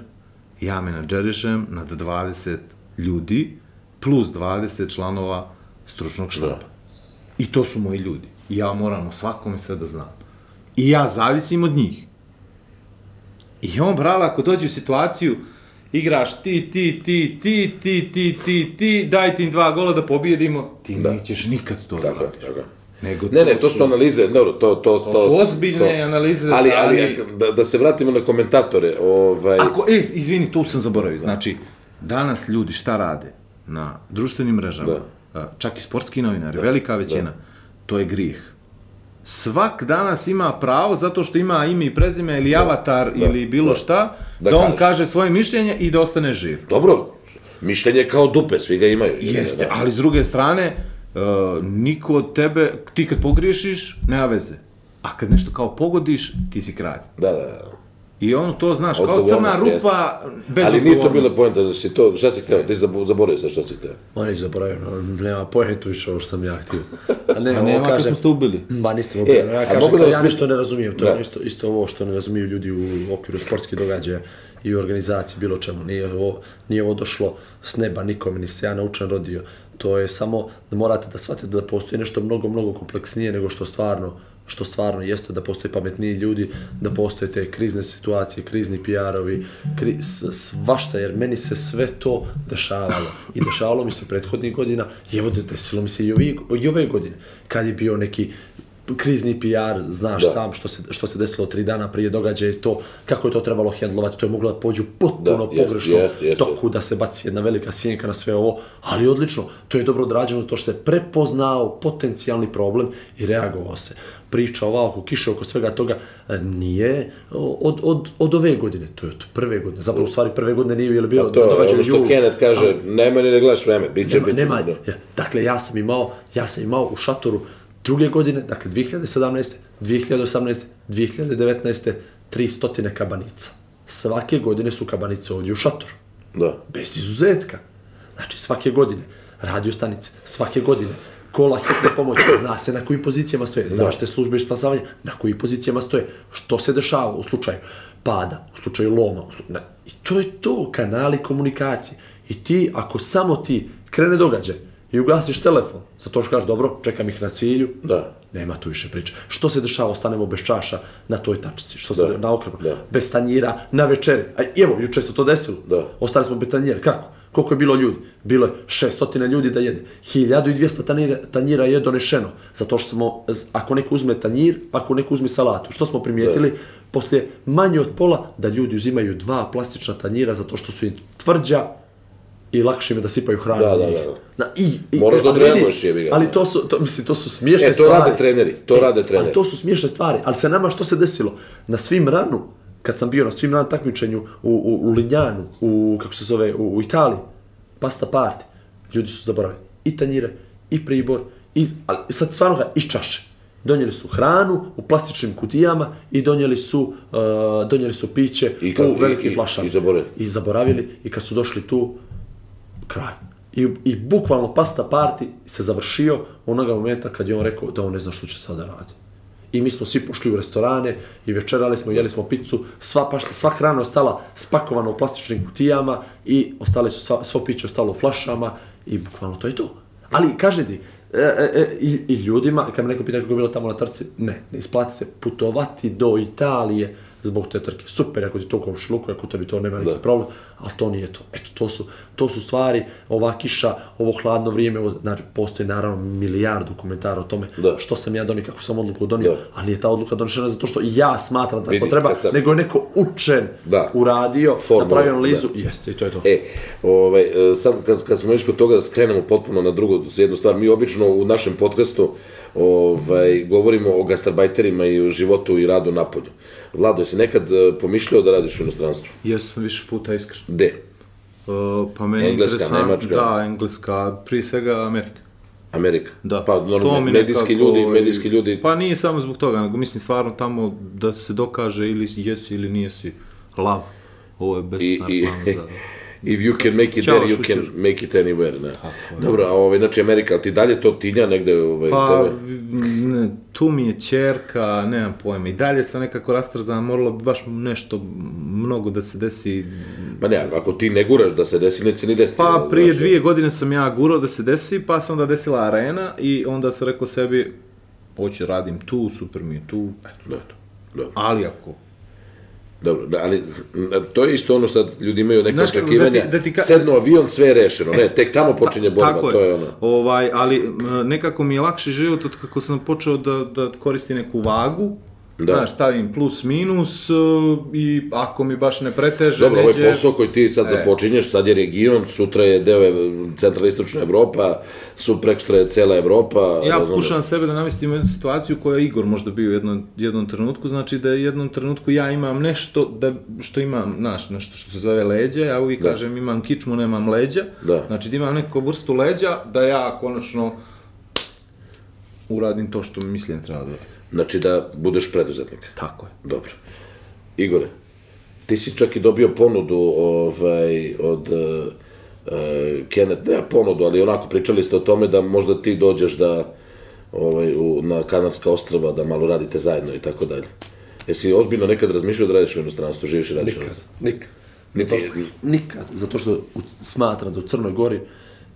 [SPEAKER 4] ja menadžerišem nad 20 ljudi plus 20 članova stručnog štaba.
[SPEAKER 2] Da.
[SPEAKER 4] I to su moji ljudi. I ja moram o svakome sve da znam. I ja zavisim od njih. I on, brale, ako dođe u situaciju, igraš ti, ti, ti, ti, ti, ti, ti, ti, dajte im dva gola da pobjedimo, ti da. nećeš nikad to
[SPEAKER 2] Tako je,
[SPEAKER 4] da
[SPEAKER 2] tako je.
[SPEAKER 4] Nego
[SPEAKER 2] Ne, ne, to su analize, dobro, to, to, to,
[SPEAKER 4] To su ozbiljne analize,
[SPEAKER 2] ali, ali,
[SPEAKER 4] ali-
[SPEAKER 2] da, da se vratimo na komentatore, ovaj,
[SPEAKER 4] Ako, e, izvini, tu sam zaboravio. Znači, danas ljudi šta rade na društvenim mrežama, da. čak i sportski novinari, da. velika većina, da. to je grijeh. Svak danas ima pravo, zato što ima ime i prezime, ili da. avatar, da. ili bilo da. šta,
[SPEAKER 2] Da
[SPEAKER 4] da, da on
[SPEAKER 2] kaže.
[SPEAKER 4] kaže svoje mišljenje i da ostane živ.
[SPEAKER 2] dobro, mišljenje je kao dupe, svi ga imaju.
[SPEAKER 4] Jeste, ali s druge strane, uh, niko od tebe, ti kad pogriješiš, nema veze. A kad nešto kao pogodiš, ti si kralj.
[SPEAKER 2] Da, da, da.
[SPEAKER 4] I on to, znaš, kao crna
[SPEAKER 2] Odgovornost,
[SPEAKER 4] rupa, bez
[SPEAKER 2] ali nije to
[SPEAKER 4] odgovornosti.
[SPEAKER 2] bila poenta, da si to, šta si hteo, ti si zabo- zaboravio sa šta si hteo.
[SPEAKER 3] Ma neću zaboravio, no, nema pojentu više ovo što sam ja htio. A ne,
[SPEAKER 4] A
[SPEAKER 3] ovo
[SPEAKER 4] nema, kad
[SPEAKER 3] kažem,
[SPEAKER 4] smo ste ubili.
[SPEAKER 3] Ma niste me ubili,
[SPEAKER 2] E, a
[SPEAKER 3] ja kažem,
[SPEAKER 2] mogu da
[SPEAKER 3] da
[SPEAKER 2] vas
[SPEAKER 3] ja
[SPEAKER 2] pitam-
[SPEAKER 3] nešto ne razumijem, to je
[SPEAKER 2] Da.
[SPEAKER 3] ono isto, isto ovo što ne razumiju ljudi u okviru sportskih događaja i u organizaciji, bilo čemu, nije ovo, nije ovo došlo s neba nikome, ni se ja naučen rodio, to je samo da morate da shvatite da postoji nešto mnogo, mnogo kompleksnije nego što stvarno što stvarno jeste da postoje pametniji ljudi, da postoje te krizne situacije, krizni PR-ovi, kri, s- svašta, jer meni se sve to dešavalo. I dešavalo mi se prethodnih godina, i evo desilo mi se i ove, i ove godine, kad je bio neki krizni PR, znaš
[SPEAKER 2] Da.
[SPEAKER 3] da. sam što se, što se desilo tri dana prije događaja i to, kako je to trebalo hendlovati, to je moglo da pođu potpuno
[SPEAKER 2] Da,
[SPEAKER 3] da,
[SPEAKER 2] jest,
[SPEAKER 3] pogrešno
[SPEAKER 2] jest, jest, jest.
[SPEAKER 3] toku da se baci jedna velika sjenka na sve ovo, ali odlično, to je dobro odrađeno, to što se prepoznao potencijalni problem i reagovao se. Priča ova oko kiše, oko svega toga, e, nije od, od, od ove godine, to je od prve godine, zapravo u stvari prve godine nije bilo bilo
[SPEAKER 2] To je ono
[SPEAKER 3] događaju
[SPEAKER 2] što
[SPEAKER 3] julu.
[SPEAKER 2] Kenneth kaže, nema ni da gledaš vreme, bit će,
[SPEAKER 3] Nema,
[SPEAKER 2] bit će.
[SPEAKER 3] nema,
[SPEAKER 2] da.
[SPEAKER 3] ja, dakle, ja sam imao, ja sam imao u šatoru druge godine, dakle 2017. 2018. 2019. 300 kabanica. Svake godine su kabanice ovdje u šatoru.
[SPEAKER 2] Da.
[SPEAKER 3] Bez izuzetka. Znači, svake godine radio stanice, svake godine kola hitne pomoći, zna se na kojim pozicijama stoje, zašte službe i spasavanja, na kojim pozicijama stoje, što se dešava u slučaju pada, u slučaju loma. U slu... na- I to je to, kanali komunikacije. I ti, ako samo ti krene događaj i ugasiš telefon, zato što kažeš, dobro, čekam ih na cilju,
[SPEAKER 2] Da.
[SPEAKER 3] nema tu više priče. Što se dešava, ostanemo bez čaša na toj tačici, što se
[SPEAKER 2] Da.
[SPEAKER 3] da. na okrenu,
[SPEAKER 2] Da.
[SPEAKER 3] bez tanjira, na večeri. A evo, juče se to desilo.
[SPEAKER 2] Da.
[SPEAKER 3] Ostali smo bez tanjira. Kako? Koliko je bilo ljudi? Bilo je 600 ljudi da jede. 1200 tanjira, tanjira je donešeno. Zato što smo, z- ako neko uzme tanjir, ako neko uzme salatu. Što smo primijetili? Poslije manje od pola da ljudi uzimaju dva plastična tanjira zato što su im tvrđa i lakše im je da sipaju hranu.
[SPEAKER 2] Da,
[SPEAKER 3] u
[SPEAKER 2] da,
[SPEAKER 3] njih.
[SPEAKER 2] da, da.
[SPEAKER 3] Na, i, i,
[SPEAKER 2] Moraš da
[SPEAKER 3] ali vidi,
[SPEAKER 2] odreaguješ, jebi ga.
[SPEAKER 3] Ali to su, to, mislim, to su smiješne
[SPEAKER 2] E, to
[SPEAKER 3] stvari.
[SPEAKER 2] rade treneri, to rade treneri.
[SPEAKER 3] Ali to su smiješne stvari, ali se nama što se desilo? Na svim ranu, kad sam bio na svim ranu takmičenju u, u, u Linjanu, u, kako se zove, u, u Italiji, pasta party, ljudi su zaboravili i tanjire, i pribor, i, ali sad stvarno ga iz čaše. Donijeli su hranu u plastičnim kutijama i donijeli su, uh, donijeli su piće
[SPEAKER 2] I
[SPEAKER 3] I,
[SPEAKER 2] kako-
[SPEAKER 3] u velikim
[SPEAKER 2] i- i-
[SPEAKER 3] flašama.
[SPEAKER 2] i zaboravili.
[SPEAKER 3] I zaboravili i kad su došli tu, kraj. I, I bukvalno pasta party se završio onoga momenta kad je on rekao da on ne zna što će sada radi. I mi smo svi pošli u restorane i večerali smo, jeli smo picu, sva, pašla, sva hrana je ostala spakovana u plastičnim kutijama i ostale su sva, svo piće ostalo u flašama i bukvalno to je to. Ali kaže ti, e, e, e, i, i ljudima, kad me neko pita kako je bilo tamo na trci, ne, ne isplati se putovati do Italije zbog te trke. Super, ako ti to komšiluku, ako tebi to nema neki problem, ali to nije to. Eto, to su, to su stvari, ova kiša, ovo hladno vrijeme, ovo, znači, postoji naravno milijardu komentara o tome
[SPEAKER 2] Da.
[SPEAKER 3] što sam ja donio, kako sam odluku donio,
[SPEAKER 2] Da.
[SPEAKER 3] ali nije ta odluka donešena zato što ja smatram da tako
[SPEAKER 2] Vidi,
[SPEAKER 3] treba,
[SPEAKER 2] kad sam-
[SPEAKER 3] nego je neko učen
[SPEAKER 2] Da.
[SPEAKER 3] uradio,
[SPEAKER 2] Formulu,
[SPEAKER 3] napravio analizu, jeste, i to je to.
[SPEAKER 2] E, ovaj, e, sad kad, kad smo već kod toga da skrenemo potpuno na drugu jednu stvar, mi obično u našem podcastu ovaj, govorimo o gastarbajterima i o životu i radu napolju. Vlado, jesi nekad e, pomišljao da radiš u inostranstvu?
[SPEAKER 4] Jesam više puta iskreno.
[SPEAKER 2] Gde?
[SPEAKER 4] Uh, pa meni
[SPEAKER 2] Engleska,
[SPEAKER 4] interesant-
[SPEAKER 2] Nemačka.
[SPEAKER 4] Da, engleska, prije svega Amerika.
[SPEAKER 2] Amerika.
[SPEAKER 4] Da.
[SPEAKER 2] Pa normalno,
[SPEAKER 4] To mi
[SPEAKER 2] medijski
[SPEAKER 4] nekako
[SPEAKER 2] ljudi,
[SPEAKER 4] i-
[SPEAKER 2] medijski ljudi,
[SPEAKER 4] Pa nije samo zbog toga, nego mislim stvarno tamo da se dokaže ili jesi ili nije si lav. Ovo je bez
[SPEAKER 2] I, i,
[SPEAKER 4] za...
[SPEAKER 2] If you can make it
[SPEAKER 4] Ćao,
[SPEAKER 2] there, you
[SPEAKER 4] šućer.
[SPEAKER 2] can make it anywhere. Ne? Dobro, a ovaj, znači Amerika, ali ti dalje to tinja negde ovaj,
[SPEAKER 4] Pa,
[SPEAKER 2] tebe?
[SPEAKER 4] v- ne, tu mi je čerka, nemam pojma. I dalje sam nekako rastrzan, moralo bi baš nešto mnogo da se desi.
[SPEAKER 2] Ma ne, ako ti ne guraš da se desi, neće se ni desiti.
[SPEAKER 4] Pa,
[SPEAKER 2] znaš,
[SPEAKER 4] prije
[SPEAKER 2] ono.
[SPEAKER 4] dvije godine sam ja gurao da se desi, pa se onda desila arena i onda sam rekao sebi, hoću radim tu, super mi je tu, eto,
[SPEAKER 2] Da, da.
[SPEAKER 4] Ali ako
[SPEAKER 2] Dobro, da, ali m, to je isto ono sad, ljudi imaju neka
[SPEAKER 4] Znaš kako,
[SPEAKER 2] očekivanja,
[SPEAKER 4] da ti- da ti ka- E,
[SPEAKER 2] sednu avion, sve je rešeno, ne, tek tamo počinje borba,
[SPEAKER 4] Tako
[SPEAKER 2] to je ono.
[SPEAKER 4] Ovaj, ali m, nekako mi je lakši život od kako sam počeo da, da koristim neku vagu,
[SPEAKER 2] Da.
[SPEAKER 4] Da. Znaš, stavim plus, minus e, i ako mi baš ne preteže,
[SPEAKER 2] Dobro, ovo
[SPEAKER 4] neđe...
[SPEAKER 2] je posao koji ti sad
[SPEAKER 4] E.
[SPEAKER 2] započinješ, sad je region, sutra je deo je centralna istočna Evropa, su prekstra je cela Evropa.
[SPEAKER 4] Ja
[SPEAKER 2] razumeš?
[SPEAKER 4] pokušavam sebe da namestim u jednu situaciju koja je Igor možda bio u jednom, jednom trenutku, znači da u jednom trenutku ja imam nešto da, što imam, znaš, nešto što se zove leđa, ja uvijek
[SPEAKER 2] Da.
[SPEAKER 4] da. kažem imam kičmu, nemam leđa,
[SPEAKER 2] Da.
[SPEAKER 4] znači da imam neku vrstu leđa da ja konačno uradim to što mi mislim da treba da uradim.
[SPEAKER 2] Znači da budeš preduzetnik.
[SPEAKER 4] Tako je.
[SPEAKER 2] Dobro. Igore, ti si čak i dobio ponudu ovaj, od uh, Kenneth, ne ponudu, ali onako pričali ste o tome da možda ti dođeš da ovaj, u, na Kanarska ostrava da malo radite zajedno i tako dalje. Jesi ozbiljno nekad razmišljao da radiš u inostranstvu, živiš i radiš u
[SPEAKER 3] Nikad,
[SPEAKER 2] inostranstvu?
[SPEAKER 3] nikad.
[SPEAKER 2] Niti-
[SPEAKER 3] Zato što, nikad, zato što u, smatram da u Crnoj Gori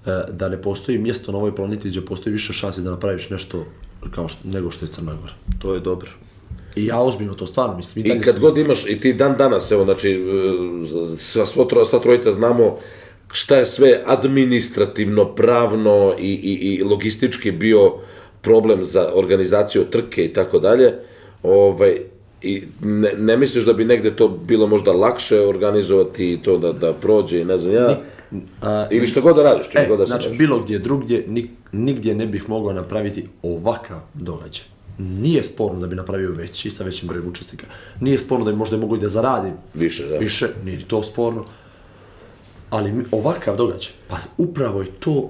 [SPEAKER 3] e, da ne postoji mjesto na ovoj planeti gdje postoji više šanse da napraviš nešto kao što, nego što je Crna Gora.
[SPEAKER 4] To je dobro.
[SPEAKER 3] I ja ozbiljno to stvarno mislim. dalje
[SPEAKER 2] I kad
[SPEAKER 3] sam-
[SPEAKER 2] god imaš, i ti dan danas, evo, znači, e, sva, svo tro, sva trojica znamo šta je sve administrativno, pravno i, i, i logistički bio problem za organizaciju trke i tako dalje, ovaj, i ne, ne misliš da bi negde to bilo možda lakše organizovati i to da, da prođe i ne znam ja,
[SPEAKER 3] a,
[SPEAKER 2] ili što god da radiš, čim
[SPEAKER 3] E,
[SPEAKER 2] god da se
[SPEAKER 3] znači,
[SPEAKER 2] baviš.
[SPEAKER 3] bilo gdje drugdje, nik, nigdje ne bih mogao napraviti ovakav događaj. Nije sporno da bi napravio veći, sa većim brojem učesnika. Nije sporno da bi možda mogao i da zaradim
[SPEAKER 2] Više, da.
[SPEAKER 3] više, nije ni to sporno. Ali mi- ovakav događaj, pa upravo je to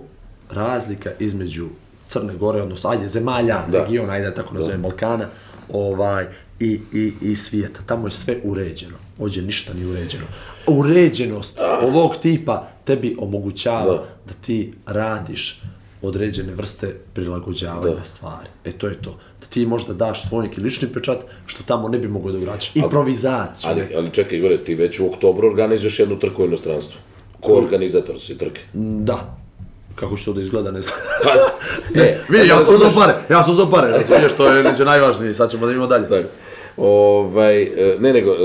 [SPEAKER 3] razlika između Crne Gore, odnosno, ajde, zemalja,
[SPEAKER 2] Da.
[SPEAKER 3] regiona, ajde da tako nazovem, Balkana, ovaj, i, i, i svijeta. Tamo je sve uređeno. Ovdje ništa nije uređeno. Uređenost ovog tipa tebi omogućava
[SPEAKER 2] Da.
[SPEAKER 3] da, ti radiš određene vrste prilagođavanja stvari. E to je to. Da ti možda daš svoj neki lični pečat što tamo ne bi mogao da uračiš. Improvizaciju.
[SPEAKER 2] Ali, ali čekaj, Igore, ti već u oktobru organizuješ jednu trku u inostranstvu. Ko organizator si trke?
[SPEAKER 3] Da. Kako će to da izgleda, ne znam.
[SPEAKER 2] Ne,
[SPEAKER 6] Pa, Vidi, ja sam uzao
[SPEAKER 2] razumeš-
[SPEAKER 6] pare, ja sam uzao pare, razumiješ, to je neđe najvažnije, sad ćemo da idemo dalje.
[SPEAKER 2] Tako. Ovaj, e, ne nego, e,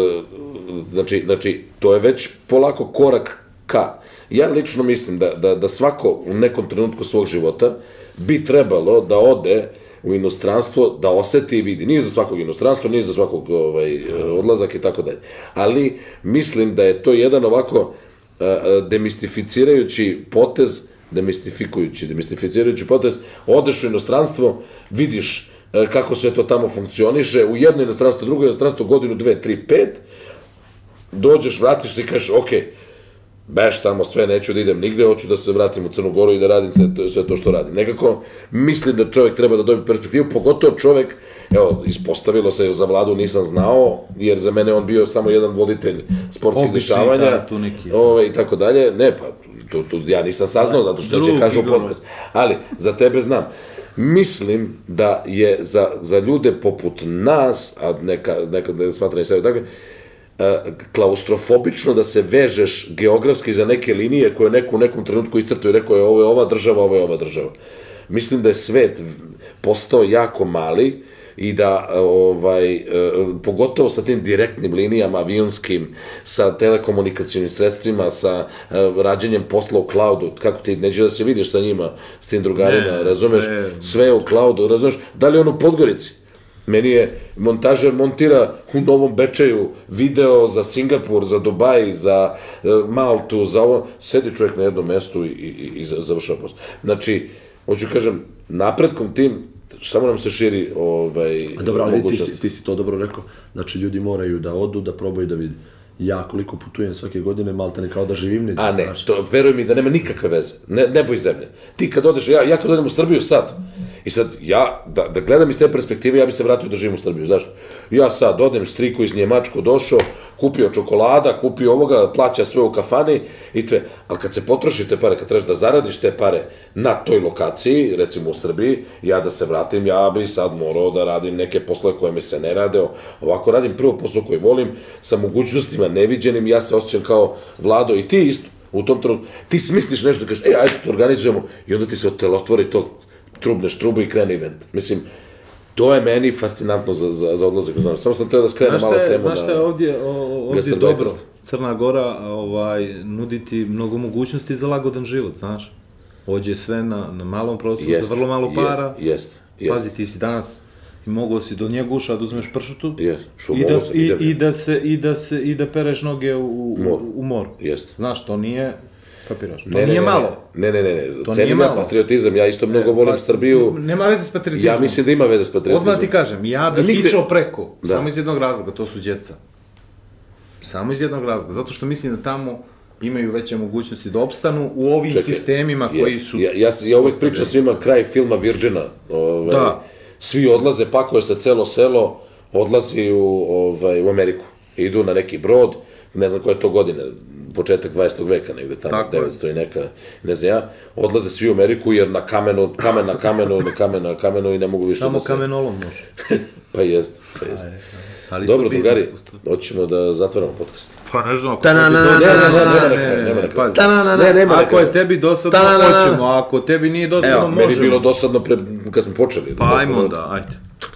[SPEAKER 2] znači, znači, to je već polako korak ka. Ja lično mislim da, da, da svako u nekom trenutku svog života bi trebalo da ode u inostranstvo, da oseti i vidi. Nije za svakog inostranstvo, nije za svakog ovaj, e, odlazak i tako dalje. Ali mislim da je to jedan ovako e, e, demistificirajući potez, demistifikujući, demistificirajući potez, odeš u inostranstvo, vidiš e, kako sve to tamo funkcioniše, u jedno inostranstvo, drugo inostranstvo, godinu, dve, tri, pet, dođeš, vratiš se i kažeš, ok, beš tamo sve, neću da idem nigde, hoću da se vratim u Crnu Goru i da radim sve to, sve to što radim. Nekako mislim da čovjek treba da dobije perspektivu, pogotovo čovjek, evo, ispostavilo se za vladu nisam znao, jer za mene on bio samo jedan voditelj sportskih
[SPEAKER 4] Obični,
[SPEAKER 2] dešavanja,
[SPEAKER 4] da, tu neki.
[SPEAKER 2] ove, i tako dalje, ne, pa, tu, tu, ja nisam saznao, zato što će
[SPEAKER 4] Drugi
[SPEAKER 2] kažu
[SPEAKER 4] govor.
[SPEAKER 2] podcast, ali za tebe znam. Mislim da je za, za ljude poput nas, a neka, neka ne smatram i sebe tako, e, klaustrofobično da se vežeš geografski za neke linije koje neko u nekom trenutku istrtuje i rekao je ovo je ova država, ovo je ova država. Mislim da je svet postao jako mali i da e, ovaj e, pogotovo sa tim direktnim linijama avionskim, sa telekomunikacionim sredstvima, sa e, rađenjem posla u cloudu, kako ti neće da se vidiš sa njima, s tim drugarima,
[SPEAKER 4] Ne,
[SPEAKER 2] razumeš?
[SPEAKER 4] sve-
[SPEAKER 2] sve je u cloudu, razumeš, da li je ono u Podgorici? Meni je montažer montira u Novom Bečeju video za Singapur, za Dubaj, za e, Maltu, za ovo, sedi čovjek na jednom mestu i, i, i- i za- završava posao. Znači, hoću kažem, napretkom tim, samo nam se širi ovaj,
[SPEAKER 3] A Dobro, ali ti,
[SPEAKER 2] mogućnost.
[SPEAKER 3] si, ti si to dobro rekao. Znači, ljudi moraju da odu, da probaju da vidi. Ja koliko putujem svake godine, malte ne kao da živim neđe.
[SPEAKER 2] A ne,
[SPEAKER 3] znaš.
[SPEAKER 2] to, veruj mi da nema nikakve veze. Ne, nebo i zemlje. Ti kad odeš, ja, ja kad odem u Srbiju sad, i sad ja, da, da gledam iz te perspektive, ja bi se vratio da živim u Srbiju. Zašto? Ja sad odem, striku iz Njemačko došao, kupio čokolada, kupio ovoga, plaća sve u kafani i tve. Ali kad se potroši te pare, kad trebaš da zaradiš te pare na toj lokaciji, recimo u Srbiji, ja da se vratim, ja bi sad morao da radim neke poslove koje mi se ne rade. Ovako radim prvo posao koji volim, sa mogućnostima neviđenim, ja se osjećam kao vlado i ti isto. U tom trenutku, ti smisliš nešto, kažeš, e, ajde to organizujemo, i onda ti se otelotvori to, trubneš trubu i krene event. Mislim, To je meni fascinantno za, za, za odlazak u inostranstvo. Samo sam teo da skrenem
[SPEAKER 4] Znaš
[SPEAKER 2] malo
[SPEAKER 4] šta je,
[SPEAKER 2] temu.
[SPEAKER 4] znaš šta je
[SPEAKER 2] na-
[SPEAKER 4] ovdje, o- o- ovdje
[SPEAKER 2] Gastarbajterstvo.
[SPEAKER 4] dobro? Crna Gora ovaj, nudi ti mnogo mogućnosti za lagodan život, znaš? Ovdje je sve na, na malom prostoru,
[SPEAKER 2] Jest,
[SPEAKER 4] za vrlo malo
[SPEAKER 2] jest,
[SPEAKER 4] para.
[SPEAKER 2] Jest, jest.
[SPEAKER 4] Pazi, ti si danas i mogao si do njeguša da uzmeš pršutu
[SPEAKER 2] Jest, što
[SPEAKER 4] i, da,
[SPEAKER 2] mogu sam,
[SPEAKER 4] i,
[SPEAKER 2] idem.
[SPEAKER 4] i, da se, i, da se, i da pereš noge u,
[SPEAKER 2] Moru.
[SPEAKER 4] u, u moru.
[SPEAKER 2] Jest.
[SPEAKER 4] Znaš, to nije, kapiraš, to
[SPEAKER 2] Ne, ne,
[SPEAKER 4] nije
[SPEAKER 2] ne,
[SPEAKER 4] malo.
[SPEAKER 2] Ne, ne, ne, ne.
[SPEAKER 4] To nije
[SPEAKER 2] Cenim ja
[SPEAKER 4] malo.
[SPEAKER 2] patriotizam, ja isto mnogo
[SPEAKER 4] E,
[SPEAKER 2] volim
[SPEAKER 4] pa,
[SPEAKER 2] Srbiju.
[SPEAKER 4] Nema veze s patriotizmom.
[SPEAKER 2] Ja mislim da ima veze s patriotizmom.
[SPEAKER 4] Odmah ti kažem, ja bih
[SPEAKER 2] Nigde-
[SPEAKER 4] išao preko,
[SPEAKER 2] Da.
[SPEAKER 4] samo iz jednog razloga, to su djeca. Samo iz jednog razloga, zato što mislim da tamo imaju veće mogućnosti da opstanu u ovim
[SPEAKER 2] Čekaj,
[SPEAKER 4] sistemima
[SPEAKER 2] jest.
[SPEAKER 4] koji su...
[SPEAKER 2] Ja, ja, s- ja uvijek pričam svima kraj filma Virgina. Ovaj,
[SPEAKER 4] Da.
[SPEAKER 2] Svi odlaze, pakuje se celo selo, odlazi u, ovaj, u Ameriku. Idu na neki brod, ne znam koje je to godine, početak 20. veka negde tamo,
[SPEAKER 4] Tako je.
[SPEAKER 2] 900 i neka, ne znam ja, odlaze svi u Ameriku jer na kamenu, kamen na kamenu, na kamen na kamenu i ne mogu više
[SPEAKER 4] Samo
[SPEAKER 2] da se...
[SPEAKER 4] kamenolom može.
[SPEAKER 2] Pa jest, pa jest.
[SPEAKER 4] Ali isto
[SPEAKER 2] Dobro,
[SPEAKER 4] biznis
[SPEAKER 2] drugari,
[SPEAKER 4] postoji.
[SPEAKER 2] hoćemo da zatvorimo podcast.
[SPEAKER 4] Pa ne znam, ako
[SPEAKER 3] Ta-na-na,
[SPEAKER 4] tebi
[SPEAKER 2] Ne, ne,
[SPEAKER 4] dosadno-
[SPEAKER 2] ne, ne,
[SPEAKER 4] ne, ne,
[SPEAKER 2] ne,
[SPEAKER 4] ne,
[SPEAKER 2] ne,
[SPEAKER 4] pazi.
[SPEAKER 3] Ta-na-na.
[SPEAKER 2] ne, nema na
[SPEAKER 4] pa- Ako
[SPEAKER 2] kraju.
[SPEAKER 4] je tebi dosadno,
[SPEAKER 3] Ta-na-na.
[SPEAKER 4] hoćemo, a ako tebi nije dosadno,
[SPEAKER 2] Evo, meni je
[SPEAKER 4] možemo.
[SPEAKER 2] bilo dosadno pre, kad smo počeli.
[SPEAKER 4] Pa
[SPEAKER 2] dosadno
[SPEAKER 4] ajmo
[SPEAKER 2] od-
[SPEAKER 4] onda, ajde.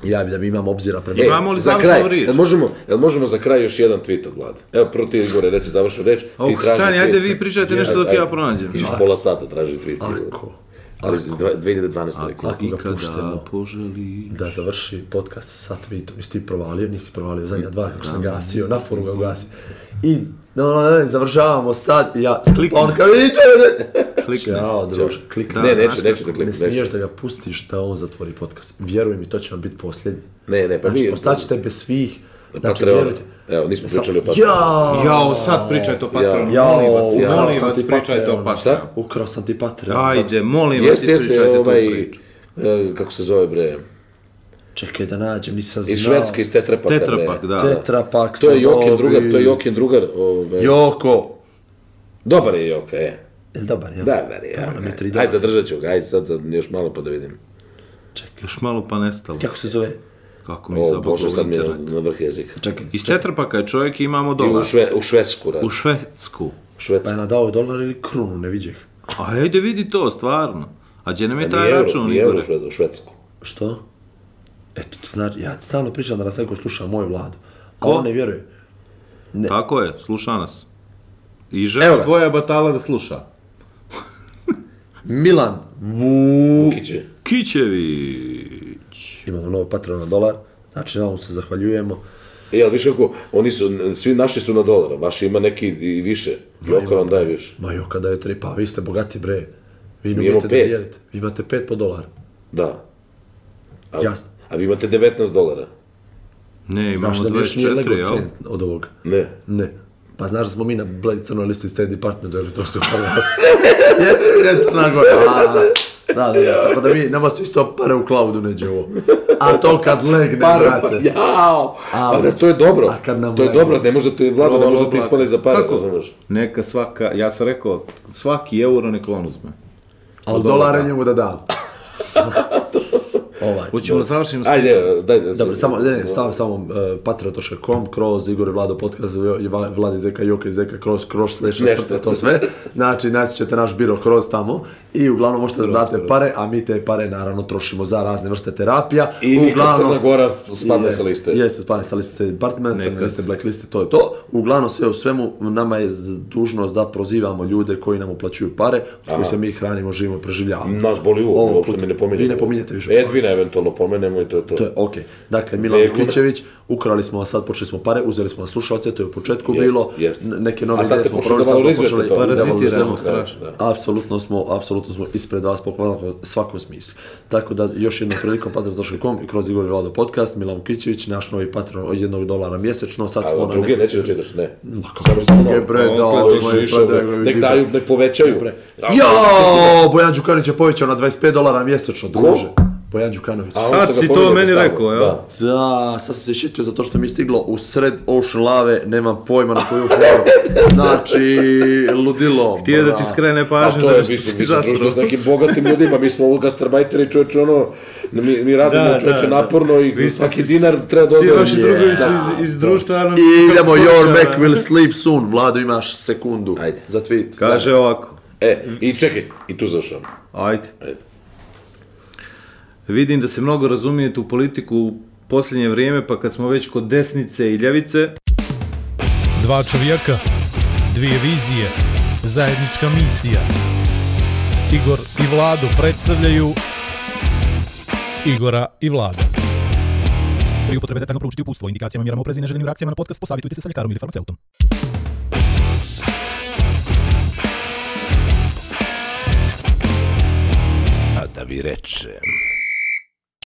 [SPEAKER 3] Ja bi da imam obzira prema...
[SPEAKER 2] E,
[SPEAKER 4] Imamo li
[SPEAKER 2] za
[SPEAKER 4] završnu
[SPEAKER 2] kraj,
[SPEAKER 4] riječ?
[SPEAKER 2] Jel možemo, jel možemo za kraj još jedan tweet od Vlade? Evo, prvo ti Igore, reci završnu reč, ti
[SPEAKER 4] Oh,
[SPEAKER 2] traži
[SPEAKER 4] stani,
[SPEAKER 2] tweet.
[SPEAKER 4] ajde vi pričajte nešto dok
[SPEAKER 2] Ajde,
[SPEAKER 4] ja pronađem.
[SPEAKER 2] Iš pola sata traži tweet. Igor.
[SPEAKER 3] Ako,
[SPEAKER 2] Ali iz dva- 2012. rekao.
[SPEAKER 3] ako ga puštemo
[SPEAKER 4] poželi...
[SPEAKER 3] da završi podcast sa tweetom, jesi ti provalio, nisi provalio zadnja dva kako sam gasio, na foru ga ugasio. I no, no, no, završavamo sad, i ja klikam, on kao, i to
[SPEAKER 4] Klikne.
[SPEAKER 3] Ćao, druže, klikne.
[SPEAKER 2] Ne,
[SPEAKER 4] Da,
[SPEAKER 2] neću,
[SPEAKER 4] znaš
[SPEAKER 2] neću da
[SPEAKER 3] Ne
[SPEAKER 2] kliknem,
[SPEAKER 3] smiješ
[SPEAKER 2] neću.
[SPEAKER 3] da ga pustiš da on zatvori podcast. Vjeruj mi, to će vam biti posljednji.
[SPEAKER 2] Ne, ne, pa
[SPEAKER 3] Znači,
[SPEAKER 2] vi...
[SPEAKER 3] ostaćete bez svih. Znači,
[SPEAKER 2] Patreon.
[SPEAKER 3] vjerujte.
[SPEAKER 2] Pa Evo, nismo
[SPEAKER 3] Sa-
[SPEAKER 2] pričali o Patreonu.
[SPEAKER 3] Jao!
[SPEAKER 4] Jao, sad pričajte o Patreonu,
[SPEAKER 3] Jao,
[SPEAKER 4] molim vas,
[SPEAKER 3] ukrao
[SPEAKER 4] molim
[SPEAKER 3] sam
[SPEAKER 4] vas,
[SPEAKER 3] ti
[SPEAKER 4] pričajte o
[SPEAKER 3] Patreon.
[SPEAKER 4] Patreonu.
[SPEAKER 3] Ukrao sam ti Patreon.
[SPEAKER 4] Ajde, molim vas,
[SPEAKER 2] Jeste, jeste,
[SPEAKER 4] ispričajte tu
[SPEAKER 2] ovaj...
[SPEAKER 4] priču.
[SPEAKER 2] e, Kako se zove, bre?
[SPEAKER 3] Čekaj da nađem, nisam znao.
[SPEAKER 2] Iz Švedske, iz Tetrapaka.
[SPEAKER 4] Tetrapak,
[SPEAKER 2] bre.
[SPEAKER 4] da.
[SPEAKER 3] Tetrapak
[SPEAKER 2] To
[SPEAKER 3] smo
[SPEAKER 2] je Jokin
[SPEAKER 3] dobili.
[SPEAKER 2] drugar, to je Jokin drugar. Ovaj.
[SPEAKER 3] Joko!
[SPEAKER 2] Dobar je Joka, e.
[SPEAKER 3] Jel dobar, jel?
[SPEAKER 2] Dobar je. e.
[SPEAKER 3] Dobro, mi je tri
[SPEAKER 2] Ajde,
[SPEAKER 3] dana.
[SPEAKER 2] zadržat ću ga, ajde sad za još malo pa da vidim.
[SPEAKER 4] Još malo pa nestalo.
[SPEAKER 3] Kako se zove?
[SPEAKER 4] Kako mi je
[SPEAKER 2] O,
[SPEAKER 4] zabavno
[SPEAKER 2] Bože, sad mi je na,
[SPEAKER 4] internet.
[SPEAKER 2] na vrh jezika.
[SPEAKER 3] Čekaj.
[SPEAKER 4] Iz Četrpaka je čovjek i imamo
[SPEAKER 2] I u,
[SPEAKER 4] dolar.
[SPEAKER 2] šve, u Švedsku radi.
[SPEAKER 4] U Švedsku.
[SPEAKER 3] Pa
[SPEAKER 2] Švedsku.
[SPEAKER 3] je nadao dolar ili krunu, ne viđeh.
[SPEAKER 4] A ajde vidi to, stvarno. A gdje nam
[SPEAKER 3] Pa
[SPEAKER 4] je
[SPEAKER 2] Pa Nije
[SPEAKER 4] taj
[SPEAKER 2] euro,
[SPEAKER 4] račun,
[SPEAKER 2] nije euro u
[SPEAKER 4] Igore?
[SPEAKER 2] Švedsku, u Švedsku.
[SPEAKER 3] Što? Eto, to znači, ja stalno pričam da nas neko sluša, moju vladu. A
[SPEAKER 4] Ko?
[SPEAKER 3] on ne vjeruje.
[SPEAKER 4] Tako je, sluša nas. I žena
[SPEAKER 3] ga.
[SPEAKER 4] tvoja je batala da sluša.
[SPEAKER 3] Milan Vu...
[SPEAKER 2] Kiće.
[SPEAKER 4] Kićević.
[SPEAKER 3] Imamo novo Patreon na dolar. Znači, na ovom se zahvaljujemo.
[SPEAKER 2] E, jel viš kako, oni su, svi naši su na dolara, vaši ima neki i više. Joka vam daje više.
[SPEAKER 3] Ma jo, kada je tri, pa vi ste bogati bre. Vi ne
[SPEAKER 2] imamo
[SPEAKER 3] umijete da
[SPEAKER 2] pet.
[SPEAKER 3] dijelite. Vi imate pet po dolar.
[SPEAKER 2] Da. A,
[SPEAKER 3] Jasno.
[SPEAKER 2] a vi imate 19 dolara.
[SPEAKER 4] Ne, imamo
[SPEAKER 3] Znaš da mi još nije
[SPEAKER 4] 24,
[SPEAKER 3] legao
[SPEAKER 4] jel?
[SPEAKER 3] cent od ovoga.
[SPEAKER 2] Ne.
[SPEAKER 3] Ne. Pa znaš da smo mi na Black crnoj listi State Department, je li to što Jesi, jesi Crna Gora. a, Da, da, da, tako da mi, nama su isto pare u klaudu neđe ovo. A to kad legne, brate.
[SPEAKER 2] jao!
[SPEAKER 3] Au.
[SPEAKER 2] Pa da, to je dobro.
[SPEAKER 3] A kad nam
[SPEAKER 2] To je
[SPEAKER 3] legne.
[SPEAKER 2] dobro, ne može da te, Vlado, ne
[SPEAKER 4] Rola
[SPEAKER 2] može da te
[SPEAKER 4] oblaka.
[SPEAKER 2] ispane za pare,
[SPEAKER 4] Kako?
[SPEAKER 2] razumeš?
[SPEAKER 4] Neka svaka, ja sam rekao, svaki euro nek on uzme.
[SPEAKER 3] Ali dolare njemu da dam. ovaj.
[SPEAKER 4] Hoćemo da završimo s
[SPEAKER 2] Ajde, evo, daj. da se-
[SPEAKER 3] Dobro, samo, ne, ne, samo, samo uh, patreon.com, kroz Igor i Vlado podcast, Jo- i Va- Vladi Zeka, Joka i Zeka, kroz, kroz, slash,
[SPEAKER 2] Nešto.
[SPEAKER 3] crte, to sve. Znači, naći ćete naš biro kroz tamo i uglavnom možete da date pare, a mi te pare naravno trošimo za razne vrste terapija.
[SPEAKER 2] I nikad Crna Gora spadne
[SPEAKER 3] Jeste,
[SPEAKER 2] sa liste.
[SPEAKER 3] Jeste, spadne sa liste Department, crne
[SPEAKER 4] Nekad.
[SPEAKER 3] liste Black liste, to je to. Uglavnom sve u svemu, nama je z- dužnost da prozivamo ljude koji nam uplaćuju pare, od koji se mi hranimo, živimo, preživljavamo.
[SPEAKER 2] Nas boli uvo,
[SPEAKER 3] Ovog
[SPEAKER 2] uopšte
[SPEAKER 3] puta.
[SPEAKER 2] mi ne E, pominjemo.
[SPEAKER 3] Vi ne pominjete više.
[SPEAKER 2] Edvina eventualno pomenemo i to je to.
[SPEAKER 3] To je okej. Dakle, Milan
[SPEAKER 2] Zeku.
[SPEAKER 3] Vukićević, ukrali smo vas sad, počeli smo pare, uzeli smo vas slušalce, to je u početku
[SPEAKER 2] Jest,
[SPEAKER 3] bilo.
[SPEAKER 2] jest.
[SPEAKER 3] N- Neke nove
[SPEAKER 2] A sad
[SPEAKER 3] ideje
[SPEAKER 2] ste
[SPEAKER 3] smo
[SPEAKER 2] počeli da
[SPEAKER 3] proveli, sad smo
[SPEAKER 2] valorizujete
[SPEAKER 3] počeli
[SPEAKER 2] to.
[SPEAKER 3] da
[SPEAKER 4] Parazitiramo,
[SPEAKER 3] valorizujemo.
[SPEAKER 4] strašno.
[SPEAKER 2] Da.
[SPEAKER 3] Apsolutno smo, apsolutno smo ispred vas pokvalno u svakom smislu. Tako da još jednom prilikom patreon.com i kroz Igor i Vlado podcast, Milan Vukićević, naš novi patron od jednog dolara mjesečno, sad smo
[SPEAKER 2] A
[SPEAKER 3] na
[SPEAKER 2] druge
[SPEAKER 3] nekom-
[SPEAKER 2] nećeš da čitaš, ne.
[SPEAKER 3] Kako druge, bre,
[SPEAKER 2] on
[SPEAKER 3] da,
[SPEAKER 2] gleda
[SPEAKER 3] ovo je
[SPEAKER 2] više, više,
[SPEAKER 3] predaje,
[SPEAKER 2] bre.
[SPEAKER 3] vidi,
[SPEAKER 2] Nek
[SPEAKER 3] bre.
[SPEAKER 2] daju, nek povećaju.
[SPEAKER 3] Pre.
[SPEAKER 2] A,
[SPEAKER 3] Jo, Bojan Đukanović je povećao na 25 dolara mjesečno, druže. Bojan Đukanović.
[SPEAKER 2] a ono
[SPEAKER 4] Sad
[SPEAKER 2] što ga
[SPEAKER 4] si to
[SPEAKER 2] pominjete
[SPEAKER 4] meni
[SPEAKER 2] stalno,
[SPEAKER 4] rekao, evo.
[SPEAKER 2] da.
[SPEAKER 3] Da, sad sam se šitio zato što mi je stiglo u sred Ocean Lave, nemam pojma na koju foru. Znači, ludilo.
[SPEAKER 4] Ti je da
[SPEAKER 3] bra.
[SPEAKER 4] ti skrene
[SPEAKER 2] A
[SPEAKER 4] pažnju
[SPEAKER 2] to
[SPEAKER 4] da
[SPEAKER 2] je,
[SPEAKER 4] bi
[SPEAKER 2] mislim,
[SPEAKER 4] ti
[SPEAKER 2] mislim,
[SPEAKER 4] zasrao.
[SPEAKER 2] društvo s nekim bogatim ljudima, mi smo gastarbajteri, čovječe, ono, mi, mi radimo
[SPEAKER 4] Da,
[SPEAKER 2] čovječe
[SPEAKER 4] da, da.
[SPEAKER 2] naporno i
[SPEAKER 4] Vi ste
[SPEAKER 2] svaki
[SPEAKER 4] s-
[SPEAKER 2] dinar treba da
[SPEAKER 4] Svi
[SPEAKER 2] odgovori.
[SPEAKER 4] vaši drugovi
[SPEAKER 3] Je,
[SPEAKER 4] su iz, iz društva Arnold
[SPEAKER 3] I idemo, your
[SPEAKER 4] Schwarzeneggera.
[SPEAKER 3] Mac will sleep soon. Vlado, imaš sekundu
[SPEAKER 2] Ajde.
[SPEAKER 3] za tweet.
[SPEAKER 4] Kaže ovako,
[SPEAKER 2] E, i čekaj, i tu završavam.
[SPEAKER 4] ajde. Vidim da se mnogo razumijete u politiku u posljednje vrijeme, pa kad smo već kod desnice i ljevice,
[SPEAKER 5] Dva čovjeka, dvije vizije, zajednička misija. Igor i Vladu predstavljaju Igora i Vlada. Pri upotrebe detaljno proučiti upustvo, indikacijama, mjerama oprezi i neželjenim reakcijama na podcast posavitujte se sa ljekarom ili farmaceutom.
[SPEAKER 1] A da vi rečem.